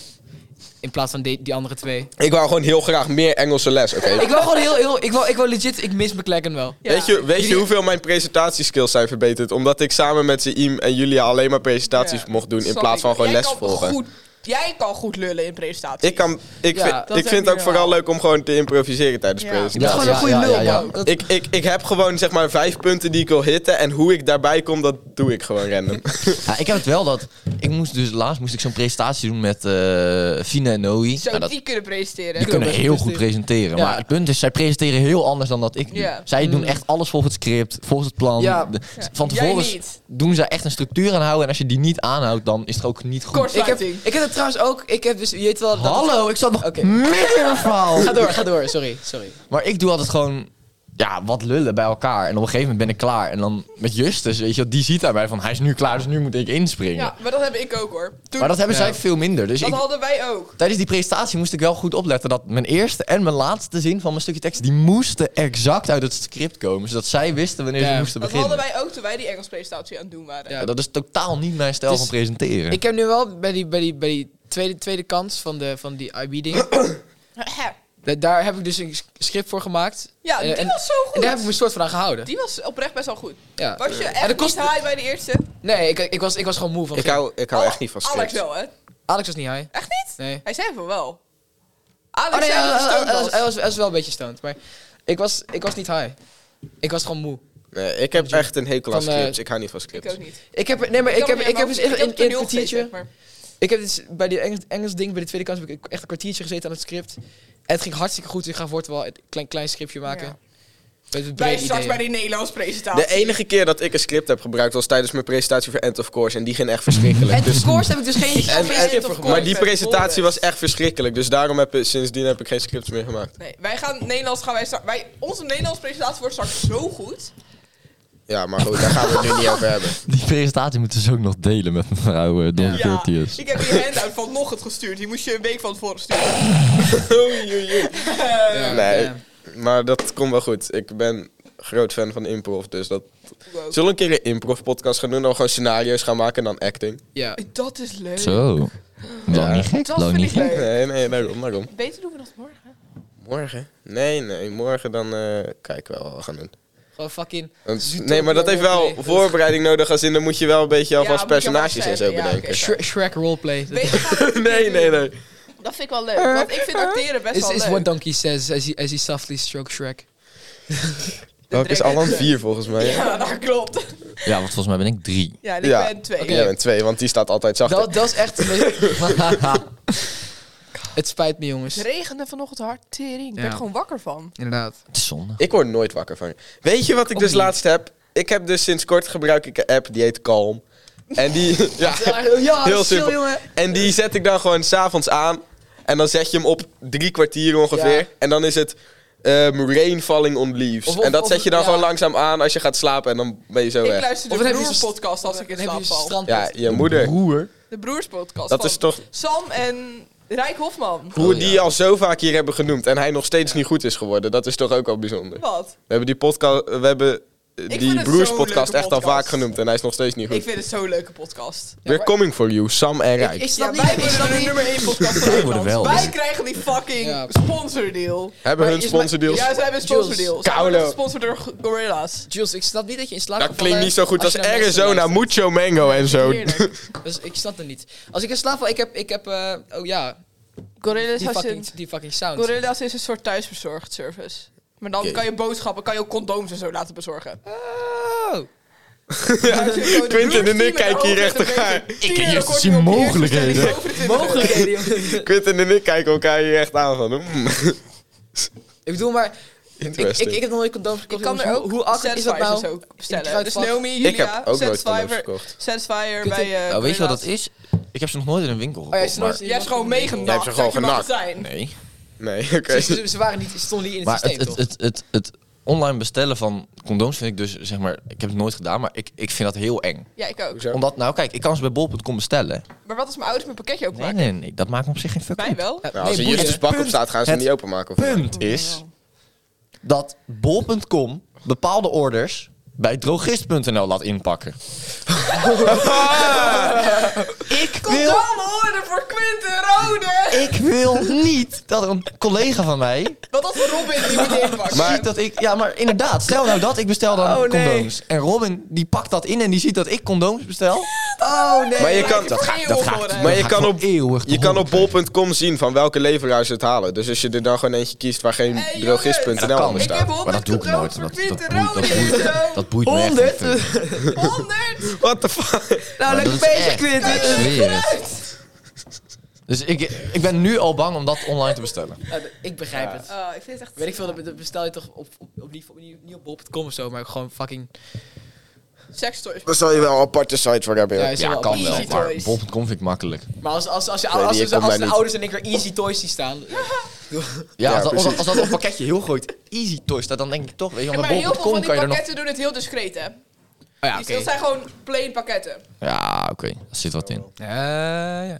[SPEAKER 1] In plaats van die, die andere twee.
[SPEAKER 3] Ik wou gewoon heel graag meer Engelse les, oké?
[SPEAKER 1] Ik wil gewoon heel, heel... Ik wil, ik wil legit... Ik mis McLaren wel.
[SPEAKER 4] Ja.
[SPEAKER 3] Weet, je, weet je
[SPEAKER 1] Jullie-
[SPEAKER 3] hoeveel mijn presentatieskills zijn verbeterd? Omdat ik samen met Zaim en Julia alleen maar presentaties
[SPEAKER 4] Ja.
[SPEAKER 3] mocht doen in
[SPEAKER 4] Snap
[SPEAKER 3] plaats van
[SPEAKER 4] ik.
[SPEAKER 3] gewoon
[SPEAKER 4] Jij
[SPEAKER 3] les
[SPEAKER 4] kan
[SPEAKER 3] volgen.
[SPEAKER 4] Goed, jij kan goed lullen in presentatie.
[SPEAKER 3] Ik, kan, ik,
[SPEAKER 1] Ja,
[SPEAKER 3] vind-
[SPEAKER 1] dat
[SPEAKER 3] ik vind
[SPEAKER 4] is echt
[SPEAKER 3] het ook
[SPEAKER 4] niet
[SPEAKER 3] vooral
[SPEAKER 4] normaal.
[SPEAKER 3] leuk om gewoon te improviseren tijdens
[SPEAKER 4] Ja.
[SPEAKER 1] Je bent
[SPEAKER 3] presentaties.
[SPEAKER 2] Ja,
[SPEAKER 1] gewoon een
[SPEAKER 2] ja,
[SPEAKER 1] goede
[SPEAKER 2] ja,
[SPEAKER 1] lul,
[SPEAKER 2] ja, ja.
[SPEAKER 1] man. Dat-
[SPEAKER 3] Ik, ik, ik heb gewoon zeg maar vijf punten die ik wil hitten en hoe ik daarbij kom, dat doe ik gewoon random.
[SPEAKER 2] Ja, ik heb het wel dat. Ik moest dus laatst moest ik zo'n presentatie doen met eh Fina en Noe.
[SPEAKER 4] Zou
[SPEAKER 2] Nou, dat,
[SPEAKER 4] die kunnen presenteren?
[SPEAKER 2] die kunnen
[SPEAKER 1] best
[SPEAKER 2] heel goed
[SPEAKER 1] presteren.
[SPEAKER 2] presenteren.
[SPEAKER 1] Ja.
[SPEAKER 2] Maar het punt is, zij presenteren heel anders dan dat ik doe.
[SPEAKER 4] Ja.
[SPEAKER 2] Zij doen
[SPEAKER 1] Mm.
[SPEAKER 2] echt alles volgens het script, volgens het plan.
[SPEAKER 1] Ja.
[SPEAKER 2] De-
[SPEAKER 4] Ja.
[SPEAKER 2] Van
[SPEAKER 4] Jij
[SPEAKER 2] tevoren
[SPEAKER 4] niet.
[SPEAKER 2] doen zij echt een structuur aanhouden. En als je die niet aanhoudt, dan is het ook niet goed.
[SPEAKER 4] Kort.
[SPEAKER 1] Ik heb,
[SPEAKER 4] Sluiting.
[SPEAKER 1] ik heb dat trouwens ook... Ik heb dus... Je weet wel... dat-
[SPEAKER 2] Hallo, ik zat nog
[SPEAKER 1] Oké.
[SPEAKER 2] meer verhaal.
[SPEAKER 1] Ga door, ga door. Sorry, sorry.
[SPEAKER 2] Maar ik doe altijd gewoon ja, wat lullen bij elkaar. En op een gegeven moment ben ik klaar. En dan met Justus, weet je, wel, die ziet daarbij van hij is nu klaar, dus nu moet ik inspringen.
[SPEAKER 4] Ja, maar dat heb ik ook hoor. Toen,
[SPEAKER 2] Maar dat hebben
[SPEAKER 1] Ja.
[SPEAKER 2] zij veel minder. Dus
[SPEAKER 4] dat
[SPEAKER 2] ik,
[SPEAKER 4] hadden wij ook.
[SPEAKER 2] tijdens die presentatie moest ik wel goed opletten dat mijn eerste en mijn laatste zin van mijn stukje tekst, die moesten exact uit het script komen. Zodat zij wisten wanneer ze
[SPEAKER 1] Ja.
[SPEAKER 2] moesten
[SPEAKER 4] Dat
[SPEAKER 2] beginnen.
[SPEAKER 4] hadden wij ook toen wij die Engels presentatie aan het doen waren.
[SPEAKER 1] Ja.
[SPEAKER 2] Ja, dat is totaal niet mijn stijl
[SPEAKER 1] Het
[SPEAKER 2] van
[SPEAKER 1] is-
[SPEAKER 2] presenteren.
[SPEAKER 1] Ik heb nu wel bij die, bij die, bij die tweede, tweede kans van, de, van die IB-ding... da- daar heb ik dus een s- script voor gemaakt.
[SPEAKER 4] Ja,
[SPEAKER 1] Eh,
[SPEAKER 4] die
[SPEAKER 1] en,
[SPEAKER 4] was zo
[SPEAKER 1] en daar heb
[SPEAKER 4] goed.
[SPEAKER 1] ik me soort van aan gehouden.
[SPEAKER 4] Die was oprecht best wel goed.
[SPEAKER 1] Ja.
[SPEAKER 4] Was je
[SPEAKER 1] En
[SPEAKER 4] echt
[SPEAKER 1] dat kost-
[SPEAKER 4] niet high bij de eerste?
[SPEAKER 1] Nee, ik, ik, was, ik was gewoon moe van...
[SPEAKER 3] ik hou, ik hou echt niet van
[SPEAKER 4] Oh, Alex
[SPEAKER 3] scripts.
[SPEAKER 4] wel, hè?
[SPEAKER 1] Alex was niet high.
[SPEAKER 4] Echt niet?
[SPEAKER 1] Nee.
[SPEAKER 4] Hij zei van wel. Alex
[SPEAKER 1] Oh nee, hij,
[SPEAKER 4] zei
[SPEAKER 1] hij-
[SPEAKER 4] dat
[SPEAKER 1] hij- hij
[SPEAKER 4] hij stoned
[SPEAKER 1] was,
[SPEAKER 4] was.
[SPEAKER 1] hij was- hij was wel een beetje stoned, maar ik was, ik was niet high. Ik was gewoon moe.
[SPEAKER 3] Nee, ik heb echt een hekel aan
[SPEAKER 1] Van, eh,
[SPEAKER 3] scripts. Ik hou niet van
[SPEAKER 4] Ik
[SPEAKER 3] scripts.
[SPEAKER 4] ook niet.
[SPEAKER 1] Ik heb, nee, maar ik,
[SPEAKER 4] kan
[SPEAKER 1] heb,
[SPEAKER 4] me
[SPEAKER 1] ik heb
[SPEAKER 4] niet
[SPEAKER 1] dus
[SPEAKER 4] aan-
[SPEAKER 1] echt
[SPEAKER 4] ik heb
[SPEAKER 1] een,
[SPEAKER 4] toneel
[SPEAKER 1] een kwartiertje.
[SPEAKER 4] gezeten, maar-
[SPEAKER 1] Ik heb dus bij die Engels, Engels ding, bij de tweede kans, heb ik echt een kwartiertje gezeten aan het script. En het ging hartstikke goed. dus Ik ga voort wel een klein, klein scriptje maken.
[SPEAKER 4] Ja.
[SPEAKER 1] Met het
[SPEAKER 4] Bij
[SPEAKER 1] brede
[SPEAKER 4] straks
[SPEAKER 1] idee.
[SPEAKER 4] bij die Nederlands presentatie.
[SPEAKER 3] De enige keer dat ik een script heb gebruikt was tijdens mijn presentatie voor End of Course. En die ging echt verschrikkelijk.
[SPEAKER 1] En
[SPEAKER 3] Dus,
[SPEAKER 1] scores heb ik dus geen,
[SPEAKER 3] en-
[SPEAKER 1] geen
[SPEAKER 3] en-
[SPEAKER 1] script voor
[SPEAKER 3] maar
[SPEAKER 1] gemaakt.
[SPEAKER 3] die presentatie was echt verschrikkelijk. Dus daarom heb ik, sindsdien heb ik geen scripts meer gemaakt.
[SPEAKER 4] Nee, wij gaan Nederlands gaan wij straks... Wij, onze Nederlands presentatie wordt straks zo goed.
[SPEAKER 3] Ja, maar goed, daar gaan we het nu niet over hebben.
[SPEAKER 2] Die presentatie moeten ze ook nog delen met mevrouw eh, Don Curtius.
[SPEAKER 4] ik heb die handout van nog het gestuurd. Die moest je een week van tevoren sturen.
[SPEAKER 3] Oei, oei, oei.
[SPEAKER 1] Ja,
[SPEAKER 3] Nee.
[SPEAKER 1] ja.
[SPEAKER 3] Maar dat komt wel goed. Ik ben groot fan van improv, dus dat...
[SPEAKER 4] Wow.
[SPEAKER 3] Zullen we een keer een improv-podcast gaan doen? Dan we gewoon scenario's gaan maken en dan acting?
[SPEAKER 1] Ja.
[SPEAKER 4] Dat is leuk.
[SPEAKER 2] Zo. Lang niet gek,
[SPEAKER 4] Dat
[SPEAKER 2] lang
[SPEAKER 4] vind
[SPEAKER 2] niet
[SPEAKER 4] ik
[SPEAKER 2] gek.
[SPEAKER 4] leuk.
[SPEAKER 3] Nee, nee, daarom, daarom.
[SPEAKER 4] Beter doen we dat morgen.
[SPEAKER 3] Morgen? Nee, nee, morgen dan eh, kijken we wel wat we gaan doen.
[SPEAKER 1] Gewoon fucking...
[SPEAKER 3] Nee, maar dat heeft wel voorbereiding nodig. Als in, dan moet je wel een beetje alvast
[SPEAKER 4] moet je wel
[SPEAKER 3] personages en zo
[SPEAKER 4] zeggen, ja,
[SPEAKER 3] bedenken.
[SPEAKER 4] oké.
[SPEAKER 1] Shre- Shrek roleplay.
[SPEAKER 4] Weet je wat?
[SPEAKER 3] Nee, nee, nee.
[SPEAKER 4] Dat vind ik wel leuk. Want ik vind acteren best
[SPEAKER 1] Is,
[SPEAKER 4] wel
[SPEAKER 1] is
[SPEAKER 4] leuk.
[SPEAKER 1] what Donkey says as he, as he softly strokes Shrek.
[SPEAKER 3] Welke is
[SPEAKER 4] Drake
[SPEAKER 3] Alan?
[SPEAKER 4] is-
[SPEAKER 3] Vier volgens mij. hè?
[SPEAKER 4] Ja, dat klopt.
[SPEAKER 2] Ja, want volgens mij ben ik drie.
[SPEAKER 4] Ja, en ik
[SPEAKER 3] Ja.
[SPEAKER 4] ben twee.
[SPEAKER 1] Oké.
[SPEAKER 3] Jij bent twee, want die staat altijd zachter.
[SPEAKER 1] Dat, dat is echt... de meest- Het spijt me, jongens.
[SPEAKER 4] Het regende vanochtend hard, tering. Ik
[SPEAKER 1] Ja.
[SPEAKER 4] werd gewoon wakker van.
[SPEAKER 1] Inderdaad.
[SPEAKER 2] Het is zonde.
[SPEAKER 3] Ik word nooit wakker van je. Weet je wat ik
[SPEAKER 1] Ook
[SPEAKER 3] dus
[SPEAKER 1] niet.
[SPEAKER 3] laatst heb? Ik heb dus sinds kort gebruik ik een app die heet Calm. En die, ja,
[SPEAKER 1] Ja,
[SPEAKER 3] Heel
[SPEAKER 1] chill,
[SPEAKER 3] simpel.
[SPEAKER 1] jongen.
[SPEAKER 3] en die zet ik dan gewoon s'avonds aan. En dan zet je hem op drie kwartier ongeveer.
[SPEAKER 1] Ja.
[SPEAKER 3] En dan is het ehm rain falling on leaves.
[SPEAKER 1] Of- of-
[SPEAKER 3] en dat
[SPEAKER 1] of-
[SPEAKER 3] zet je dan
[SPEAKER 1] ja.
[SPEAKER 3] gewoon langzaam aan als je gaat slapen. En dan ben je zo
[SPEAKER 4] Ik
[SPEAKER 3] weg.
[SPEAKER 4] luister de
[SPEAKER 1] Of dan heb je
[SPEAKER 4] broers
[SPEAKER 1] zo'n-
[SPEAKER 4] podcast als ik in
[SPEAKER 1] Dan heb
[SPEAKER 4] slaap
[SPEAKER 1] je zo'n
[SPEAKER 4] val.
[SPEAKER 1] strandpot.
[SPEAKER 3] Ja, je moeder.
[SPEAKER 2] Broer.
[SPEAKER 4] De broers
[SPEAKER 3] Dat
[SPEAKER 4] podcast van Oh,
[SPEAKER 3] is toch
[SPEAKER 4] Sam en Rijk Hofman.
[SPEAKER 3] hoe
[SPEAKER 2] Oh,
[SPEAKER 3] die
[SPEAKER 2] ja.
[SPEAKER 3] al zo vaak hier hebben genoemd. En hij nog steeds niet goed is geworden. Dat is toch ook wel bijzonder. We
[SPEAKER 4] Wat?
[SPEAKER 3] hebben die podcast... We hebben eh,
[SPEAKER 4] vind
[SPEAKER 3] die
[SPEAKER 4] het
[SPEAKER 3] broers
[SPEAKER 4] zo'n leuke
[SPEAKER 3] podcast echt al
[SPEAKER 4] podcast.
[SPEAKER 3] vaak genoemd. En hij is nog steeds niet goed.
[SPEAKER 4] Ik vind het zo'n leuke podcast.
[SPEAKER 3] We're coming for you, Sam en Rijk.
[SPEAKER 1] Ik
[SPEAKER 4] Ja,
[SPEAKER 1] snap
[SPEAKER 4] wij
[SPEAKER 1] niet... Ik
[SPEAKER 4] worden
[SPEAKER 1] snap
[SPEAKER 4] de
[SPEAKER 1] niet...
[SPEAKER 4] nummer 1 podcast van
[SPEAKER 2] worden
[SPEAKER 4] Nederland.
[SPEAKER 2] wel.
[SPEAKER 4] Wij krijgen die fucking
[SPEAKER 1] Ja.
[SPEAKER 4] sponsordeal.
[SPEAKER 3] Hebben
[SPEAKER 1] Maar
[SPEAKER 3] hun
[SPEAKER 1] is mijn-
[SPEAKER 3] sponsordeals?
[SPEAKER 4] Ja, ze hebben een sponsordeal. Ze
[SPEAKER 3] Kaulo.
[SPEAKER 4] worden gesponsord door G- Gorilla's.
[SPEAKER 1] Jules, ik snap niet dat je in slaap
[SPEAKER 3] dat
[SPEAKER 1] kan
[SPEAKER 3] klinkt
[SPEAKER 1] vallen
[SPEAKER 3] niet zo goed als
[SPEAKER 1] je naar mensen
[SPEAKER 3] Arizona,
[SPEAKER 1] luistert.
[SPEAKER 3] mucho mango en zo.
[SPEAKER 4] Heerlijk.
[SPEAKER 1] Dus ik snap het niet. Als ik in slaap val, ik heb... Ik heb eh, oh ja,
[SPEAKER 4] Gorilla's,
[SPEAKER 1] die
[SPEAKER 4] als je-
[SPEAKER 1] fucking, die fucking sound.
[SPEAKER 4] Gorilla's is een soort thuisbezorgd service. Maar dan
[SPEAKER 3] Oké.
[SPEAKER 4] kan je boodschappen, kan je ook condooms en zo laten bezorgen.
[SPEAKER 1] Oh.
[SPEAKER 3] Quinten en ik kijken hier echt elkaar.
[SPEAKER 4] Ik
[SPEAKER 2] ken juist die mogelijkheden.
[SPEAKER 1] Mogelijkheden, jongen.
[SPEAKER 3] Quinten en ik kijken elkaar hier echt aan van. hmm,
[SPEAKER 1] Ik bedoel maar... Ik, ik,
[SPEAKER 3] interesting.
[SPEAKER 1] ik heb nog nooit condooms
[SPEAKER 4] Ik
[SPEAKER 1] gekocht.
[SPEAKER 4] kan
[SPEAKER 1] jongens.
[SPEAKER 4] er
[SPEAKER 1] Hoe-
[SPEAKER 4] ook
[SPEAKER 1] Hoe akkerd is dat
[SPEAKER 4] Satisfiers
[SPEAKER 1] nou?
[SPEAKER 4] ook bestellen.
[SPEAKER 1] kruidvat.
[SPEAKER 4] Dus Naomi,
[SPEAKER 3] Ik heb
[SPEAKER 4] Julia,
[SPEAKER 3] ook nooit condooms
[SPEAKER 4] Satisfier,
[SPEAKER 3] verkocht.
[SPEAKER 4] Satisfier
[SPEAKER 1] Kunt
[SPEAKER 4] bij eh
[SPEAKER 2] Nou, weet je wat dat
[SPEAKER 4] Gorilla's.
[SPEAKER 2] is? Ik heb ze nog nooit in een winkel
[SPEAKER 1] Oh, jij
[SPEAKER 2] gekocht.
[SPEAKER 1] is nooit-
[SPEAKER 2] maar-
[SPEAKER 4] Jij hebt gewoon meegenakt.
[SPEAKER 3] Jij hebt ze gewoon
[SPEAKER 4] dat je mag
[SPEAKER 3] genakt.
[SPEAKER 4] zijn.
[SPEAKER 2] Nee.
[SPEAKER 3] Nee, oké. Nou,
[SPEAKER 1] Ze, ze- ze waren niet, ze stonden niet in het
[SPEAKER 2] Maar
[SPEAKER 1] systeem,
[SPEAKER 2] het, het,
[SPEAKER 1] toch?
[SPEAKER 2] het, het, het online bestellen van condooms vind ik dus, zeg maar, ik heb het nooit gedaan, maar ik, ik vind dat heel eng.
[SPEAKER 4] Ja, ik ook.
[SPEAKER 3] Hoezo? Ja.
[SPEAKER 2] Omdat, nou kijk, ik kan ze bij bol.com bestellen.
[SPEAKER 4] Maar wat als mijn ouders mijn pakketje
[SPEAKER 2] Nee,
[SPEAKER 4] openmaken?
[SPEAKER 2] nee, nee, dat maakt me op zich geen fuck
[SPEAKER 4] Mij
[SPEAKER 2] uit.
[SPEAKER 4] wel.
[SPEAKER 1] Ja,
[SPEAKER 3] Nou,
[SPEAKER 1] nee,
[SPEAKER 3] als er hier
[SPEAKER 1] boeien.
[SPEAKER 3] dus pak op staat, gaan ze
[SPEAKER 2] Het
[SPEAKER 3] niet openmaken. Of
[SPEAKER 2] Punt is dat bol.com bepaalde orders bij drogist.nl laat inpakken. ik wil,
[SPEAKER 4] Kom orde voor Quinten Rode!
[SPEAKER 2] ik wil niet dat een collega van mij
[SPEAKER 4] Wat als Robin die moet inpakken?
[SPEAKER 3] Maar-
[SPEAKER 2] ziet dat ik... Ja, maar inderdaad, stel nou dat ik bestel dan
[SPEAKER 1] Oh, nee.
[SPEAKER 2] condooms. En Robin die pakt dat in en die ziet dat ik condooms bestel.
[SPEAKER 1] Oh, nee.
[SPEAKER 3] Maar je kan,
[SPEAKER 4] Dat ga ik- dat ga ik-
[SPEAKER 2] dat
[SPEAKER 4] Maar
[SPEAKER 3] je
[SPEAKER 2] ga ik
[SPEAKER 3] kan
[SPEAKER 2] voor
[SPEAKER 3] op-
[SPEAKER 2] eeuwig
[SPEAKER 3] je kan op bol.com zien van welke leveraar ze het halen. Dus als je er dan gewoon eentje kiest waar geen
[SPEAKER 4] Hey,
[SPEAKER 2] Ja,
[SPEAKER 3] drogist.nl
[SPEAKER 2] dat kan.
[SPEAKER 3] onder
[SPEAKER 4] Ik
[SPEAKER 3] staat.
[SPEAKER 4] heb 100
[SPEAKER 2] Maar dat doe ik nooit.
[SPEAKER 4] condooms
[SPEAKER 2] want
[SPEAKER 4] voor
[SPEAKER 2] Dat, dat,
[SPEAKER 4] Quinten
[SPEAKER 2] boeit,
[SPEAKER 4] Rode.
[SPEAKER 2] dat, boeit, dat boeit me echt.
[SPEAKER 1] Honderd?
[SPEAKER 2] niet. Maar
[SPEAKER 4] 100!
[SPEAKER 3] What the fuck?
[SPEAKER 1] Nou,
[SPEAKER 2] dat
[SPEAKER 1] lekker
[SPEAKER 2] is
[SPEAKER 1] bezig,
[SPEAKER 2] echt- ik
[SPEAKER 1] Quinten.
[SPEAKER 2] zweer het. Dus ik, ik ben nu al bang om dat online te bestellen.
[SPEAKER 1] Eh, ik begrijp het.
[SPEAKER 4] Oh, ik vind het echt...
[SPEAKER 1] Weet ik veel, dat- dat bestel je toch op, op, op, niet, op- niet- niet op bol.com of zo, maar gewoon fucking...
[SPEAKER 4] Sextoys.
[SPEAKER 3] Daar zal je wel een aparte site voor hebben.
[SPEAKER 1] Ja,
[SPEAKER 3] joh.
[SPEAKER 1] is
[SPEAKER 2] Ja,
[SPEAKER 1] wel-
[SPEAKER 2] kan
[SPEAKER 4] Easy
[SPEAKER 2] wel, maar
[SPEAKER 4] toys.
[SPEAKER 2] bol.com vind ik makkelijk.
[SPEAKER 1] Maar als, als, als, je,
[SPEAKER 3] Nee,
[SPEAKER 1] als, als,
[SPEAKER 3] die
[SPEAKER 1] als,
[SPEAKER 3] komt bij
[SPEAKER 1] de
[SPEAKER 3] niet.
[SPEAKER 1] ouders en ik er easy toys die staan...
[SPEAKER 2] Ja,
[SPEAKER 3] Ja,
[SPEAKER 2] als, dat, als,
[SPEAKER 3] precies.
[SPEAKER 2] als dat op een pakketje heel groot easy toys staat, dan denk ik toch, weet je,
[SPEAKER 4] Ja,
[SPEAKER 2] want
[SPEAKER 4] maar
[SPEAKER 2] bij
[SPEAKER 4] heel veel van
[SPEAKER 2] bol.com
[SPEAKER 4] die
[SPEAKER 2] kan je er nog...
[SPEAKER 4] pakketten doen het heel discreet, hè?
[SPEAKER 1] Oh ja,
[SPEAKER 4] Dus
[SPEAKER 1] oké.
[SPEAKER 4] dat zijn gewoon plain pakketten.
[SPEAKER 2] Ja, oké, daar zit wat in.
[SPEAKER 1] Ja, ja.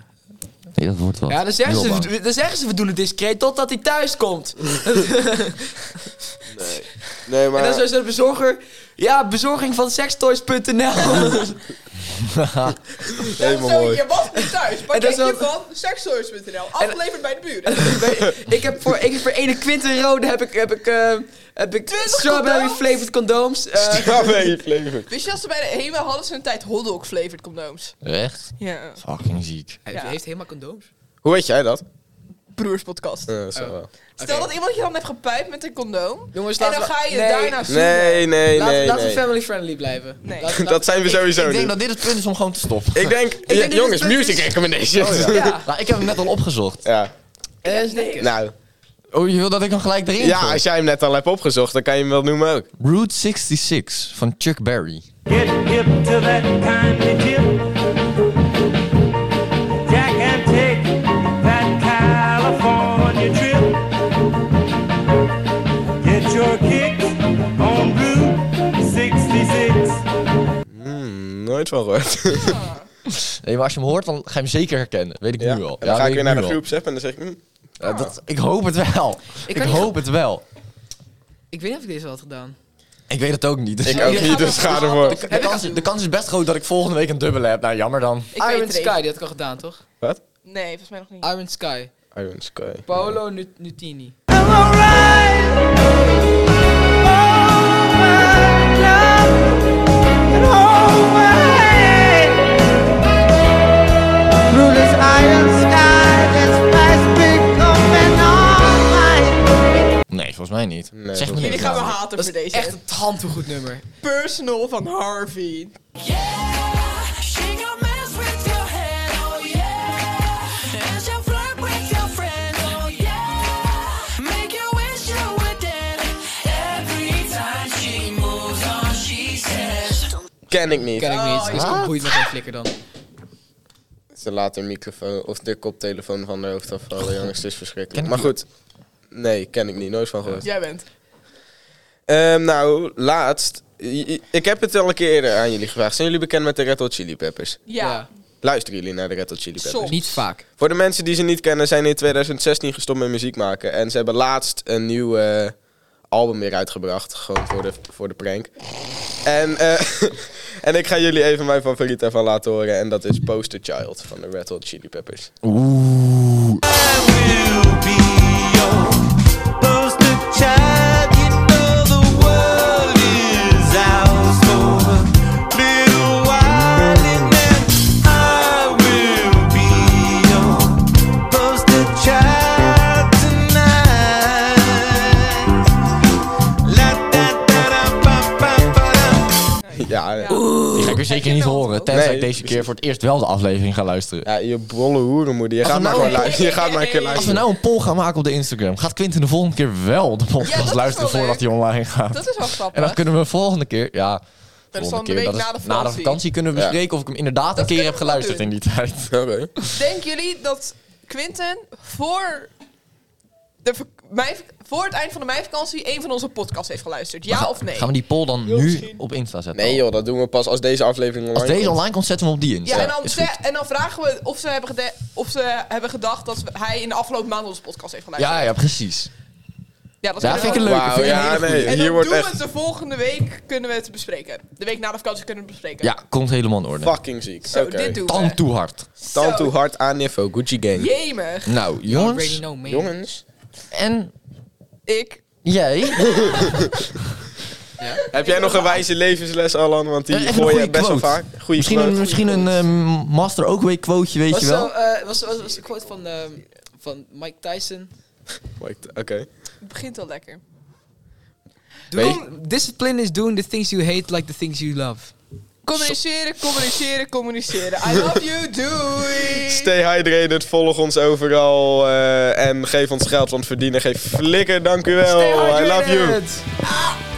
[SPEAKER 2] Nee, dat wordt wel.
[SPEAKER 1] Ja, dan zeggen,
[SPEAKER 2] Heel
[SPEAKER 1] ze, dan zeggen ze, we doen het discreet totdat hij thuis komt.
[SPEAKER 3] Nee,
[SPEAKER 1] En dan
[SPEAKER 3] maar...
[SPEAKER 1] is dus, de bezorger, ja, bezorging van sextoys.nl.
[SPEAKER 3] Helemaal
[SPEAKER 4] Zo,
[SPEAKER 3] mooi.
[SPEAKER 4] Je was niet thuis. Pakketje
[SPEAKER 1] wel-
[SPEAKER 4] van sextoys.nl. Afgeleverd bij de buren.
[SPEAKER 1] ik heb voor, ik heb voor ene Quinten Rode heb ik, heb ik, eh, heb ik strawberry
[SPEAKER 4] condooms?
[SPEAKER 1] flavored condooms. eh,
[SPEAKER 3] Ja, ben je flavor.
[SPEAKER 4] Wist je dat ze bij de HEMA hadden ze een tijd hotdog flavored condooms?
[SPEAKER 2] Echt?
[SPEAKER 4] Ja.
[SPEAKER 2] Fucking ziek.
[SPEAKER 1] Hij
[SPEAKER 4] Ja.
[SPEAKER 1] heeft helemaal condooms.
[SPEAKER 3] Hoe weet jij dat?
[SPEAKER 4] Broerspodcast.
[SPEAKER 3] Eh,
[SPEAKER 1] Oh.
[SPEAKER 3] zo wel.
[SPEAKER 4] Stel
[SPEAKER 1] Oké.
[SPEAKER 4] dat iemand je dan heeft gepijpt met een condoom.
[SPEAKER 1] Jongens,
[SPEAKER 4] En
[SPEAKER 1] laten
[SPEAKER 4] dan
[SPEAKER 1] we-
[SPEAKER 4] ga je
[SPEAKER 1] nee.
[SPEAKER 4] daarna zoenen.
[SPEAKER 3] Nee, nee,
[SPEAKER 1] Laten-
[SPEAKER 3] nee.
[SPEAKER 1] laten we
[SPEAKER 3] nee.
[SPEAKER 1] family friendly blijven.
[SPEAKER 4] Nee.
[SPEAKER 1] Laten- laten-
[SPEAKER 3] Dat zijn we sowieso
[SPEAKER 2] Ik
[SPEAKER 3] niet.
[SPEAKER 2] denk dat dit het punt is om gewoon te stoppen.
[SPEAKER 3] Ik denk,
[SPEAKER 1] denk dat
[SPEAKER 3] jongens,
[SPEAKER 1] het punt
[SPEAKER 3] music
[SPEAKER 1] is-
[SPEAKER 3] recommendations.
[SPEAKER 1] Oh,
[SPEAKER 3] ja.
[SPEAKER 1] ja.
[SPEAKER 2] Nou, ik heb hem net al opgezocht.
[SPEAKER 1] Eh, nee.
[SPEAKER 3] Nou,
[SPEAKER 2] Oh, je wil dat ik hem gelijk erin
[SPEAKER 3] ja,
[SPEAKER 2] gooi?
[SPEAKER 3] als jij hem net al hebt opgezocht, dan kan je hem wel noemen ook.
[SPEAKER 2] Route 66 van Chuck Berry.
[SPEAKER 5] Get hip to that kindly tip. Jack and take that California trip. Get your kicks on Route 66.
[SPEAKER 3] Hmm, nooit van gehoord.
[SPEAKER 2] Nee, maar als je hem hoort, dan ga je hem zeker herkennen. Weet ik
[SPEAKER 3] Ja.
[SPEAKER 2] nu al.
[SPEAKER 3] En dan
[SPEAKER 2] Ja,
[SPEAKER 3] ga ik
[SPEAKER 2] weet
[SPEAKER 3] weer naar
[SPEAKER 2] nu
[SPEAKER 3] de
[SPEAKER 2] al.
[SPEAKER 3] groepsapp en dan zeg ik... hmm,
[SPEAKER 2] Ja, dat, ik hoop het wel. Ik,
[SPEAKER 1] kan niet-
[SPEAKER 2] hoop het wel.
[SPEAKER 1] Ik weet niet of ik deze wel had gedaan.
[SPEAKER 2] Ik weet het ook niet. Dus
[SPEAKER 3] ik ook niet, dus ga ervoor.
[SPEAKER 2] De kans, de kans is best groot dat ik volgende week een dubbele heb. Nou, jammer dan.
[SPEAKER 4] Ik weet
[SPEAKER 1] Iron
[SPEAKER 4] het
[SPEAKER 1] Sky, die had ik al gedaan, toch?
[SPEAKER 3] Wat?
[SPEAKER 4] even. Nee, volgens mij nog niet.
[SPEAKER 1] Iron Sky.
[SPEAKER 3] Iron Sky.
[SPEAKER 1] Paolo Nut- Nutini.
[SPEAKER 5] I'm alright. Oh, my
[SPEAKER 2] Volgens mij niet.
[SPEAKER 3] Nee,
[SPEAKER 2] zeg me
[SPEAKER 3] volgens
[SPEAKER 2] niks.
[SPEAKER 4] Jullie gaan me
[SPEAKER 2] namelijk.
[SPEAKER 4] haten
[SPEAKER 1] Dat
[SPEAKER 4] voor
[SPEAKER 1] is
[SPEAKER 4] deze.
[SPEAKER 1] echt een tandtoegoed nummer.
[SPEAKER 4] personal van Harvey.
[SPEAKER 6] Yeah, she gon' mess with your head, oh yeah. And she'll flirt with your friend, oh yeah. Make you wish you were dead. Every time she moves on, she says.
[SPEAKER 3] Ken ik niet.
[SPEAKER 1] Ken ik
[SPEAKER 4] Oh,
[SPEAKER 1] niet. Is
[SPEAKER 2] ja.
[SPEAKER 1] ook boeit me geen flikker dan.
[SPEAKER 3] Ze laat haar microfoon of de koptelefoon van haar hoofd afvallen, jongens. Het is verschrikkelijk.
[SPEAKER 2] Ken
[SPEAKER 3] Maar
[SPEAKER 2] ik
[SPEAKER 3] goed. Nee, ken ik niet. Nooit van gehoord.
[SPEAKER 4] Jij bent.
[SPEAKER 3] Ehm, nou, laatst. I- I- Ik heb het al een keer eerder aan jullie gevraagd. Zijn jullie bekend met de Red Hot Chili Peppers?
[SPEAKER 4] Ja.
[SPEAKER 3] Luisteren jullie naar de Red Hot Chili Peppers?
[SPEAKER 4] Soms.
[SPEAKER 1] Dus Niet vaak.
[SPEAKER 3] Voor de mensen die ze niet kennen, zijn in 2016 gestopt met muziek maken. En ze hebben laatst een nieuw eh, album weer uitgebracht. Gewoon voor de, voor de prank. En, eh, en ik ga jullie even mijn favoriet daarvan laten horen. En dat is Poster Child van de Red Hot Chili Peppers. Ja, ja.
[SPEAKER 2] Die ga ik er
[SPEAKER 4] Heb je
[SPEAKER 2] zeker niet
[SPEAKER 4] wel?
[SPEAKER 2] horen. Tenzij
[SPEAKER 3] Nee.
[SPEAKER 2] ik deze keer voor het eerst wel de aflevering ga luisteren.
[SPEAKER 3] je bolle hoerenmoeder. Je
[SPEAKER 2] Als
[SPEAKER 3] gaat,
[SPEAKER 2] we
[SPEAKER 3] maar
[SPEAKER 2] nou-
[SPEAKER 3] gewoon luisteren. je gaat maar een keer
[SPEAKER 4] Als we
[SPEAKER 2] Als we
[SPEAKER 3] luisteren.
[SPEAKER 2] nou een poll gaan maken op de Instagram, gaat Quinten de volgende keer wel de
[SPEAKER 4] Ja, dat
[SPEAKER 2] podcast
[SPEAKER 4] is
[SPEAKER 2] luisteren
[SPEAKER 4] wel
[SPEAKER 2] voordat hij online gaat?
[SPEAKER 4] Dat is wel
[SPEAKER 2] En
[SPEAKER 4] grappig.
[SPEAKER 2] dan kunnen we de volgende keer, ja,
[SPEAKER 4] dan
[SPEAKER 2] volgende
[SPEAKER 4] de week
[SPEAKER 2] dat
[SPEAKER 4] na de
[SPEAKER 2] na de
[SPEAKER 4] vakantie.
[SPEAKER 2] vakantie kunnen we
[SPEAKER 3] Ja.
[SPEAKER 2] bespreken of ik hem inderdaad
[SPEAKER 4] Dat
[SPEAKER 2] een keer
[SPEAKER 4] kunnen
[SPEAKER 2] heb
[SPEAKER 4] we
[SPEAKER 2] geluisterd
[SPEAKER 4] doen.
[SPEAKER 2] in die tijd.
[SPEAKER 3] Oké.
[SPEAKER 4] Denken jullie dat Quinten voor, de, vak- mijn, vak- voor het eind van de meivakantie een van onze podcasts heeft geluisterd? Ja of nee?
[SPEAKER 2] Gaan we die poll dan
[SPEAKER 4] Heel
[SPEAKER 2] nu
[SPEAKER 4] misschien.
[SPEAKER 2] op Insta zetten?
[SPEAKER 4] nou-
[SPEAKER 3] Nee joh, dat doen we pas als deze aflevering online
[SPEAKER 2] Als deze
[SPEAKER 3] komt.
[SPEAKER 2] online komt, zetten we hem op die Insta.
[SPEAKER 4] ja, en dan,
[SPEAKER 2] Is
[SPEAKER 4] ze-
[SPEAKER 2] goed.
[SPEAKER 4] en dan vragen we of ze, hebben gede- of ze hebben gedacht dat we- hij in de afgelopen maand onze podcast heeft geluisterd.
[SPEAKER 2] ja, ja, precies.
[SPEAKER 4] Ja, dat
[SPEAKER 2] Ja,
[SPEAKER 4] kunnen
[SPEAKER 2] vind
[SPEAKER 4] we
[SPEAKER 2] ik
[SPEAKER 4] ook.
[SPEAKER 2] leuk.
[SPEAKER 3] Wauw,
[SPEAKER 2] vind ik een
[SPEAKER 3] ja,
[SPEAKER 2] hele
[SPEAKER 3] nee.
[SPEAKER 4] En
[SPEAKER 3] Hier
[SPEAKER 4] dan
[SPEAKER 3] wordt
[SPEAKER 4] doen we
[SPEAKER 3] echt
[SPEAKER 4] het de volgende week, kunnen we het bespreken. De week na de vakantie kunnen we het bespreken.
[SPEAKER 2] Ja, komt helemaal in orde.
[SPEAKER 3] fucking ziek.
[SPEAKER 4] Zo,
[SPEAKER 3] Oké.
[SPEAKER 4] dit doen we.
[SPEAKER 2] Tand toe hard.
[SPEAKER 3] Tand
[SPEAKER 4] Zo.
[SPEAKER 3] toe hard aan niveau, Gucci gang.
[SPEAKER 4] Jemig.
[SPEAKER 2] Nou,
[SPEAKER 1] Already
[SPEAKER 2] jongens.
[SPEAKER 1] know, man.
[SPEAKER 3] Jongens,
[SPEAKER 2] En
[SPEAKER 4] Ik.
[SPEAKER 2] jij?
[SPEAKER 3] heb jij nog een wijze levensles, Alan? Want die
[SPEAKER 2] Eh, even een
[SPEAKER 3] gooi je
[SPEAKER 2] goede
[SPEAKER 3] best wel
[SPEAKER 2] quote.
[SPEAKER 3] vaak. Goeie
[SPEAKER 2] Misschien
[SPEAKER 3] quote.
[SPEAKER 2] een, misschien een ehm, master ook weer quoteje, weet
[SPEAKER 1] Was
[SPEAKER 2] je wel?
[SPEAKER 1] zo, eh, was, was, was een quote van, ehm, van Mike Tyson.
[SPEAKER 3] Wait, Oké.
[SPEAKER 4] Het begint al lekker.
[SPEAKER 3] Weet je-
[SPEAKER 1] Kom, discipline is doing the things you hate like the things you love.
[SPEAKER 4] Communiceren, communiceren, communiceren. I love you, doei.
[SPEAKER 3] Stay hydrated, volg ons overal
[SPEAKER 2] Oh,
[SPEAKER 3] eh, en geef ons geld, want verdienen geef flikker, dank u wel. I love you.
[SPEAKER 1] you.